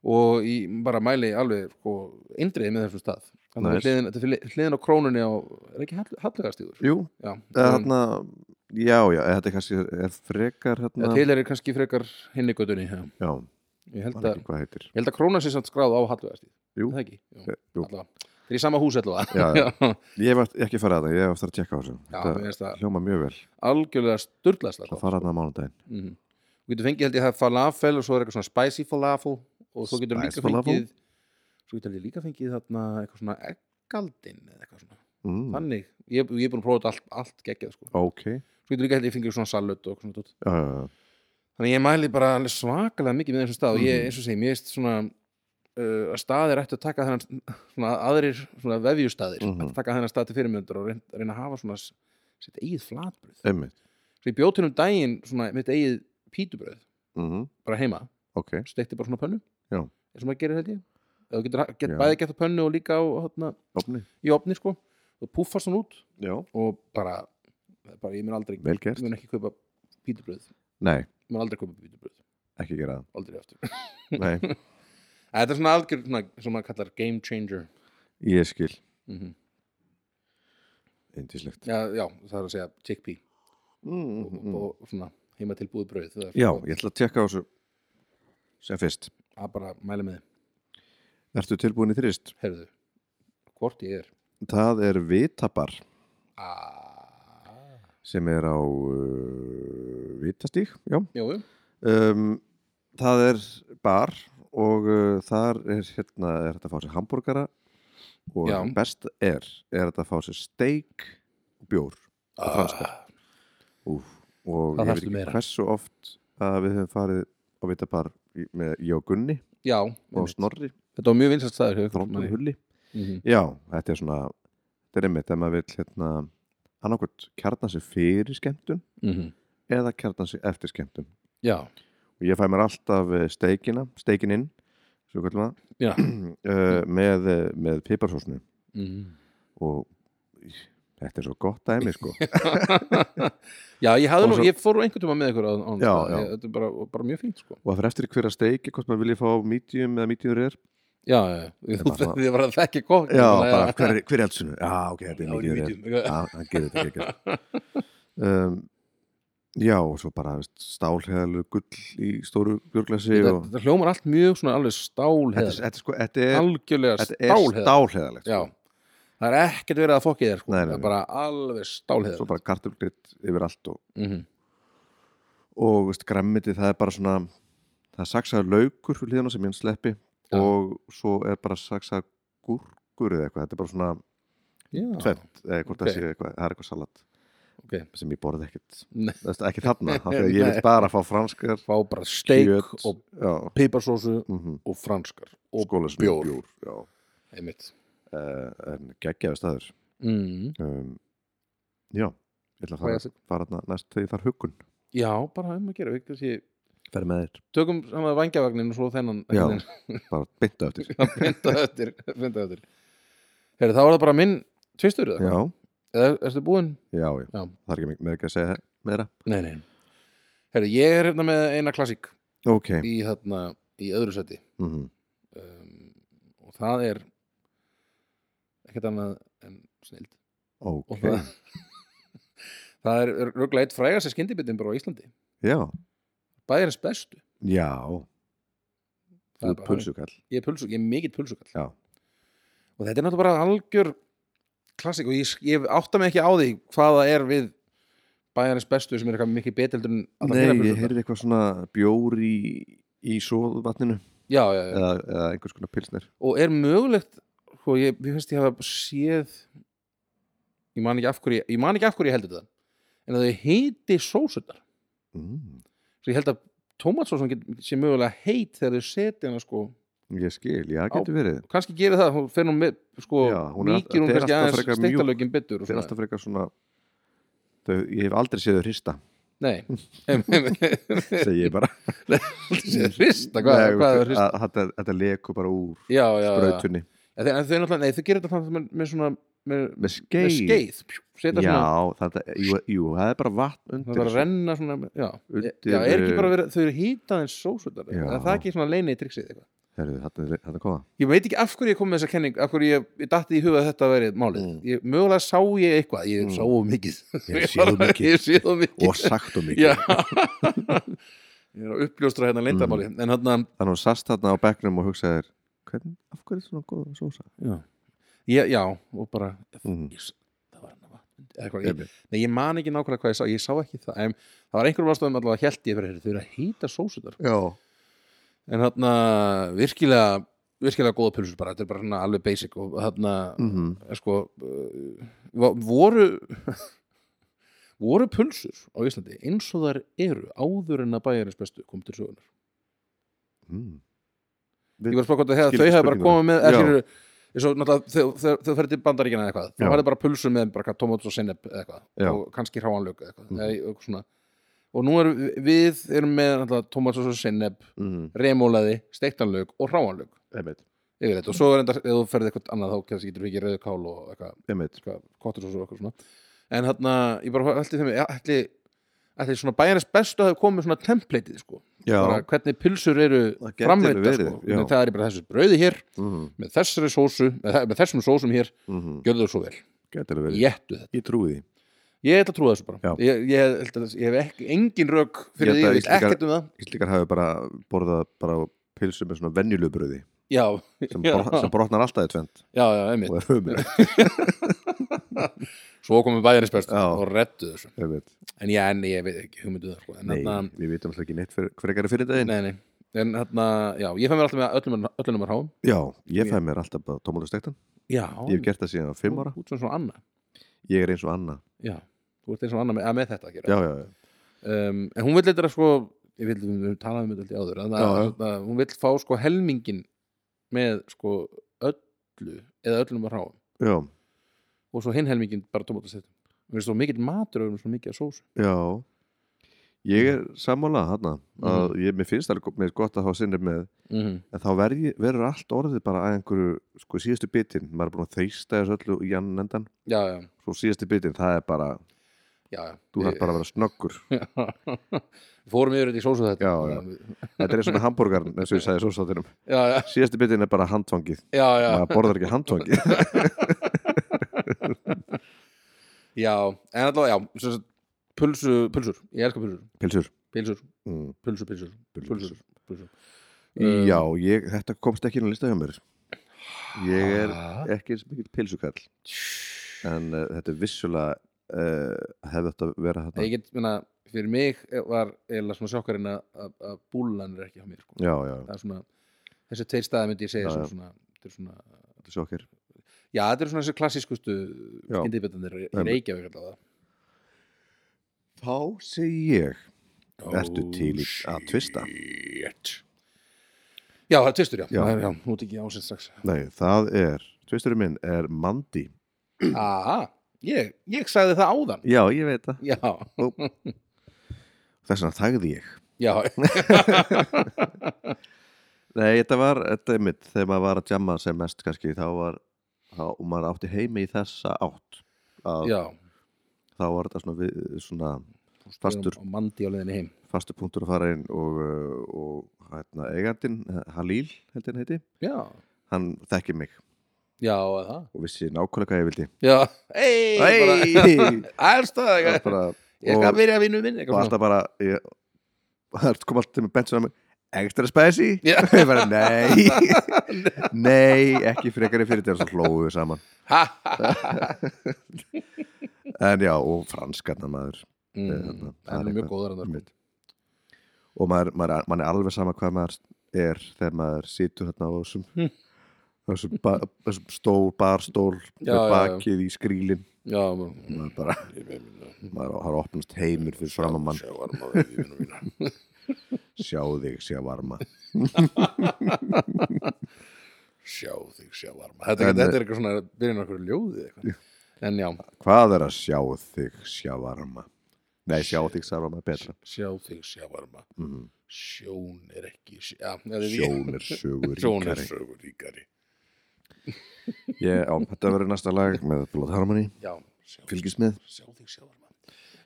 [SPEAKER 2] og ég bara mæli alveg sko, eindriðið með þessum stað Þannig að
[SPEAKER 1] Nice.
[SPEAKER 2] hliðin, þetta er fyrir hliðin á krónunni á, er ekki hallegastíður
[SPEAKER 1] jú,
[SPEAKER 2] já,
[SPEAKER 1] eða
[SPEAKER 2] um,
[SPEAKER 1] þarna já, já, eða þetta er kannski er frekar
[SPEAKER 2] ja,
[SPEAKER 1] hérna,
[SPEAKER 2] til er kannski frekar hinni göttunni já.
[SPEAKER 1] já,
[SPEAKER 2] ég held
[SPEAKER 1] mann
[SPEAKER 2] að
[SPEAKER 1] ekki hvað heitir
[SPEAKER 2] Ég held að krónan sé samt skráð á hallegastíð
[SPEAKER 1] Jú.
[SPEAKER 2] Það ekki? Jú,
[SPEAKER 1] jú.
[SPEAKER 2] allavega Þeir í sama hús allavega.
[SPEAKER 1] Já, já.
[SPEAKER 2] (laughs) já,
[SPEAKER 1] Ég hef aft- ekki farið að það, ég hef aftur að tjekka á þessu
[SPEAKER 2] já
[SPEAKER 1] Þetta
[SPEAKER 2] mér finnst það
[SPEAKER 1] hljóma mjög vel
[SPEAKER 2] algjörlega sturdlæsla.
[SPEAKER 1] Það fara þarna á mánudaginn
[SPEAKER 2] Mm. Þú getur fengið held ég það falafel og svo er eitthvað svona spicy falafel og svo getur
[SPEAKER 1] Spice
[SPEAKER 2] líka
[SPEAKER 1] falafel?
[SPEAKER 2] fengið svo getur líka fengið þarna eitthvað svona eggaldin eða eitthvað svona.
[SPEAKER 1] mm.
[SPEAKER 2] Þannig, ég, ég er búin að prófa þetta allt, allt geggjað sko.
[SPEAKER 1] Ok Uh, já,
[SPEAKER 2] Svo getur líka held ég fengið svona salut og eitthvað svona tótt.
[SPEAKER 1] já, já.
[SPEAKER 2] Þannig ég mæli bara alveg svakalega mikið með þessum stað og ég,
[SPEAKER 1] Mhm.
[SPEAKER 2] eins og segjum, ég veist svona uh, að staðir ættu að taka þennan svona aðrir svona vefjustaðir mm
[SPEAKER 1] Mhm.
[SPEAKER 2] -hmm. að taka þennan stað til fyrirmyndur og reyna, reyna að hafa svona s- sitt eigið flatbröð.
[SPEAKER 1] Einmitt
[SPEAKER 2] Svo ég bjóð til um daginn svona mitt eigið pítubröð
[SPEAKER 1] mm.
[SPEAKER 2] bara heima,
[SPEAKER 1] Ok
[SPEAKER 2] steikti bara svona á pönnu
[SPEAKER 1] Já.
[SPEAKER 2] eins og maður gerir held ég. Eða þú getur get,
[SPEAKER 1] Já.
[SPEAKER 2] bæði gett á pönnu og líka á, hátna,
[SPEAKER 1] Opni
[SPEAKER 2] í opni sko og púffast hann út
[SPEAKER 1] Já
[SPEAKER 2] og bara, bara ég mun aldrei
[SPEAKER 1] Vel
[SPEAKER 2] ég
[SPEAKER 1] gert
[SPEAKER 2] mun ekki kaupa pítubröð ég
[SPEAKER 1] Nei,
[SPEAKER 2] mun aldrei kaupa pítubröð,
[SPEAKER 1] ekki gera
[SPEAKER 2] (laughs) aldrei aftur
[SPEAKER 1] það Nei,
[SPEAKER 2] Æ, Þetta er svona algjör, svona, sem maður kallar game changer
[SPEAKER 1] ég skil
[SPEAKER 2] mm
[SPEAKER 1] Indislegt
[SPEAKER 2] já, já, það er að segja chickpea
[SPEAKER 1] mm,
[SPEAKER 2] mm og svona heima tilbúið brauð það er
[SPEAKER 1] Já, ég ætla að tjekka á þessu sem fyrst
[SPEAKER 2] að bara mæla með, þið.
[SPEAKER 1] Ertu tilbúin í þrist?
[SPEAKER 2] heyrðu hvort ég er
[SPEAKER 1] Það er Vitabar
[SPEAKER 2] ah.
[SPEAKER 1] sem er á uh, Vitastíg, já
[SPEAKER 2] Jú, jú.
[SPEAKER 1] um, Það er bar og uh, þar er hérna er þetta að fá sér hambúrgara og
[SPEAKER 2] Já.
[SPEAKER 1] best er er þetta að fá sér steik og bjór og franskar
[SPEAKER 2] Ah.
[SPEAKER 1] Úf, og
[SPEAKER 2] Það
[SPEAKER 1] ég
[SPEAKER 2] þarftu
[SPEAKER 1] veit
[SPEAKER 2] meira.
[SPEAKER 1] ekki hversu oft að við höfum farið á Vitabar í- með ég og Gunni
[SPEAKER 2] Já,
[SPEAKER 1] og
[SPEAKER 2] einmitt.
[SPEAKER 1] Snorri
[SPEAKER 2] þetta var mjög vinsast staður hjá ykkur,
[SPEAKER 1] Þróttur
[SPEAKER 2] manni.
[SPEAKER 1] Hulli
[SPEAKER 2] Mhm.
[SPEAKER 1] Já, þetta er svona þetta er einmitt ef maður vill hérna annarkvæmt kjarna sig fyrir skemmtun
[SPEAKER 2] Mhm.
[SPEAKER 1] eða kjarna sig eftir skemmtun
[SPEAKER 2] Já,
[SPEAKER 1] og ég fæ mér alltaf eh, steikina steikin inn svo kallum það
[SPEAKER 2] já
[SPEAKER 1] (clears throat) uh, með, eh, með piparsósnu
[SPEAKER 2] Mhm.
[SPEAKER 1] og þetta er svo gott dæmi (laughs) sko
[SPEAKER 2] Já, ég, hafði
[SPEAKER 1] Og
[SPEAKER 2] nú,
[SPEAKER 1] svo-
[SPEAKER 2] ég fór einhvern tíma með ykkur á, á,
[SPEAKER 1] Já,
[SPEAKER 2] á-
[SPEAKER 1] já.
[SPEAKER 2] ég- Þetta er bara, bara mjög fínt sko
[SPEAKER 1] og það fyrir eftir hverja steiki hvort maður vilja fá medium eða medium rare
[SPEAKER 2] Já, já, já. þú
[SPEAKER 1] bara svona-
[SPEAKER 2] þið var að þekki kokk
[SPEAKER 1] já, bara hver, hver er eldsunu já, ok, þetta er medium rare
[SPEAKER 2] mítjum
[SPEAKER 1] já, það gerir þetta ekki (laughs) um, já, og svo bara veist, stálheðalu gull í stóru björglasi
[SPEAKER 2] þetta,
[SPEAKER 1] og
[SPEAKER 2] þetta hljómar allt mjög svona alveg
[SPEAKER 1] þetta, er-
[SPEAKER 2] stálheðalegt
[SPEAKER 1] þetta, er sko, þetta er,
[SPEAKER 2] algjörlega
[SPEAKER 1] þetta er
[SPEAKER 2] stálheðalegt
[SPEAKER 1] stálheðalegt
[SPEAKER 2] já, það er ekkert verið að fokki þér sko.
[SPEAKER 1] Nei, nei,
[SPEAKER 2] það
[SPEAKER 1] nei.
[SPEAKER 2] er bara alveg
[SPEAKER 1] svo
[SPEAKER 2] stálheðalegt
[SPEAKER 1] bara kartulgritt yfir allt og
[SPEAKER 2] mm -hmm.
[SPEAKER 1] og veist, græmmiti það er bara svona það er saksaður laukur fyrir hliðina sem ég sleppi
[SPEAKER 2] Já.
[SPEAKER 1] og svo er bara saksaður gúrkur eða eitthvað, þetta er bara svona tvent eða hvort
[SPEAKER 2] ok.
[SPEAKER 1] það sé eitthvað, það er eitthvað salat
[SPEAKER 2] Ok.
[SPEAKER 1] sem ég borði ekkit
[SPEAKER 2] Nei.
[SPEAKER 1] Þess, ekki
[SPEAKER 2] (laughs)
[SPEAKER 1] þarna, af því að ég
[SPEAKER 2] Nei.
[SPEAKER 1] vil bara fá franskar
[SPEAKER 2] fá bara steik
[SPEAKER 1] kjöt, Sko.
[SPEAKER 2] og
[SPEAKER 1] já,
[SPEAKER 2] piparsósu
[SPEAKER 1] mm -hmm,
[SPEAKER 2] og franskar og
[SPEAKER 1] skólasnur,
[SPEAKER 2] bjór.
[SPEAKER 1] bjór já,
[SPEAKER 2] einmitt
[SPEAKER 1] uh, en geggjaði staður
[SPEAKER 2] mm.
[SPEAKER 1] um, já, ég ætla að fara,
[SPEAKER 2] Hvað er
[SPEAKER 1] fara þarna næst þegar þar huggun
[SPEAKER 2] já, bara um að gera við kannski
[SPEAKER 1] fer með þér,
[SPEAKER 2] tökum saman vangjavagnin og svo þennan
[SPEAKER 1] Já. bara bynda
[SPEAKER 2] (laughs)
[SPEAKER 1] eftir
[SPEAKER 2] finda öttir finda öttir Heri, þá er það bara minn tvistur eða
[SPEAKER 1] já,
[SPEAKER 2] Eða erstu búinn?
[SPEAKER 1] já, já,
[SPEAKER 2] Já.
[SPEAKER 1] það er ekki mikið- með ekki að segja meira
[SPEAKER 2] Nei, nei Heri, ég er hérna með eina klassík
[SPEAKER 1] ok,
[SPEAKER 2] í, þarna, í öðru seti
[SPEAKER 1] mhm
[SPEAKER 2] um, og það er ekkert annað en snild
[SPEAKER 1] Ok,
[SPEAKER 2] og það, (laughs) það er röglega eitt frægast skyndibitin bara á Íslandi
[SPEAKER 1] já,
[SPEAKER 2] bæjarins bestu
[SPEAKER 1] já
[SPEAKER 2] Það
[SPEAKER 1] Þú
[SPEAKER 2] er
[SPEAKER 1] er
[SPEAKER 2] bara
[SPEAKER 1] pulsukall
[SPEAKER 2] ég er, pulsu, ég er mikill pulsukall
[SPEAKER 1] Já.
[SPEAKER 2] og þetta er náttúrulega bara algjör klassik og ég, ég átta mig ekki á því hvað það er við bæjarins bestu sem er eitthvað mikið beteldur en
[SPEAKER 1] Nei,
[SPEAKER 2] allar hinar
[SPEAKER 1] ég
[SPEAKER 2] pulsurnar.
[SPEAKER 1] heyrði eitthvað svona bjór í, í sóðvatninu
[SPEAKER 2] já, já, já.
[SPEAKER 1] eða, eða einhvers konar pilsner
[SPEAKER 2] og er mögulegt sko, ég, ég finnst ég hafa séð ég man ekki af hverju ég man ekki af hverju ég heldur það en að þau heiti sósunar
[SPEAKER 1] mm,
[SPEAKER 2] svo ég held að tómatsósun get- sé mögulega heit þegar þau setja hana sko
[SPEAKER 1] Ég skil, já, getur verið
[SPEAKER 2] og kannski gerir það, hún fer hún með sko,
[SPEAKER 1] Já, hún er allt-
[SPEAKER 2] mikið hún
[SPEAKER 1] þetta er alltaf
[SPEAKER 2] kannski aðeins
[SPEAKER 1] frekar mjúk.
[SPEAKER 2] steiktalögin
[SPEAKER 1] Þeir
[SPEAKER 2] betur og
[SPEAKER 1] er
[SPEAKER 2] svona.
[SPEAKER 1] alltaf frekar svona þau, Ég hef aldrei séð þau hrista
[SPEAKER 2] nei (laughs) þetta
[SPEAKER 1] segi ég
[SPEAKER 2] (laughs)
[SPEAKER 1] bara
[SPEAKER 2] sé hrista, hvað,
[SPEAKER 1] Nei, Ah,
[SPEAKER 2] hvað
[SPEAKER 1] að-
[SPEAKER 2] er hrista
[SPEAKER 1] að Þetta þetta leku bara úr
[SPEAKER 2] já, já, já,
[SPEAKER 1] brautunni
[SPEAKER 2] en þau, en þau náttúrulega, nei, þau gerir þetta með, með svona, með,
[SPEAKER 1] með
[SPEAKER 2] með
[SPEAKER 1] skeið
[SPEAKER 2] skeið pjú, setja
[SPEAKER 1] Já,
[SPEAKER 2] svona,
[SPEAKER 1] þetta, jú, jú, það er bara vatn
[SPEAKER 2] það er bara
[SPEAKER 1] undir
[SPEAKER 2] að renna svona, já
[SPEAKER 1] Undir,
[SPEAKER 2] já, er ekki bara
[SPEAKER 1] eh,
[SPEAKER 2] verið, þau eru hýtað eins sósutar,
[SPEAKER 1] Já.
[SPEAKER 2] það er ekki svona leini triksið eitthvað
[SPEAKER 1] Herðu, þetta, þetta koma
[SPEAKER 2] (laughs) Ég veit ekki af hverju ég kom með þessa kenning, af hverju ég, ég datti í huga að þetta verið málið.
[SPEAKER 1] Mm.
[SPEAKER 2] Ég, mögulega sá ég eitthvað, ég
[SPEAKER 1] Mm.
[SPEAKER 2] sá of mikið.
[SPEAKER 1] Ég sé þú mikið.
[SPEAKER 2] (laughs) ég sé þú mikið.
[SPEAKER 1] Og sagt og mikið
[SPEAKER 2] Já (laughs) Ég er að uppljóstra hérna leindamáli
[SPEAKER 1] Mm.
[SPEAKER 2] En hann
[SPEAKER 1] þannig að hún sast þarna á bekknum og hugsaði þér, hvernig, af hverju er svona góða sósa?
[SPEAKER 2] já. ég, já, og bara
[SPEAKER 1] Mhm.
[SPEAKER 2] ég, s- það var hann að vatn eða eitthvað, ég, nei, ég man ekki nákvæmlega hvað ég sá, ég sá ekki það en það var einhverjum ástæðum allavega held ég fyrir þau eru að heita sósutar
[SPEAKER 1] Já,
[SPEAKER 2] en þarna virkilega virkilega góða pulsur bara, þetta er bara svona alveg basic og þarna,
[SPEAKER 1] mhm,
[SPEAKER 2] sko uh, va- voru (laughs) voru pulsur á Íslandi eins og þar eru áður en að bæjarins bestu kom til sögunar
[SPEAKER 1] mhm
[SPEAKER 2] ég var að spá hvort að hefða-
[SPEAKER 1] Skil-
[SPEAKER 2] þau hefði bara
[SPEAKER 1] spurninguna.
[SPEAKER 2] komið með
[SPEAKER 1] Já.
[SPEAKER 2] skilur, eins og náttúrulega þegar- þegar þau ferði til bandaríkina eða eitthvað þá
[SPEAKER 1] Já.
[SPEAKER 2] hefði bara pulsum með bara eitthvað tómat og sennep eða eitthvað
[SPEAKER 1] Já.
[SPEAKER 2] og kannski hráanlög eða eitthvað,
[SPEAKER 1] Mhm.
[SPEAKER 2] eða eitthvað svona. og nú erum við- við erum með tómat og sennep,
[SPEAKER 1] mhm,
[SPEAKER 2] remólaði steiktanlög og hráanlög
[SPEAKER 1] einmitt,
[SPEAKER 2] yfir þetta og svo er enda, ef þú ferði eitthvað annað þá kannski getur við ekki rauðkál og eitthvað
[SPEAKER 1] einmitt
[SPEAKER 2] kottur og svo eitthvað svona en þarna, ég bara ætli þeim ætli, ætli svona bæjarins bestu að hafa komið svona templateið sko
[SPEAKER 1] Já,
[SPEAKER 2] bara hvernig pulsur eru
[SPEAKER 1] Það gæti
[SPEAKER 2] framleita
[SPEAKER 1] alveg verið,
[SPEAKER 2] sko.
[SPEAKER 1] já.
[SPEAKER 2] En það er bara þessu brauði hér
[SPEAKER 1] mhm,
[SPEAKER 2] með þessari sósu, með, þe- með þessum sósum hér
[SPEAKER 1] mhm
[SPEAKER 2] gjörðu þau svo vel,
[SPEAKER 1] Gæti alveg verið
[SPEAKER 2] jættu þetta
[SPEAKER 1] Ég trúi því
[SPEAKER 2] ég ætla að trúa þessu bara
[SPEAKER 1] Já.
[SPEAKER 2] ég, ég, held að- ég hef ekki, engin rök
[SPEAKER 1] Ég
[SPEAKER 2] fyrir
[SPEAKER 1] held
[SPEAKER 2] því,
[SPEAKER 1] að
[SPEAKER 2] ég veist
[SPEAKER 1] Íslendingar-
[SPEAKER 2] ekkert um það
[SPEAKER 1] Íslendingar hafi bara borðað bara pilsu með svona venjulubröði
[SPEAKER 2] já,
[SPEAKER 1] sem,
[SPEAKER 2] (laughs) já,
[SPEAKER 1] bor, sem brotnar alltaf í tvend
[SPEAKER 2] já, já, einmitt
[SPEAKER 1] og er (laughs) höfumir
[SPEAKER 2] svo komum bæjarins bestu
[SPEAKER 1] Já.
[SPEAKER 2] og rettu þessu
[SPEAKER 1] Einmitt.
[SPEAKER 2] en já, en ég veit ekki hugmynduð sko. en
[SPEAKER 1] Nei,
[SPEAKER 2] þarna-
[SPEAKER 1] við vitum alltaf ekki neitt fyrir, frekari fyrir daginn
[SPEAKER 2] nei, nei. En hérna, já, ég fæ mér alltaf með öllum, öllum nummer háum.
[SPEAKER 1] Já, ég fæ mér alltaf bara tómulustektan
[SPEAKER 2] Já.
[SPEAKER 1] Ég hef gert það síðan á fimm ára
[SPEAKER 2] Út sem svona annað.
[SPEAKER 1] Ég er eins og Anna
[SPEAKER 2] Já. Þú ert eins og annað með, að með þetta
[SPEAKER 1] Já,
[SPEAKER 2] að gera.
[SPEAKER 1] já, já,
[SPEAKER 2] Um, en hún vill eitthvað sko, ég vil, við höfum talað um þetta aldrei áður, en
[SPEAKER 1] Já, já.
[SPEAKER 2] að, að hún vill fá sko helmingin með sko öllu, eða öllum nummer háum.
[SPEAKER 1] já,
[SPEAKER 2] Og svo hinn helmingin bara tómatastettum. Við erum svo mikill matur og við erum svo mikið að sósu.
[SPEAKER 1] já. Ég er sammála hana að ég, mér finnst alveg mér er gott að hafa sinnir með
[SPEAKER 2] Mm -hmm.
[SPEAKER 1] en þá verði, verður allt orðið bara að einhverju sko síðustu bitin, maður er búin að þeysta þessu öllu í annan endan,
[SPEAKER 2] Já, já,
[SPEAKER 1] svo síðustu bitin það er bara,
[SPEAKER 2] já, já.
[SPEAKER 1] þú þarf bara að vera snöggur
[SPEAKER 2] (laughs) Við fórum yfir þetta í sósu þetta.
[SPEAKER 1] Já, já. þetta er svona hambúrgarn eins og ég sagði svo státtinum,
[SPEAKER 2] Já, já,
[SPEAKER 1] síðustu bitin er bara handfangið,
[SPEAKER 2] já, já.
[SPEAKER 1] maður borðar ekki
[SPEAKER 2] (laughs)
[SPEAKER 1] handfangið
[SPEAKER 2] Já, en allavega, já, sem sagt, pulsu, pulsur, ég elska pulsur,
[SPEAKER 1] pilsur
[SPEAKER 2] pilsur,
[SPEAKER 1] mm.
[SPEAKER 2] pulsur, pulsur, pulsur, pulsur. Mm.
[SPEAKER 1] já, ég, þetta komst ekki inn á lista hjá mér ég er
[SPEAKER 2] Ha?
[SPEAKER 1] ekki eins mikið pilsukall en uh, þetta er vissulega uh, hefði þetta að vera þetta
[SPEAKER 2] Ég get, minna, fyrir mig var eða svona sjokkarinn að- að að búlan er ekki á mér, sko.
[SPEAKER 1] já, já,
[SPEAKER 2] Það er svona, þessi tveir staði myndi ég segja
[SPEAKER 1] Já,
[SPEAKER 2] sem
[SPEAKER 1] já.
[SPEAKER 2] svona, þetta er svona,
[SPEAKER 1] þetta er sjokkir
[SPEAKER 2] já, þetta er svona þessi klassískustu
[SPEAKER 1] Já.
[SPEAKER 2] skyndibitannir í
[SPEAKER 1] Einmitt.
[SPEAKER 2] Reykjavík allavega.
[SPEAKER 1] þá segi ég Ertu til í að tvista?
[SPEAKER 2] Oh, Shit. Já, það er tvistur, já.
[SPEAKER 1] Já.
[SPEAKER 2] Já, já, nú tekið ég ásett strax.
[SPEAKER 1] Nei, það er, tvisturinn minn er Mandi
[SPEAKER 2] Aha, ég, ég sagði það áðan.
[SPEAKER 1] Já, ég veit það
[SPEAKER 2] Já,
[SPEAKER 1] Þess vegna þagði ég
[SPEAKER 2] já,
[SPEAKER 1] Nei, þetta var, þetta er mitt, þegar maður var að jamma sem mest kannski, þá var þá, og maður átti heimi í þessa átt að
[SPEAKER 2] já
[SPEAKER 1] þá var þetta svona, við, svona fastur,
[SPEAKER 2] og mandi á leiðinni heim
[SPEAKER 1] fastur punktur að fara inn og, uh, og hérna, eigandinn, eh, Halil held ég hann heiti,
[SPEAKER 2] Já,
[SPEAKER 1] hann þekki mig
[SPEAKER 2] já, eða það
[SPEAKER 1] og vissi nákvæmlega hvað ég vildi
[SPEAKER 2] Já, ei, (laughs)
[SPEAKER 1] Hey! (laughs) Það
[SPEAKER 2] Allstað,
[SPEAKER 1] var
[SPEAKER 2] ég
[SPEAKER 1] bara,
[SPEAKER 2] ég skal verið að vinna minn
[SPEAKER 1] og alltaf bara ég, það kom alltaf til með bensin að mig extra spicy
[SPEAKER 2] Já.
[SPEAKER 1] ég bara
[SPEAKER 2] (laughs)
[SPEAKER 1] nei nei, ekki frekari fyrir þetta og svo hlóðu við saman en já, og franskarna maður
[SPEAKER 2] mm,
[SPEAKER 1] Þarna, það
[SPEAKER 2] Það
[SPEAKER 1] er
[SPEAKER 2] er mjög
[SPEAKER 1] eitthvað.
[SPEAKER 2] góður en
[SPEAKER 1] Einmitt. og maður, maður, maður er alveg sama hvað maður er þegar maður situr hérna á þessum
[SPEAKER 2] Hm.
[SPEAKER 1] þessum, ba þessum stól, barstól
[SPEAKER 2] Já,
[SPEAKER 1] með
[SPEAKER 2] já, já.
[SPEAKER 1] bakið í skrílin
[SPEAKER 2] það
[SPEAKER 1] maður bara, maður har opnast heimur fyrir framan mann,
[SPEAKER 2] Já,
[SPEAKER 1] sjá þig, sjá varma
[SPEAKER 2] sjá þig, sjá varma
[SPEAKER 1] En,
[SPEAKER 2] Þetta
[SPEAKER 1] eh,
[SPEAKER 2] er þetta er eitthvað svona, byrjun okkur ljóði eitthvað En já,
[SPEAKER 1] Hvað er að sjá þig sjá varma? Nei, sjá þig sjá varma er betra.
[SPEAKER 2] sjá þig, sjá varma
[SPEAKER 1] Mm.
[SPEAKER 2] Sjón er ekki já, þetta er-
[SPEAKER 1] Sjón er sögur
[SPEAKER 2] Sjón er
[SPEAKER 1] ríkari.
[SPEAKER 2] sögur ríkari
[SPEAKER 1] Ég, á, þetta verður næsta lag með Blood Harmony,
[SPEAKER 2] Já, sjá
[SPEAKER 1] fylgist með.
[SPEAKER 2] sjá þig sjálfar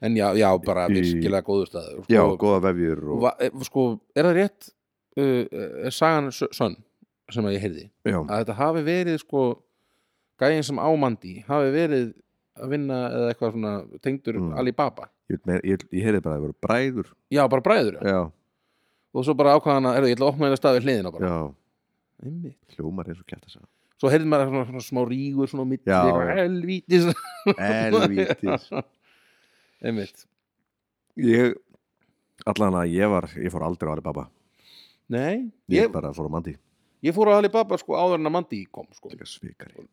[SPEAKER 2] en já, já, bara
[SPEAKER 1] Í-
[SPEAKER 2] virkilega góður staður
[SPEAKER 1] Já,
[SPEAKER 2] sko,
[SPEAKER 1] góða vefjur og...
[SPEAKER 2] va- e- sko, er það rétt uh, er sagan sö- sönn sem að ég heyrði,
[SPEAKER 1] Já,
[SPEAKER 2] að þetta hafi verið sko, gæin sem ámandi hafi verið að vinna eða eitthvað svona tengdur
[SPEAKER 1] Mm.
[SPEAKER 2] Alibaba
[SPEAKER 1] ég, vil meira- ég, ég heyrði bara að það voru bræður.
[SPEAKER 2] já, bara bræður,
[SPEAKER 1] Já,
[SPEAKER 2] og svo bara ákvaðan að, er það, ég ætla að opna einu stað við hliðina bara,
[SPEAKER 1] já,
[SPEAKER 2] einmitt
[SPEAKER 1] hljómar eins og kjæft að segja.
[SPEAKER 2] svo heyrði maður svona, svona smá rígur svona á milli,
[SPEAKER 1] Já,
[SPEAKER 2] eitthvað,
[SPEAKER 1] já.
[SPEAKER 2] helvítis (laughs)
[SPEAKER 1] Elvítis
[SPEAKER 2] einmitt,
[SPEAKER 1] Ég, allan að ég var Ég fór aldrei á Alibaba
[SPEAKER 2] nei
[SPEAKER 1] Ég
[SPEAKER 2] ég,
[SPEAKER 1] bara fór á Mandi
[SPEAKER 2] ég fór á Alibaba sko áður en að mandi kom sko.
[SPEAKER 1] Líka svikari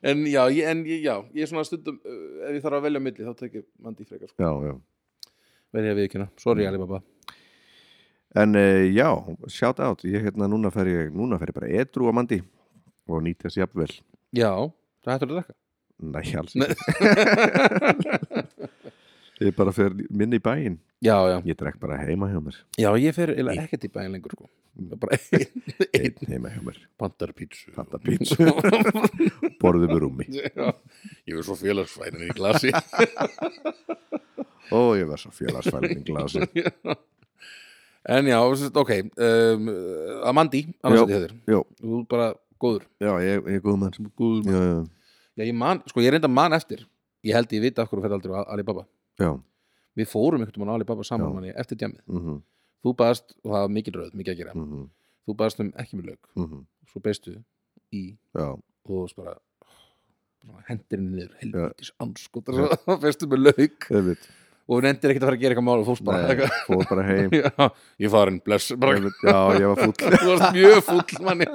[SPEAKER 2] en já, ég, en ég, já, ég svona stundum uh, ef ég þarf að velja á milli þá tek ég mandi frekar sko.
[SPEAKER 1] Já, já
[SPEAKER 2] verði ég að viðkjöna, sorry Alibaba
[SPEAKER 1] En uh, já, shout out Ég hérna núna fer ég Núna fer ég bara edru á Mandi Og nýti þessi jafnvel
[SPEAKER 2] já, það hættur að drekka
[SPEAKER 1] Nei, alls (laughs) ekki Ég bara fer minni í bæinn
[SPEAKER 2] já, já,
[SPEAKER 1] Ég drekk bara heima hjá mér
[SPEAKER 2] já, ég fer eiginlega ekkert í bæinn lengur sko.
[SPEAKER 1] Mm.
[SPEAKER 2] bara (laughs) einn ein,
[SPEAKER 1] Einn heima hjá mér
[SPEAKER 2] pantar pítsu
[SPEAKER 1] Panta pítsu
[SPEAKER 2] (laughs)
[SPEAKER 1] Borðum við rúmi
[SPEAKER 2] ég er svo félagsfænin í glasi
[SPEAKER 1] Ó, ég var svo félagsfæling glasi
[SPEAKER 2] (laughs) En já, sem sagt, ok um, Amandi, annars
[SPEAKER 1] Jó,
[SPEAKER 2] þetta hefur
[SPEAKER 1] Jó,
[SPEAKER 2] Þú er bara góður
[SPEAKER 1] já, ég, ég er góð mann
[SPEAKER 2] Góður
[SPEAKER 1] Já, já,
[SPEAKER 2] Já, ég man, sko ég reynda man eftir Ég held ég vita af hverju fyrir aldrei á Alibaba
[SPEAKER 1] já
[SPEAKER 2] Við fórum einhvern veginn á Alibaba saman
[SPEAKER 1] Já.
[SPEAKER 2] manni eftir djamið
[SPEAKER 1] mm -hmm,
[SPEAKER 2] Þú baðast, og það var mikil röð, mikið að gera
[SPEAKER 1] mm -hmm,
[SPEAKER 2] Þú baðast um ekki með lög, svo beistu í
[SPEAKER 1] mhm. Já,
[SPEAKER 2] og þú varst bara bara hendir henni niður, helvítis anskotar
[SPEAKER 1] Já.
[SPEAKER 2] (laughs) og beistu með lauk
[SPEAKER 1] auðvitað
[SPEAKER 2] og hún endir ekkert að fara að gera eitthvað mál og fórst bara
[SPEAKER 1] Nei,
[SPEAKER 2] eitthvað.
[SPEAKER 1] fór bara heim
[SPEAKER 2] Já, ég farin, bless (laughs) bara,
[SPEAKER 1] Einmitt, Já, ég var fúll
[SPEAKER 2] (laughs) þú varst mjög fúll manni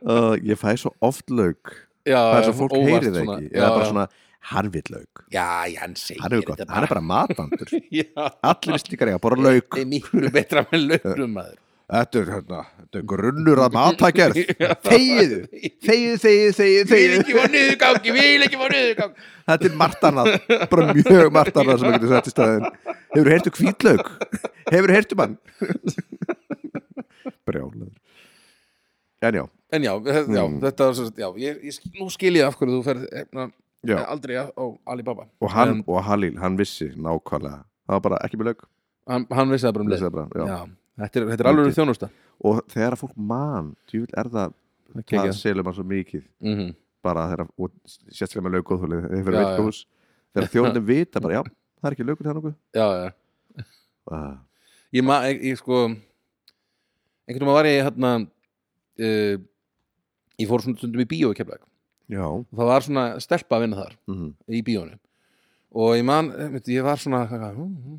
[SPEAKER 1] uh, Ég fæ svo oft lauk
[SPEAKER 2] Já,
[SPEAKER 1] Það er
[SPEAKER 2] já,
[SPEAKER 1] svo fólk
[SPEAKER 2] óvart
[SPEAKER 1] heyrir það
[SPEAKER 2] svona.
[SPEAKER 1] ekki
[SPEAKER 2] Já,
[SPEAKER 1] Eða bara
[SPEAKER 2] já.
[SPEAKER 1] svona harfið lauk
[SPEAKER 2] Já, já, hann segir
[SPEAKER 1] Hann er, gott, hann er bara matvandur
[SPEAKER 2] Já,
[SPEAKER 1] Allir slíkar eiga bara lauk
[SPEAKER 2] það er miklu betra með launum
[SPEAKER 1] (laughs)
[SPEAKER 2] maður
[SPEAKER 1] Þetta er, hérna, þetta er grunnur að
[SPEAKER 2] (laughs)
[SPEAKER 1] matagerð Þegiðu, þegiðu, þegiðu, þegiðu,
[SPEAKER 2] Vil
[SPEAKER 1] þegiðu
[SPEAKER 2] ekki fá niðurgangi, vil ekki fá niðurgangi
[SPEAKER 1] Þetta er margt annað, bara mjög margt annað sem að getur sett í staðin Hefur heyrtu hvítlauk? Hefur heyrtu mann? um Brjálaður En já,
[SPEAKER 2] En já, þe- já
[SPEAKER 1] Mm.
[SPEAKER 2] þetta var svo já, ég, ég, sk- Nú skil ég af hverju þú ferð hefna,
[SPEAKER 1] já
[SPEAKER 2] aldrei á á Alibaba
[SPEAKER 1] Og hann
[SPEAKER 2] En-
[SPEAKER 1] og Halil, hann vissi nákvæmlega Það var bara ekki með lauk
[SPEAKER 2] Hann, hann vissi það bara um leið
[SPEAKER 1] vissi það bara, já.
[SPEAKER 2] Já, þetta er, þetta er alveg
[SPEAKER 1] Mikið.
[SPEAKER 2] þjónusta
[SPEAKER 1] Og þegar að fólk man, djúvill er það
[SPEAKER 2] Kekja.
[SPEAKER 1] Það selur mann svo mikið
[SPEAKER 2] mm -hmm.
[SPEAKER 1] bara þegar, og sérstaklega með laukóðhóli þegar,
[SPEAKER 2] Já,
[SPEAKER 1] já, já. þegar þjóðnum vita bara, já, það er ekki laukur það nokkuð
[SPEAKER 2] Já, já
[SPEAKER 1] Ah,
[SPEAKER 2] Ég, ma, ég, ég sko einhvern veginn var ég hérna uh, ég fór svona stundum í bíó í keflæk
[SPEAKER 1] já
[SPEAKER 2] og það var svona stelpa að vinna þar
[SPEAKER 1] mm
[SPEAKER 2] í bíónu og ég man, einmitt, ég var svona eitthvað hú, hú,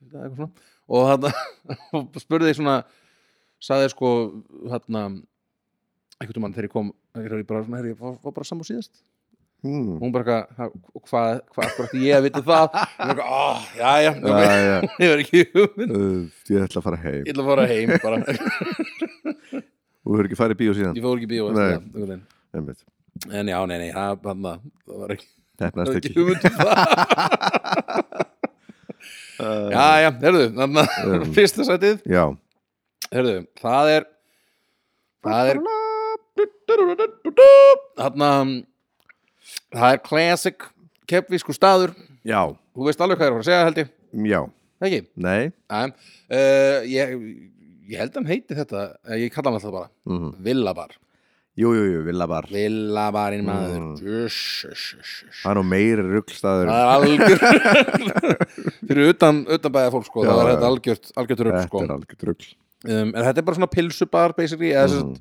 [SPEAKER 2] hm, eitthvað svona og hann (laughs) spurði ég svona sagði ég sko hérna einhvern tímann þegar ég kom þegar ég bara, svona, "Heyrðu, ég var, var bara saman síðast
[SPEAKER 1] -hmm.
[SPEAKER 2] og hún bara eitthvað, "Ha, og hvað hva, hva, ætti ég að vita það og ég bara, "Ah, já, já,
[SPEAKER 1] Já,
[SPEAKER 2] já,
[SPEAKER 1] já, (laughs)
[SPEAKER 2] ég var ekki hugmynd
[SPEAKER 1] uh, ég ætla að fara heim
[SPEAKER 2] ég ætla að fara heim bara
[SPEAKER 1] og þú hefur ekki farið í bíó síðan
[SPEAKER 2] ég fór ekki í bíó eftir
[SPEAKER 1] Nei.
[SPEAKER 2] það, einhvern veginn.
[SPEAKER 1] Einmitt.
[SPEAKER 2] en já, nei, nei, það, þarna, það var ekki, það
[SPEAKER 1] hefnaðist
[SPEAKER 2] var ekki
[SPEAKER 1] ekki
[SPEAKER 2] hugmynd um það
[SPEAKER 1] uh,
[SPEAKER 2] já, já, herðu, þarna
[SPEAKER 1] Um.
[SPEAKER 2] (laughs) fyrsta sætið
[SPEAKER 1] já,
[SPEAKER 2] Herðu, það er Það er Þarna Það er classic Kefvísku staður
[SPEAKER 1] já,
[SPEAKER 2] Þú veist alveg hvað ég er að fara að segja held ég
[SPEAKER 1] já
[SPEAKER 2] Það Ekki,
[SPEAKER 1] nei
[SPEAKER 2] aðeim uh, ég, ég held hann heiti þetta eh, Ég kalla hann alltaf bara
[SPEAKER 1] mm
[SPEAKER 2] Villabar
[SPEAKER 1] jú, jú, jú, villabar
[SPEAKER 2] Villabarinn maður
[SPEAKER 1] Mm.
[SPEAKER 2] Jöss, jöss, jöss, jöss.
[SPEAKER 1] það er nú meiri ruggstaður
[SPEAKER 2] Það er algjör (laughs) Fyrir utan, utan bæða fólk sko
[SPEAKER 1] Já,
[SPEAKER 2] Það var
[SPEAKER 1] já.
[SPEAKER 2] þetta algjört, algjört rögg sko
[SPEAKER 1] þetta er alveg rugg
[SPEAKER 2] um, en þetta er bara svona pilsubar basically, eða mm.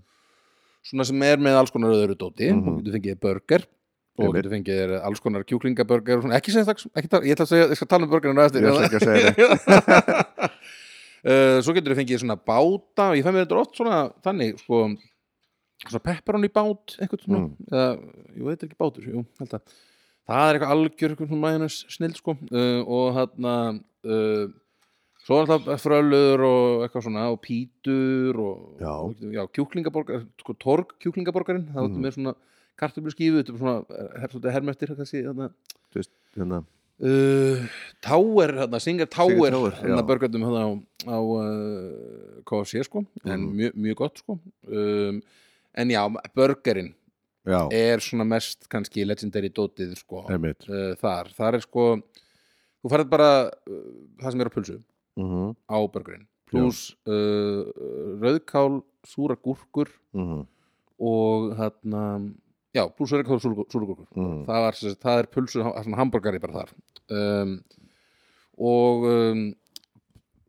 [SPEAKER 2] svona sem er með alls konar öðru dóti
[SPEAKER 1] Mhm.
[SPEAKER 2] og getur fengið burger og
[SPEAKER 1] Einmitt.
[SPEAKER 2] getur fengið þér alls konar kjúklingaburger og svona, ekki segja það, ekki tala, ég ætla að segja ég skal tala um burgerinn á eftir
[SPEAKER 1] Ég ætla ekki að segja
[SPEAKER 2] (laughs) uh, svo getur fengið svona báta og ég fæ mér þetta oft svona þannig sko, svona pepperoni bát eitthvað svona,
[SPEAKER 1] Mm.
[SPEAKER 2] eða jú, þetta er ekki bátur, jú, held að það er eitthvað algjör, eitthvað svona mæjunus snill sko, uh, og þarna uh, svo er alltaf frölur og eitthvað svona, og pítur og,
[SPEAKER 1] Já.
[SPEAKER 2] og já kjúklingaborgar sko, torg kjúklingaborgarinn, það
[SPEAKER 1] Mhm.
[SPEAKER 2] áttu með svona kartöfluskífu, þetta er svona her, svolítið hermöftir, kannski, þarna
[SPEAKER 1] hérna,
[SPEAKER 2] uh, Tower, þarna, Singer
[SPEAKER 1] Singer
[SPEAKER 2] Tower
[SPEAKER 1] Tower,
[SPEAKER 2] þarna
[SPEAKER 1] já.
[SPEAKER 2] börgöndum þarna á, á uh, KFC sko en
[SPEAKER 1] Mhm.
[SPEAKER 2] mjög, mjög gott sko um, en já, börgerinn
[SPEAKER 1] já,
[SPEAKER 2] er svona mest kannski legendary dótið sko uh,
[SPEAKER 1] einmitt
[SPEAKER 2] þar, þar er sko þú færið bara uh, það sem er á pulsu
[SPEAKER 1] mm -hmm.
[SPEAKER 2] á börgerinn pluss uh, rauðkál, súra gúrkur
[SPEAKER 1] Mm
[SPEAKER 2] og þarna já, pluss rauðkál, súra, súra gúrkur
[SPEAKER 1] -hmm.
[SPEAKER 2] það, var, sem sagt- það er pulsu, það er svona hamburgari bara þar um, og um,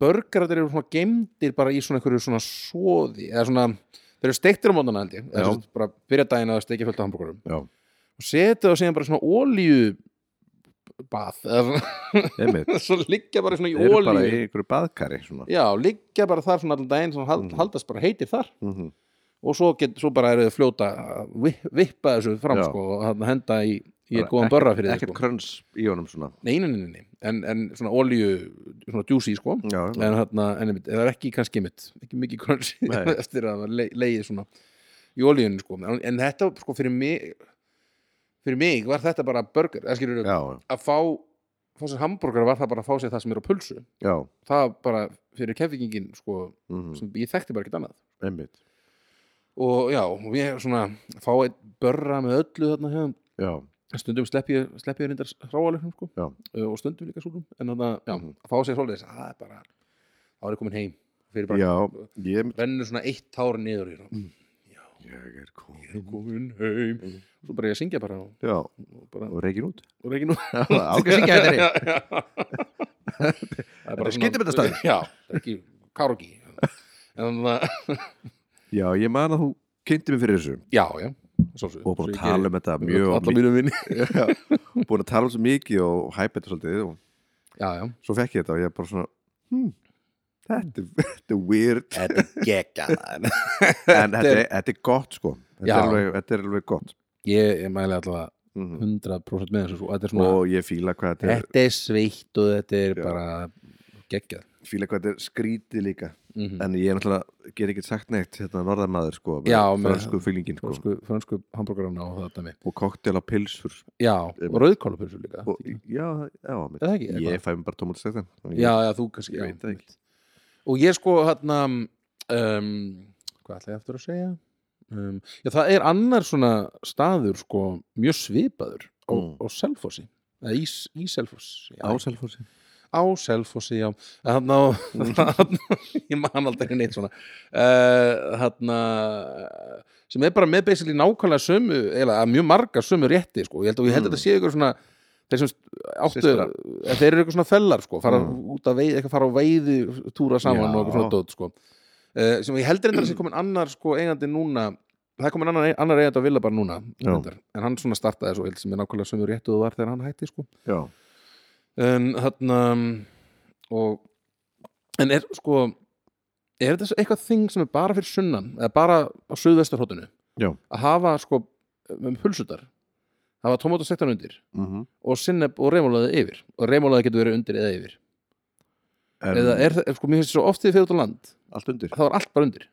[SPEAKER 2] börgarar eru svona gemdir bara í svona einhverju svona svoði eða svona, þeir eru steiktir á mótana held ég
[SPEAKER 1] Já.
[SPEAKER 2] eða sem sagt bara byrja daginn að steikja fullt af hambúrgurum
[SPEAKER 1] Já.
[SPEAKER 2] og setja það síðan bara í svona ólíu bað eða svona-
[SPEAKER 1] einmitt
[SPEAKER 2] svo liggja bara svona (laughs) í
[SPEAKER 1] Þeir eru bara í
[SPEAKER 2] ólíu
[SPEAKER 1] einhverju baðkari svona
[SPEAKER 2] já, liggja bara þar svona allan daginn svona hald,
[SPEAKER 1] Mhm.
[SPEAKER 2] haldast bara heitir þar
[SPEAKER 1] mm
[SPEAKER 2] og svo, get, svo bara eru þau fljóta að vi- vippa þessu fram
[SPEAKER 1] Já.
[SPEAKER 2] sko, og þarna henda í, í
[SPEAKER 1] Bara
[SPEAKER 2] góðan börra fyrir þig
[SPEAKER 1] Ekkert
[SPEAKER 2] sko.
[SPEAKER 1] kröns í honum svona
[SPEAKER 2] nei, nei, nei, nei, en, en svona ólíu svona djúsi sko
[SPEAKER 1] Já, já.
[SPEAKER 2] en þarna, en einmitt, það er ekki kannski mitt ekki mikið crunch
[SPEAKER 1] Nei.
[SPEAKER 2] (laughs) eftir að það leiði svona í olíunni sko, en, en þetta sko fyrir mig fyrir mig var þetta bara burger, eða skilur
[SPEAKER 1] já,
[SPEAKER 2] að fá, fá sér hambúrgar var það bara að fá sér það sem er á pulsu
[SPEAKER 1] já
[SPEAKER 2] það bara fyrir kefingin sko,
[SPEAKER 1] mhm,
[SPEAKER 2] sem ég þekkti bara ekkert annað
[SPEAKER 1] einmitt
[SPEAKER 2] og já, og ég svona fá eitt börra með öllu þarna hefum
[SPEAKER 1] Já,
[SPEAKER 2] stundum slepp ég, slepp ég reyndar hráalegnum sko,
[SPEAKER 1] Já.
[SPEAKER 2] Uh, og stundum líka súlum en þannig að, já,
[SPEAKER 1] Mhm.
[SPEAKER 2] að fá sér svoleiðis það er bara, þá er ég komin heim fyrir bara
[SPEAKER 1] já Mhm. ég,
[SPEAKER 2] rennur svona eitt tár niður í það
[SPEAKER 1] ég er komin
[SPEAKER 2] komin heim
[SPEAKER 1] Mhm.
[SPEAKER 2] og svo bara ég að syngja bara og,
[SPEAKER 1] Já,
[SPEAKER 2] og bara
[SPEAKER 1] og reikin út
[SPEAKER 2] og reygin úr
[SPEAKER 1] Ágæð syngja þetta er
[SPEAKER 2] það er
[SPEAKER 1] Þetta er skyndibitastaður.
[SPEAKER 2] já, það er ekki karogi en það,
[SPEAKER 1] Já, ég man að þú kynnti mig fyrir þessu
[SPEAKER 2] já, já svo, svo,
[SPEAKER 1] og búin að tala um þetta mjög
[SPEAKER 2] alla mínu
[SPEAKER 1] (laughs)
[SPEAKER 2] vinni
[SPEAKER 1] mikið búin að tala um þetta mikið og hæpa þetta svolítið og
[SPEAKER 2] já, já
[SPEAKER 1] svo fekk ég þetta og ég bara svona hmm, þetta, er- (laughs) þetta er
[SPEAKER 2] (laughs)
[SPEAKER 1] weird
[SPEAKER 2] þetta er gegga
[SPEAKER 1] en þetta er, þetta er gott sko þetta
[SPEAKER 2] Já.
[SPEAKER 1] er, alveg, þetta er alveg gott
[SPEAKER 2] ég, ég mæli allavega
[SPEAKER 1] Mhm.
[SPEAKER 2] 100% með þessu sko. þetta er svona,
[SPEAKER 1] og ég fíla hvað þetta er,
[SPEAKER 2] þetta er sveitt og þetta er
[SPEAKER 1] Já.
[SPEAKER 2] bara geggjað
[SPEAKER 1] fíla hvað þetta er skrítið líka
[SPEAKER 2] Mhm.
[SPEAKER 1] en ég er náttúrulega get ekki sagt neitt hérna norðarmaður sko
[SPEAKER 2] Já, með-
[SPEAKER 1] fransku fílingin sko
[SPEAKER 2] fransku, fransku hambúrgarana og þetta með
[SPEAKER 1] og koktel á pilsur
[SPEAKER 2] já, og rauðkólapulsu líka
[SPEAKER 1] og, já, já, mitt
[SPEAKER 2] Er það ekki?
[SPEAKER 1] ég fæ mér bara tómatistektan
[SPEAKER 2] já, já, þú kannski
[SPEAKER 1] ég
[SPEAKER 2] já.
[SPEAKER 1] veit það ekki
[SPEAKER 2] og ég sko hérna um, hvað ætla ég aftur að segja um, já, það er annar svona staður sko mjög svipaður á,
[SPEAKER 1] Mm.
[SPEAKER 2] á Selfossi eða í, í Selfoss já,
[SPEAKER 1] Áselfósi
[SPEAKER 2] á Selfossi, já þarna á,
[SPEAKER 1] Mm.
[SPEAKER 2] (laughs) þarna, ég man aldrei neitt svona uh, þarna sem er bara með basically nákvæmlega sömu, eða mjög marga sömu rétti sko, ég held, og ég held
[SPEAKER 1] Mm.
[SPEAKER 2] að þetta sé ykkur svona þeir sem áttu,
[SPEAKER 1] Systrar.
[SPEAKER 2] að þeir eru eitthvað svona fellar sko, fara
[SPEAKER 1] Mm.
[SPEAKER 2] út að veið, eitthvað fara á veiði túra saman
[SPEAKER 1] Já.
[SPEAKER 2] og eitthvað svona dót sko uh, sem ég heldur endur að sé komin annar sko eigandi núna það er komin annar, annar eigandi að vilja bara núna
[SPEAKER 1] Já.
[SPEAKER 2] reyndar. en hann svona startaði svo ég held sem er nákvæmlega sömu réttu og var þegar hann hætti sko
[SPEAKER 1] já,
[SPEAKER 2] en þarna um, og en er sko er þetta eitthvað þing sem er bara fyrir sunnan eða bara á suðvestarhóttinu
[SPEAKER 1] Já.
[SPEAKER 2] að hafa sko um, hulsutar hafa tomatastektan undir
[SPEAKER 1] mhm
[SPEAKER 2] og sinneb og reymólaði yfir og reymólaði getur verið undir eða yfir
[SPEAKER 1] En
[SPEAKER 2] eða er það, sko, mér finnst svo oft því fyrir út á land
[SPEAKER 1] allt undir,
[SPEAKER 2] þá er allt bara undir,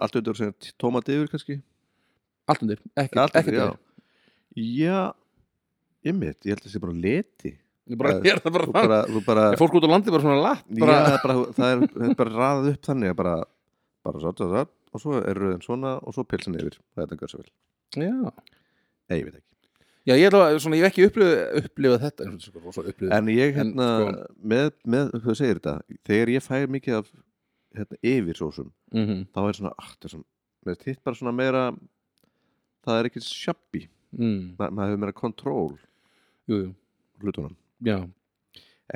[SPEAKER 1] allt undir sem sagt tómati yfir kannski
[SPEAKER 2] allt undir, ekkert,
[SPEAKER 1] Allt undir,
[SPEAKER 2] ekkert
[SPEAKER 1] já.
[SPEAKER 2] yfir.
[SPEAKER 1] Já, ég mitt, ég held að það sé bara leti
[SPEAKER 2] (laughs) Ég bara,
[SPEAKER 1] Það-
[SPEAKER 2] er það bara,
[SPEAKER 1] Þú
[SPEAKER 2] bara
[SPEAKER 1] bara, þú bara,
[SPEAKER 2] er fólk út á landi bara svona latt
[SPEAKER 1] bara,
[SPEAKER 2] bara,
[SPEAKER 1] já, bara það er, það er bara raðað upp þannig að bara, bara svo, svo, svo, og svo er röðin svona og svo pilsin yfir það er það gör svo vel,
[SPEAKER 2] já.
[SPEAKER 1] nei, ég veit ekki
[SPEAKER 2] já, ég ætla að, svona, ég hef ekki upplifað upplifað þetta eins og þessu, sko, rosa upplifað
[SPEAKER 1] en ég
[SPEAKER 2] En, sko-
[SPEAKER 1] hérna, með, með þú segir þetta, þegar ég fæ mikið af hérna, yfir sósum
[SPEAKER 2] mm
[SPEAKER 1] þá er svona, ah, það er svona, með þitt bara svona meira það er ekki sjabbi
[SPEAKER 2] mm.
[SPEAKER 1] Ma, maður hefur meira kontról
[SPEAKER 2] jú, jú,
[SPEAKER 1] hlutunum,
[SPEAKER 2] já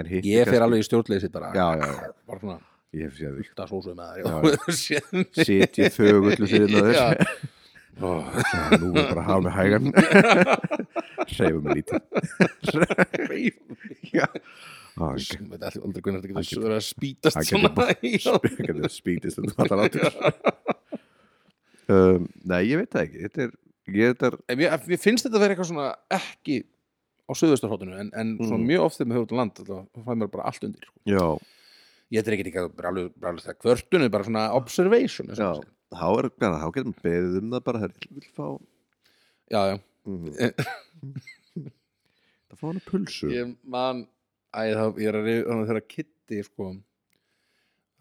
[SPEAKER 1] en hitt
[SPEAKER 2] Ég fer alveg í stjórnleysi bara
[SPEAKER 1] já, já, já,
[SPEAKER 2] bara svona (laughs)
[SPEAKER 1] ég hef séð
[SPEAKER 2] það sósuði
[SPEAKER 1] Já,
[SPEAKER 2] með það
[SPEAKER 1] því sit ég þögullu síðan að þess
[SPEAKER 2] þér
[SPEAKER 1] Já, nú er bara að hafa mig (laughs) hægan Hreyfum mig lítið Já Á,
[SPEAKER 2] Ég
[SPEAKER 1] hann
[SPEAKER 2] veit allir aldrei hvernig þetta
[SPEAKER 1] Hann getur-
[SPEAKER 2] getur verið að spýtast
[SPEAKER 1] hann getur
[SPEAKER 2] svona (laughs) Já.
[SPEAKER 1] getur spýtist en það er aldrei um, Nei, ég veit það ekki Þetta er, ég þetta er
[SPEAKER 2] En mér, mér finnst þetta að vera eitthvað svona ekki á söðustarhóttinu en, en svona
[SPEAKER 1] Mm.
[SPEAKER 2] mjög oft þegar maður höfður land þá fæði mér bara allt undir sko.
[SPEAKER 1] Já,
[SPEAKER 2] Ég þetta er ekkert ekki að bara alveg, bara alveg það kvörtunni bara svona observation sko. eins
[SPEAKER 1] já
[SPEAKER 2] og það
[SPEAKER 1] Há er, hvað, há getum við beðið um það bara Það er, vil fá
[SPEAKER 2] sé. já, já.
[SPEAKER 1] mm.
[SPEAKER 2] Eh.
[SPEAKER 1] Eh. Það fá hana pulsu
[SPEAKER 2] Ég man Æ, þá, ég er að reyða þannig þegar Kitty sko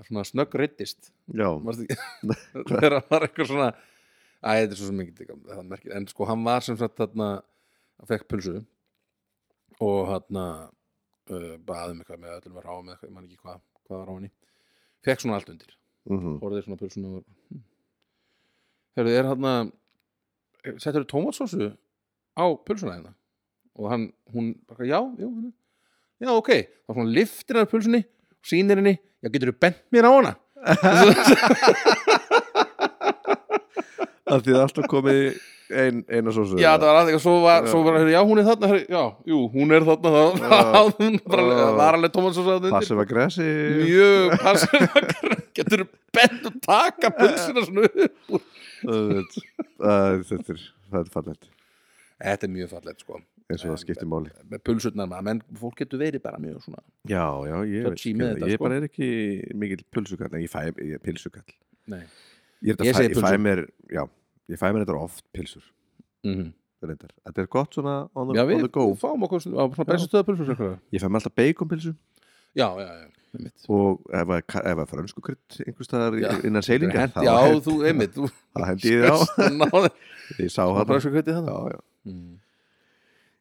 [SPEAKER 2] svona snögg ryttist
[SPEAKER 1] Já,
[SPEAKER 2] Varstu ekki- (laughs) þegar hann var eitthvað svona Æ, þetta er svo sem ekki tíka það merkir, en sko hann var sem sagt þarna hann fekk pulsu og þarna uh, baðum eitthvað með öllum að ráða með eitthvað, ég man ekki hvað hvað var á henni, fekk svona allt undir
[SPEAKER 1] mhm,
[SPEAKER 2] horfði svona á pulsuna og Hm. Herðu, er þarna settur þú tómatsósu á pulsuna hérna og hann, hún, bara, já, jú, hérna. já, ok þá svona liftir hann af pulsunni sýnir henni, já getur þú bent mér á hana
[SPEAKER 1] að því það er alltaf komið í ein, eina sósu
[SPEAKER 2] já það var alltaf, svo var, svo var já hún er þarna, herri, já, jú, hún er þarna það var- hún bara,
[SPEAKER 1] Já.
[SPEAKER 2] það var alveg Thomas og sagði
[SPEAKER 1] það sem var gresi
[SPEAKER 2] mjög passir getur bent og taka pulsina svona upp úr
[SPEAKER 1] þetta er, það er fallegt
[SPEAKER 2] þetta er mjög fallegt sko
[SPEAKER 1] eins og það skiptir máli
[SPEAKER 2] með pulsurnar maður, menn fólk getur verið bara mjög svona
[SPEAKER 1] já, já, ég, veit
[SPEAKER 2] Touchy
[SPEAKER 1] ekki
[SPEAKER 2] með
[SPEAKER 1] það.
[SPEAKER 2] þetta,
[SPEAKER 1] ég
[SPEAKER 2] sko.
[SPEAKER 1] bara er ekki mikill pulsukall en ég fæ, ég er pilsukall
[SPEAKER 2] Nei.
[SPEAKER 1] ég, ég,
[SPEAKER 2] Ég
[SPEAKER 1] fæ,
[SPEAKER 2] segi
[SPEAKER 1] ég fæ
[SPEAKER 2] pulsur.
[SPEAKER 1] mér, já, ég fæ mér þetta oft pilsur
[SPEAKER 2] mm
[SPEAKER 1] reyndar. þetta er gott svona on the,
[SPEAKER 2] já
[SPEAKER 1] on
[SPEAKER 2] við
[SPEAKER 1] the go
[SPEAKER 2] fáum okkur svona, á svona bensistöða pulsur já,
[SPEAKER 1] ég fæ mér alltaf baconpilsu
[SPEAKER 2] já, já, einmitt
[SPEAKER 1] og ef það er ka- ef það er frönsku krydd einhvers staðar
[SPEAKER 2] Já.
[SPEAKER 1] í- innan seilinga
[SPEAKER 2] Hent- já, þú, einmitt þú
[SPEAKER 1] það hendi ég á
[SPEAKER 2] náði
[SPEAKER 1] (laughs) ég sá
[SPEAKER 2] og
[SPEAKER 1] hann
[SPEAKER 2] bara svo kryddið þannig
[SPEAKER 1] já, já,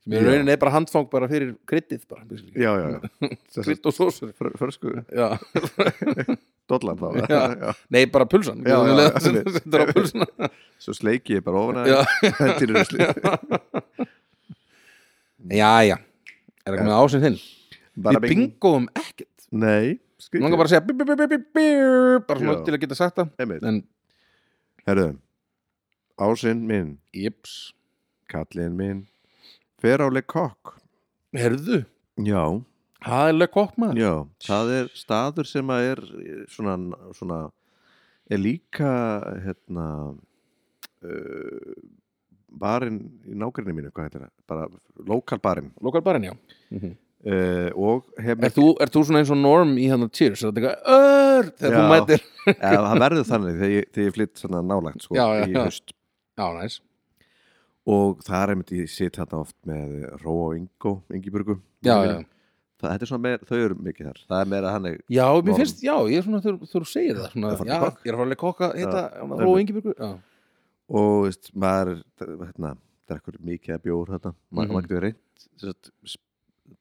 [SPEAKER 2] sem í rauninni er bara handfang bara fyrir kryddið bara, basically.
[SPEAKER 1] já, já, já. Sem sagt,
[SPEAKER 2] krydd og sósur
[SPEAKER 1] fr- frönsku
[SPEAKER 2] já.
[SPEAKER 1] dollan þá
[SPEAKER 2] Já.
[SPEAKER 1] (laughs) já.
[SPEAKER 2] nei, bara pulsan
[SPEAKER 1] Já, já, já, einmitt.
[SPEAKER 2] Settur á
[SPEAKER 1] (laughs)
[SPEAKER 2] pulsuna
[SPEAKER 1] svo sleiki ég bara ofan
[SPEAKER 2] Já.
[SPEAKER 1] að hendir
[SPEAKER 2] (laughs)
[SPEAKER 1] rusli
[SPEAKER 2] já, já, er það komið ásinn þinn
[SPEAKER 1] bara
[SPEAKER 2] við bingoum ekkert
[SPEAKER 1] nei,
[SPEAKER 2] Mér
[SPEAKER 1] skrítið
[SPEAKER 2] langar bara að segja bí, bí, bí, bí, bí, bí, bara svona
[SPEAKER 1] Já.
[SPEAKER 2] til að geta sagt það
[SPEAKER 1] Einmitt.
[SPEAKER 2] en,
[SPEAKER 1] herðu, ásinn minn
[SPEAKER 2] jips,
[SPEAKER 1] kallinn minn fer á lekokk
[SPEAKER 2] herðu
[SPEAKER 1] já,
[SPEAKER 2] það er lekkokk maður
[SPEAKER 1] já, það er staður sem að er svona, svona er líka hérna uh, barinn í nágrinni mínu, hvað heitir það bara lokal barinn
[SPEAKER 2] lokal barinn, já
[SPEAKER 1] uh, og hef
[SPEAKER 2] er þú, er þú svona eins og norm í hann cheers, er þetta eitthvað ör þegar þú
[SPEAKER 1] Já.
[SPEAKER 2] mætir
[SPEAKER 1] Eða, það verður þannig þegar ég, þegar ég flytt svona nálægt sko,
[SPEAKER 2] Já, já,
[SPEAKER 1] í
[SPEAKER 2] já.
[SPEAKER 1] haust
[SPEAKER 2] já, næs,
[SPEAKER 1] og það er einmitt ég sit þarna oft með Ró og Ingo, Ingiburgu Vinum
[SPEAKER 2] já, já
[SPEAKER 1] mínum. það, þetta er svona meir, þau eru mikið þar það er meira hannig
[SPEAKER 2] Já, mér
[SPEAKER 1] Norm.
[SPEAKER 2] finnst, já, ég er svona þegar þegar þú segir það svona,
[SPEAKER 1] Það er farið
[SPEAKER 2] já,
[SPEAKER 1] í kokk.
[SPEAKER 2] ég er að fara að leika kokka hitta
[SPEAKER 1] einmitt.
[SPEAKER 2] Ró Ingibjörgu já.
[SPEAKER 1] og veist, maður er, hérna, drekkur mikið að bjór þarna Ma,
[SPEAKER 2] Mhm.
[SPEAKER 1] maður getur reynt sem sagt, sp-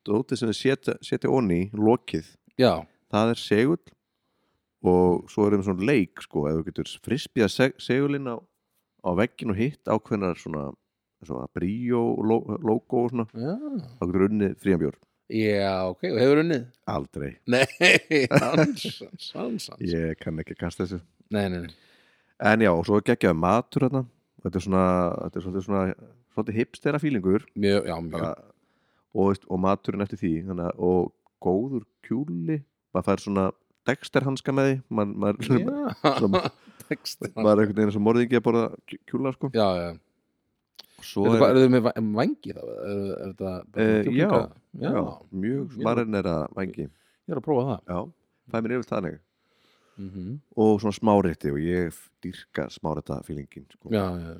[SPEAKER 1] dótið sem þau setja, setja onni lokið,
[SPEAKER 2] já,
[SPEAKER 1] það er segull og svo erum við svona leik sko, ef þú getur frisbíða seg, segulinn á, á veggin og hitt ákveðnar svona, svona bríó lo, logo og svona,
[SPEAKER 2] já,
[SPEAKER 1] þá getur unnið frían bjór
[SPEAKER 2] já, ok, og hefur unnið (laughs)
[SPEAKER 1] aldrei, (laughs)
[SPEAKER 2] Nei, hansans, hansans
[SPEAKER 1] ég kann ekki að kasta þessu
[SPEAKER 2] Nei, nei, nei,
[SPEAKER 1] en já, og svo geggjaði matur þarna þetta er svona, þetta er svolítið svona svolítið hipstera fílingur
[SPEAKER 2] mjög, já, mjög
[SPEAKER 1] bara, og, veist, og maturinn eftir því þannig, að- og góður kjúli maður fær svona dexter hanska með því maður, maður,
[SPEAKER 2] Já, (laughs) texti
[SPEAKER 1] (laughs) maður er einhvern veginn sem morðingi að borða kjú- kjúla sko.
[SPEAKER 2] Já, já,
[SPEAKER 1] svo
[SPEAKER 2] er
[SPEAKER 1] er,
[SPEAKER 2] þetta með va- vangi þá? Er, er þetta bara
[SPEAKER 1] Eh,
[SPEAKER 2] kjúklinga?
[SPEAKER 1] já.
[SPEAKER 2] já,
[SPEAKER 1] já, mjög
[SPEAKER 2] Mjög.
[SPEAKER 1] smarinn er að vangi
[SPEAKER 2] ég er að prófa það
[SPEAKER 1] já, það er mér yfir þannig
[SPEAKER 2] mm
[SPEAKER 1] og svona smárétti og ég dýrka smárétta fílingin sko.
[SPEAKER 2] Já, já,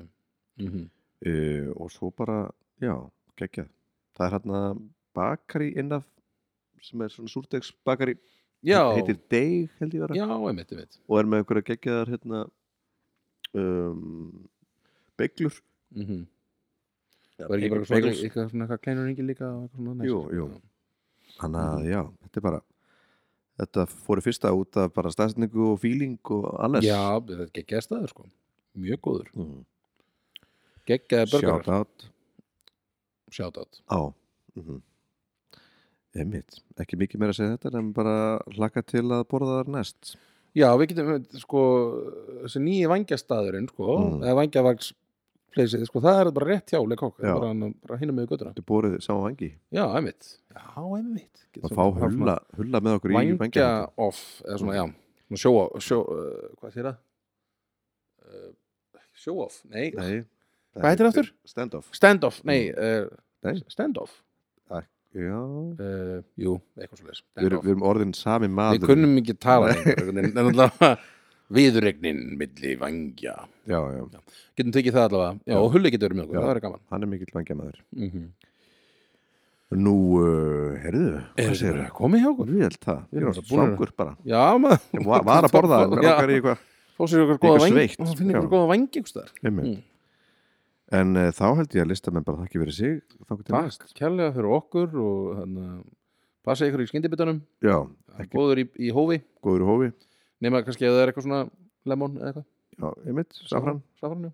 [SPEAKER 2] mm -hmm.
[SPEAKER 1] uh, og svo bara, já, geggjað það er hérna bakari innaf sem er svona súrtegs bakari
[SPEAKER 2] já,
[SPEAKER 1] heitir Deig held ég vera
[SPEAKER 2] já, einmitt, einmitt
[SPEAKER 1] og er með einhverja geggjaðar hérna um, beiglur
[SPEAKER 2] mm Og er ekki bara svona
[SPEAKER 1] Beigls.
[SPEAKER 2] eitthvað svona eitthvað kleinur ringi líka og eitthvað svona næs?
[SPEAKER 1] Jú, jú. þannig
[SPEAKER 2] Mhm.
[SPEAKER 1] að já, þetta er bara þetta fóru fyrsta út af bara staðsetningu og feeling og alles
[SPEAKER 2] Já, þetta er geggjaði staður sko Mjög góður
[SPEAKER 1] mm.
[SPEAKER 2] Geggjaði börgar
[SPEAKER 1] shout out
[SPEAKER 2] Shoutout
[SPEAKER 1] á mm -hmm. einmitt, ekki mikið meira að segja um þetta en bara hlakka til að borða þar næst
[SPEAKER 2] Já, við getum sko þessi nýji vangjastæðurinn sko
[SPEAKER 1] Mm.
[SPEAKER 2] eða vangjavags pleysið sko það er bara rétt hjá leikokk
[SPEAKER 1] Já.
[SPEAKER 2] bara, hann- bara hinum með göttuna
[SPEAKER 1] þetta borðið sá vangi
[SPEAKER 2] Já, einmitt Já, einmitt
[SPEAKER 1] að fá hulla, hulla með okkur í Mm.
[SPEAKER 2] Vangja
[SPEAKER 1] vangja
[SPEAKER 2] off eða svona, já svona show off sjó, uh, hvað sér það? Uh, show off, nei,
[SPEAKER 1] Nei,
[SPEAKER 2] Hvað heitir aftur?
[SPEAKER 1] Stand off
[SPEAKER 2] stand off, nei, uh,
[SPEAKER 1] Nei.
[SPEAKER 2] stand off
[SPEAKER 1] Já,
[SPEAKER 2] uh, Jú, eitthvað svo leis
[SPEAKER 1] við erum, við erum orðin sami maður
[SPEAKER 2] Við kunnum ekki
[SPEAKER 1] (laughs)
[SPEAKER 2] tala lengur Viðregnin milli vangja
[SPEAKER 1] Já, já,
[SPEAKER 2] Getum tekið það allavega Já, og hulli getur verið með okkur,
[SPEAKER 1] Já.
[SPEAKER 2] það er gaman
[SPEAKER 1] hann er mikill vangja maður
[SPEAKER 2] mm -hmm.
[SPEAKER 1] Nú, uh, heyrðu, hvað segir það?
[SPEAKER 2] komið hjá okkur?
[SPEAKER 1] Við held það,
[SPEAKER 2] Við
[SPEAKER 1] við
[SPEAKER 2] erum
[SPEAKER 1] erum
[SPEAKER 2] búin að-
[SPEAKER 1] svangur
[SPEAKER 2] (laughs)
[SPEAKER 1] bara
[SPEAKER 2] Já, maður
[SPEAKER 1] Ég va- var að borða,
[SPEAKER 2] Já.
[SPEAKER 1] mér okkar í eitthvað
[SPEAKER 2] Fá sér okkur
[SPEAKER 1] Eitthvað
[SPEAKER 2] góða vangi
[SPEAKER 1] sveitt,
[SPEAKER 2] Það finnir
[SPEAKER 1] já.
[SPEAKER 2] okkur góða vangi einhvers staðar.
[SPEAKER 1] Einmitt. En uh, þá held ég að listamenn bara þakki fyrir sig Þakki til
[SPEAKER 2] Takk kærlega fyrir okkur og hann, passa ykkur í skyndibitanum
[SPEAKER 1] næst. Já, ekki
[SPEAKER 2] Góður í, í hófi
[SPEAKER 1] góður í hófi
[SPEAKER 2] Nefna kannski að það er eitthvað svona lemon eða eitthvað
[SPEAKER 1] Já, einmitt, safran
[SPEAKER 2] Safran, já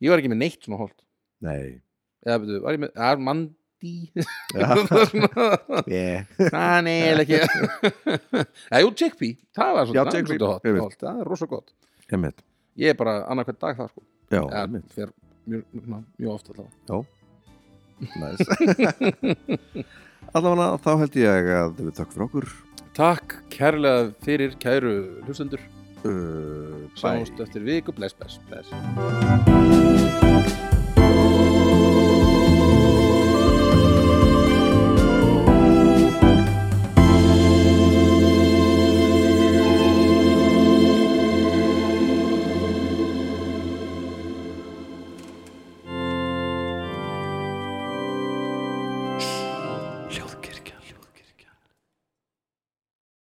[SPEAKER 2] Ég var ekki með neitt svona holt
[SPEAKER 1] Nei,
[SPEAKER 2] (laughs) Eða, veitu, var ég með, að, mand, Dí (laughs)
[SPEAKER 1] Já,
[SPEAKER 2] Þannig
[SPEAKER 1] yeah.
[SPEAKER 2] er ekki
[SPEAKER 1] (laughs)
[SPEAKER 2] Já, jú, Chickpea, það
[SPEAKER 1] Já,
[SPEAKER 2] var svolítið- það er
[SPEAKER 1] chickpea,
[SPEAKER 2] svolítið hot,
[SPEAKER 1] einmitt.
[SPEAKER 2] hot, það er rosa gott
[SPEAKER 1] einmitt
[SPEAKER 2] Ég er bara annað hvern dag það sko
[SPEAKER 1] Já,
[SPEAKER 2] Já,
[SPEAKER 1] einmitt,
[SPEAKER 2] fer mjög, svona, mjög ofta allavega
[SPEAKER 1] næs (laughs) Allavega þá held ég að við takk fyrir okkur
[SPEAKER 2] Takk kærlega fyrir kæru hlustendur
[SPEAKER 1] uh, bye.
[SPEAKER 2] Sjáumst eftir viku, bless, bless, bless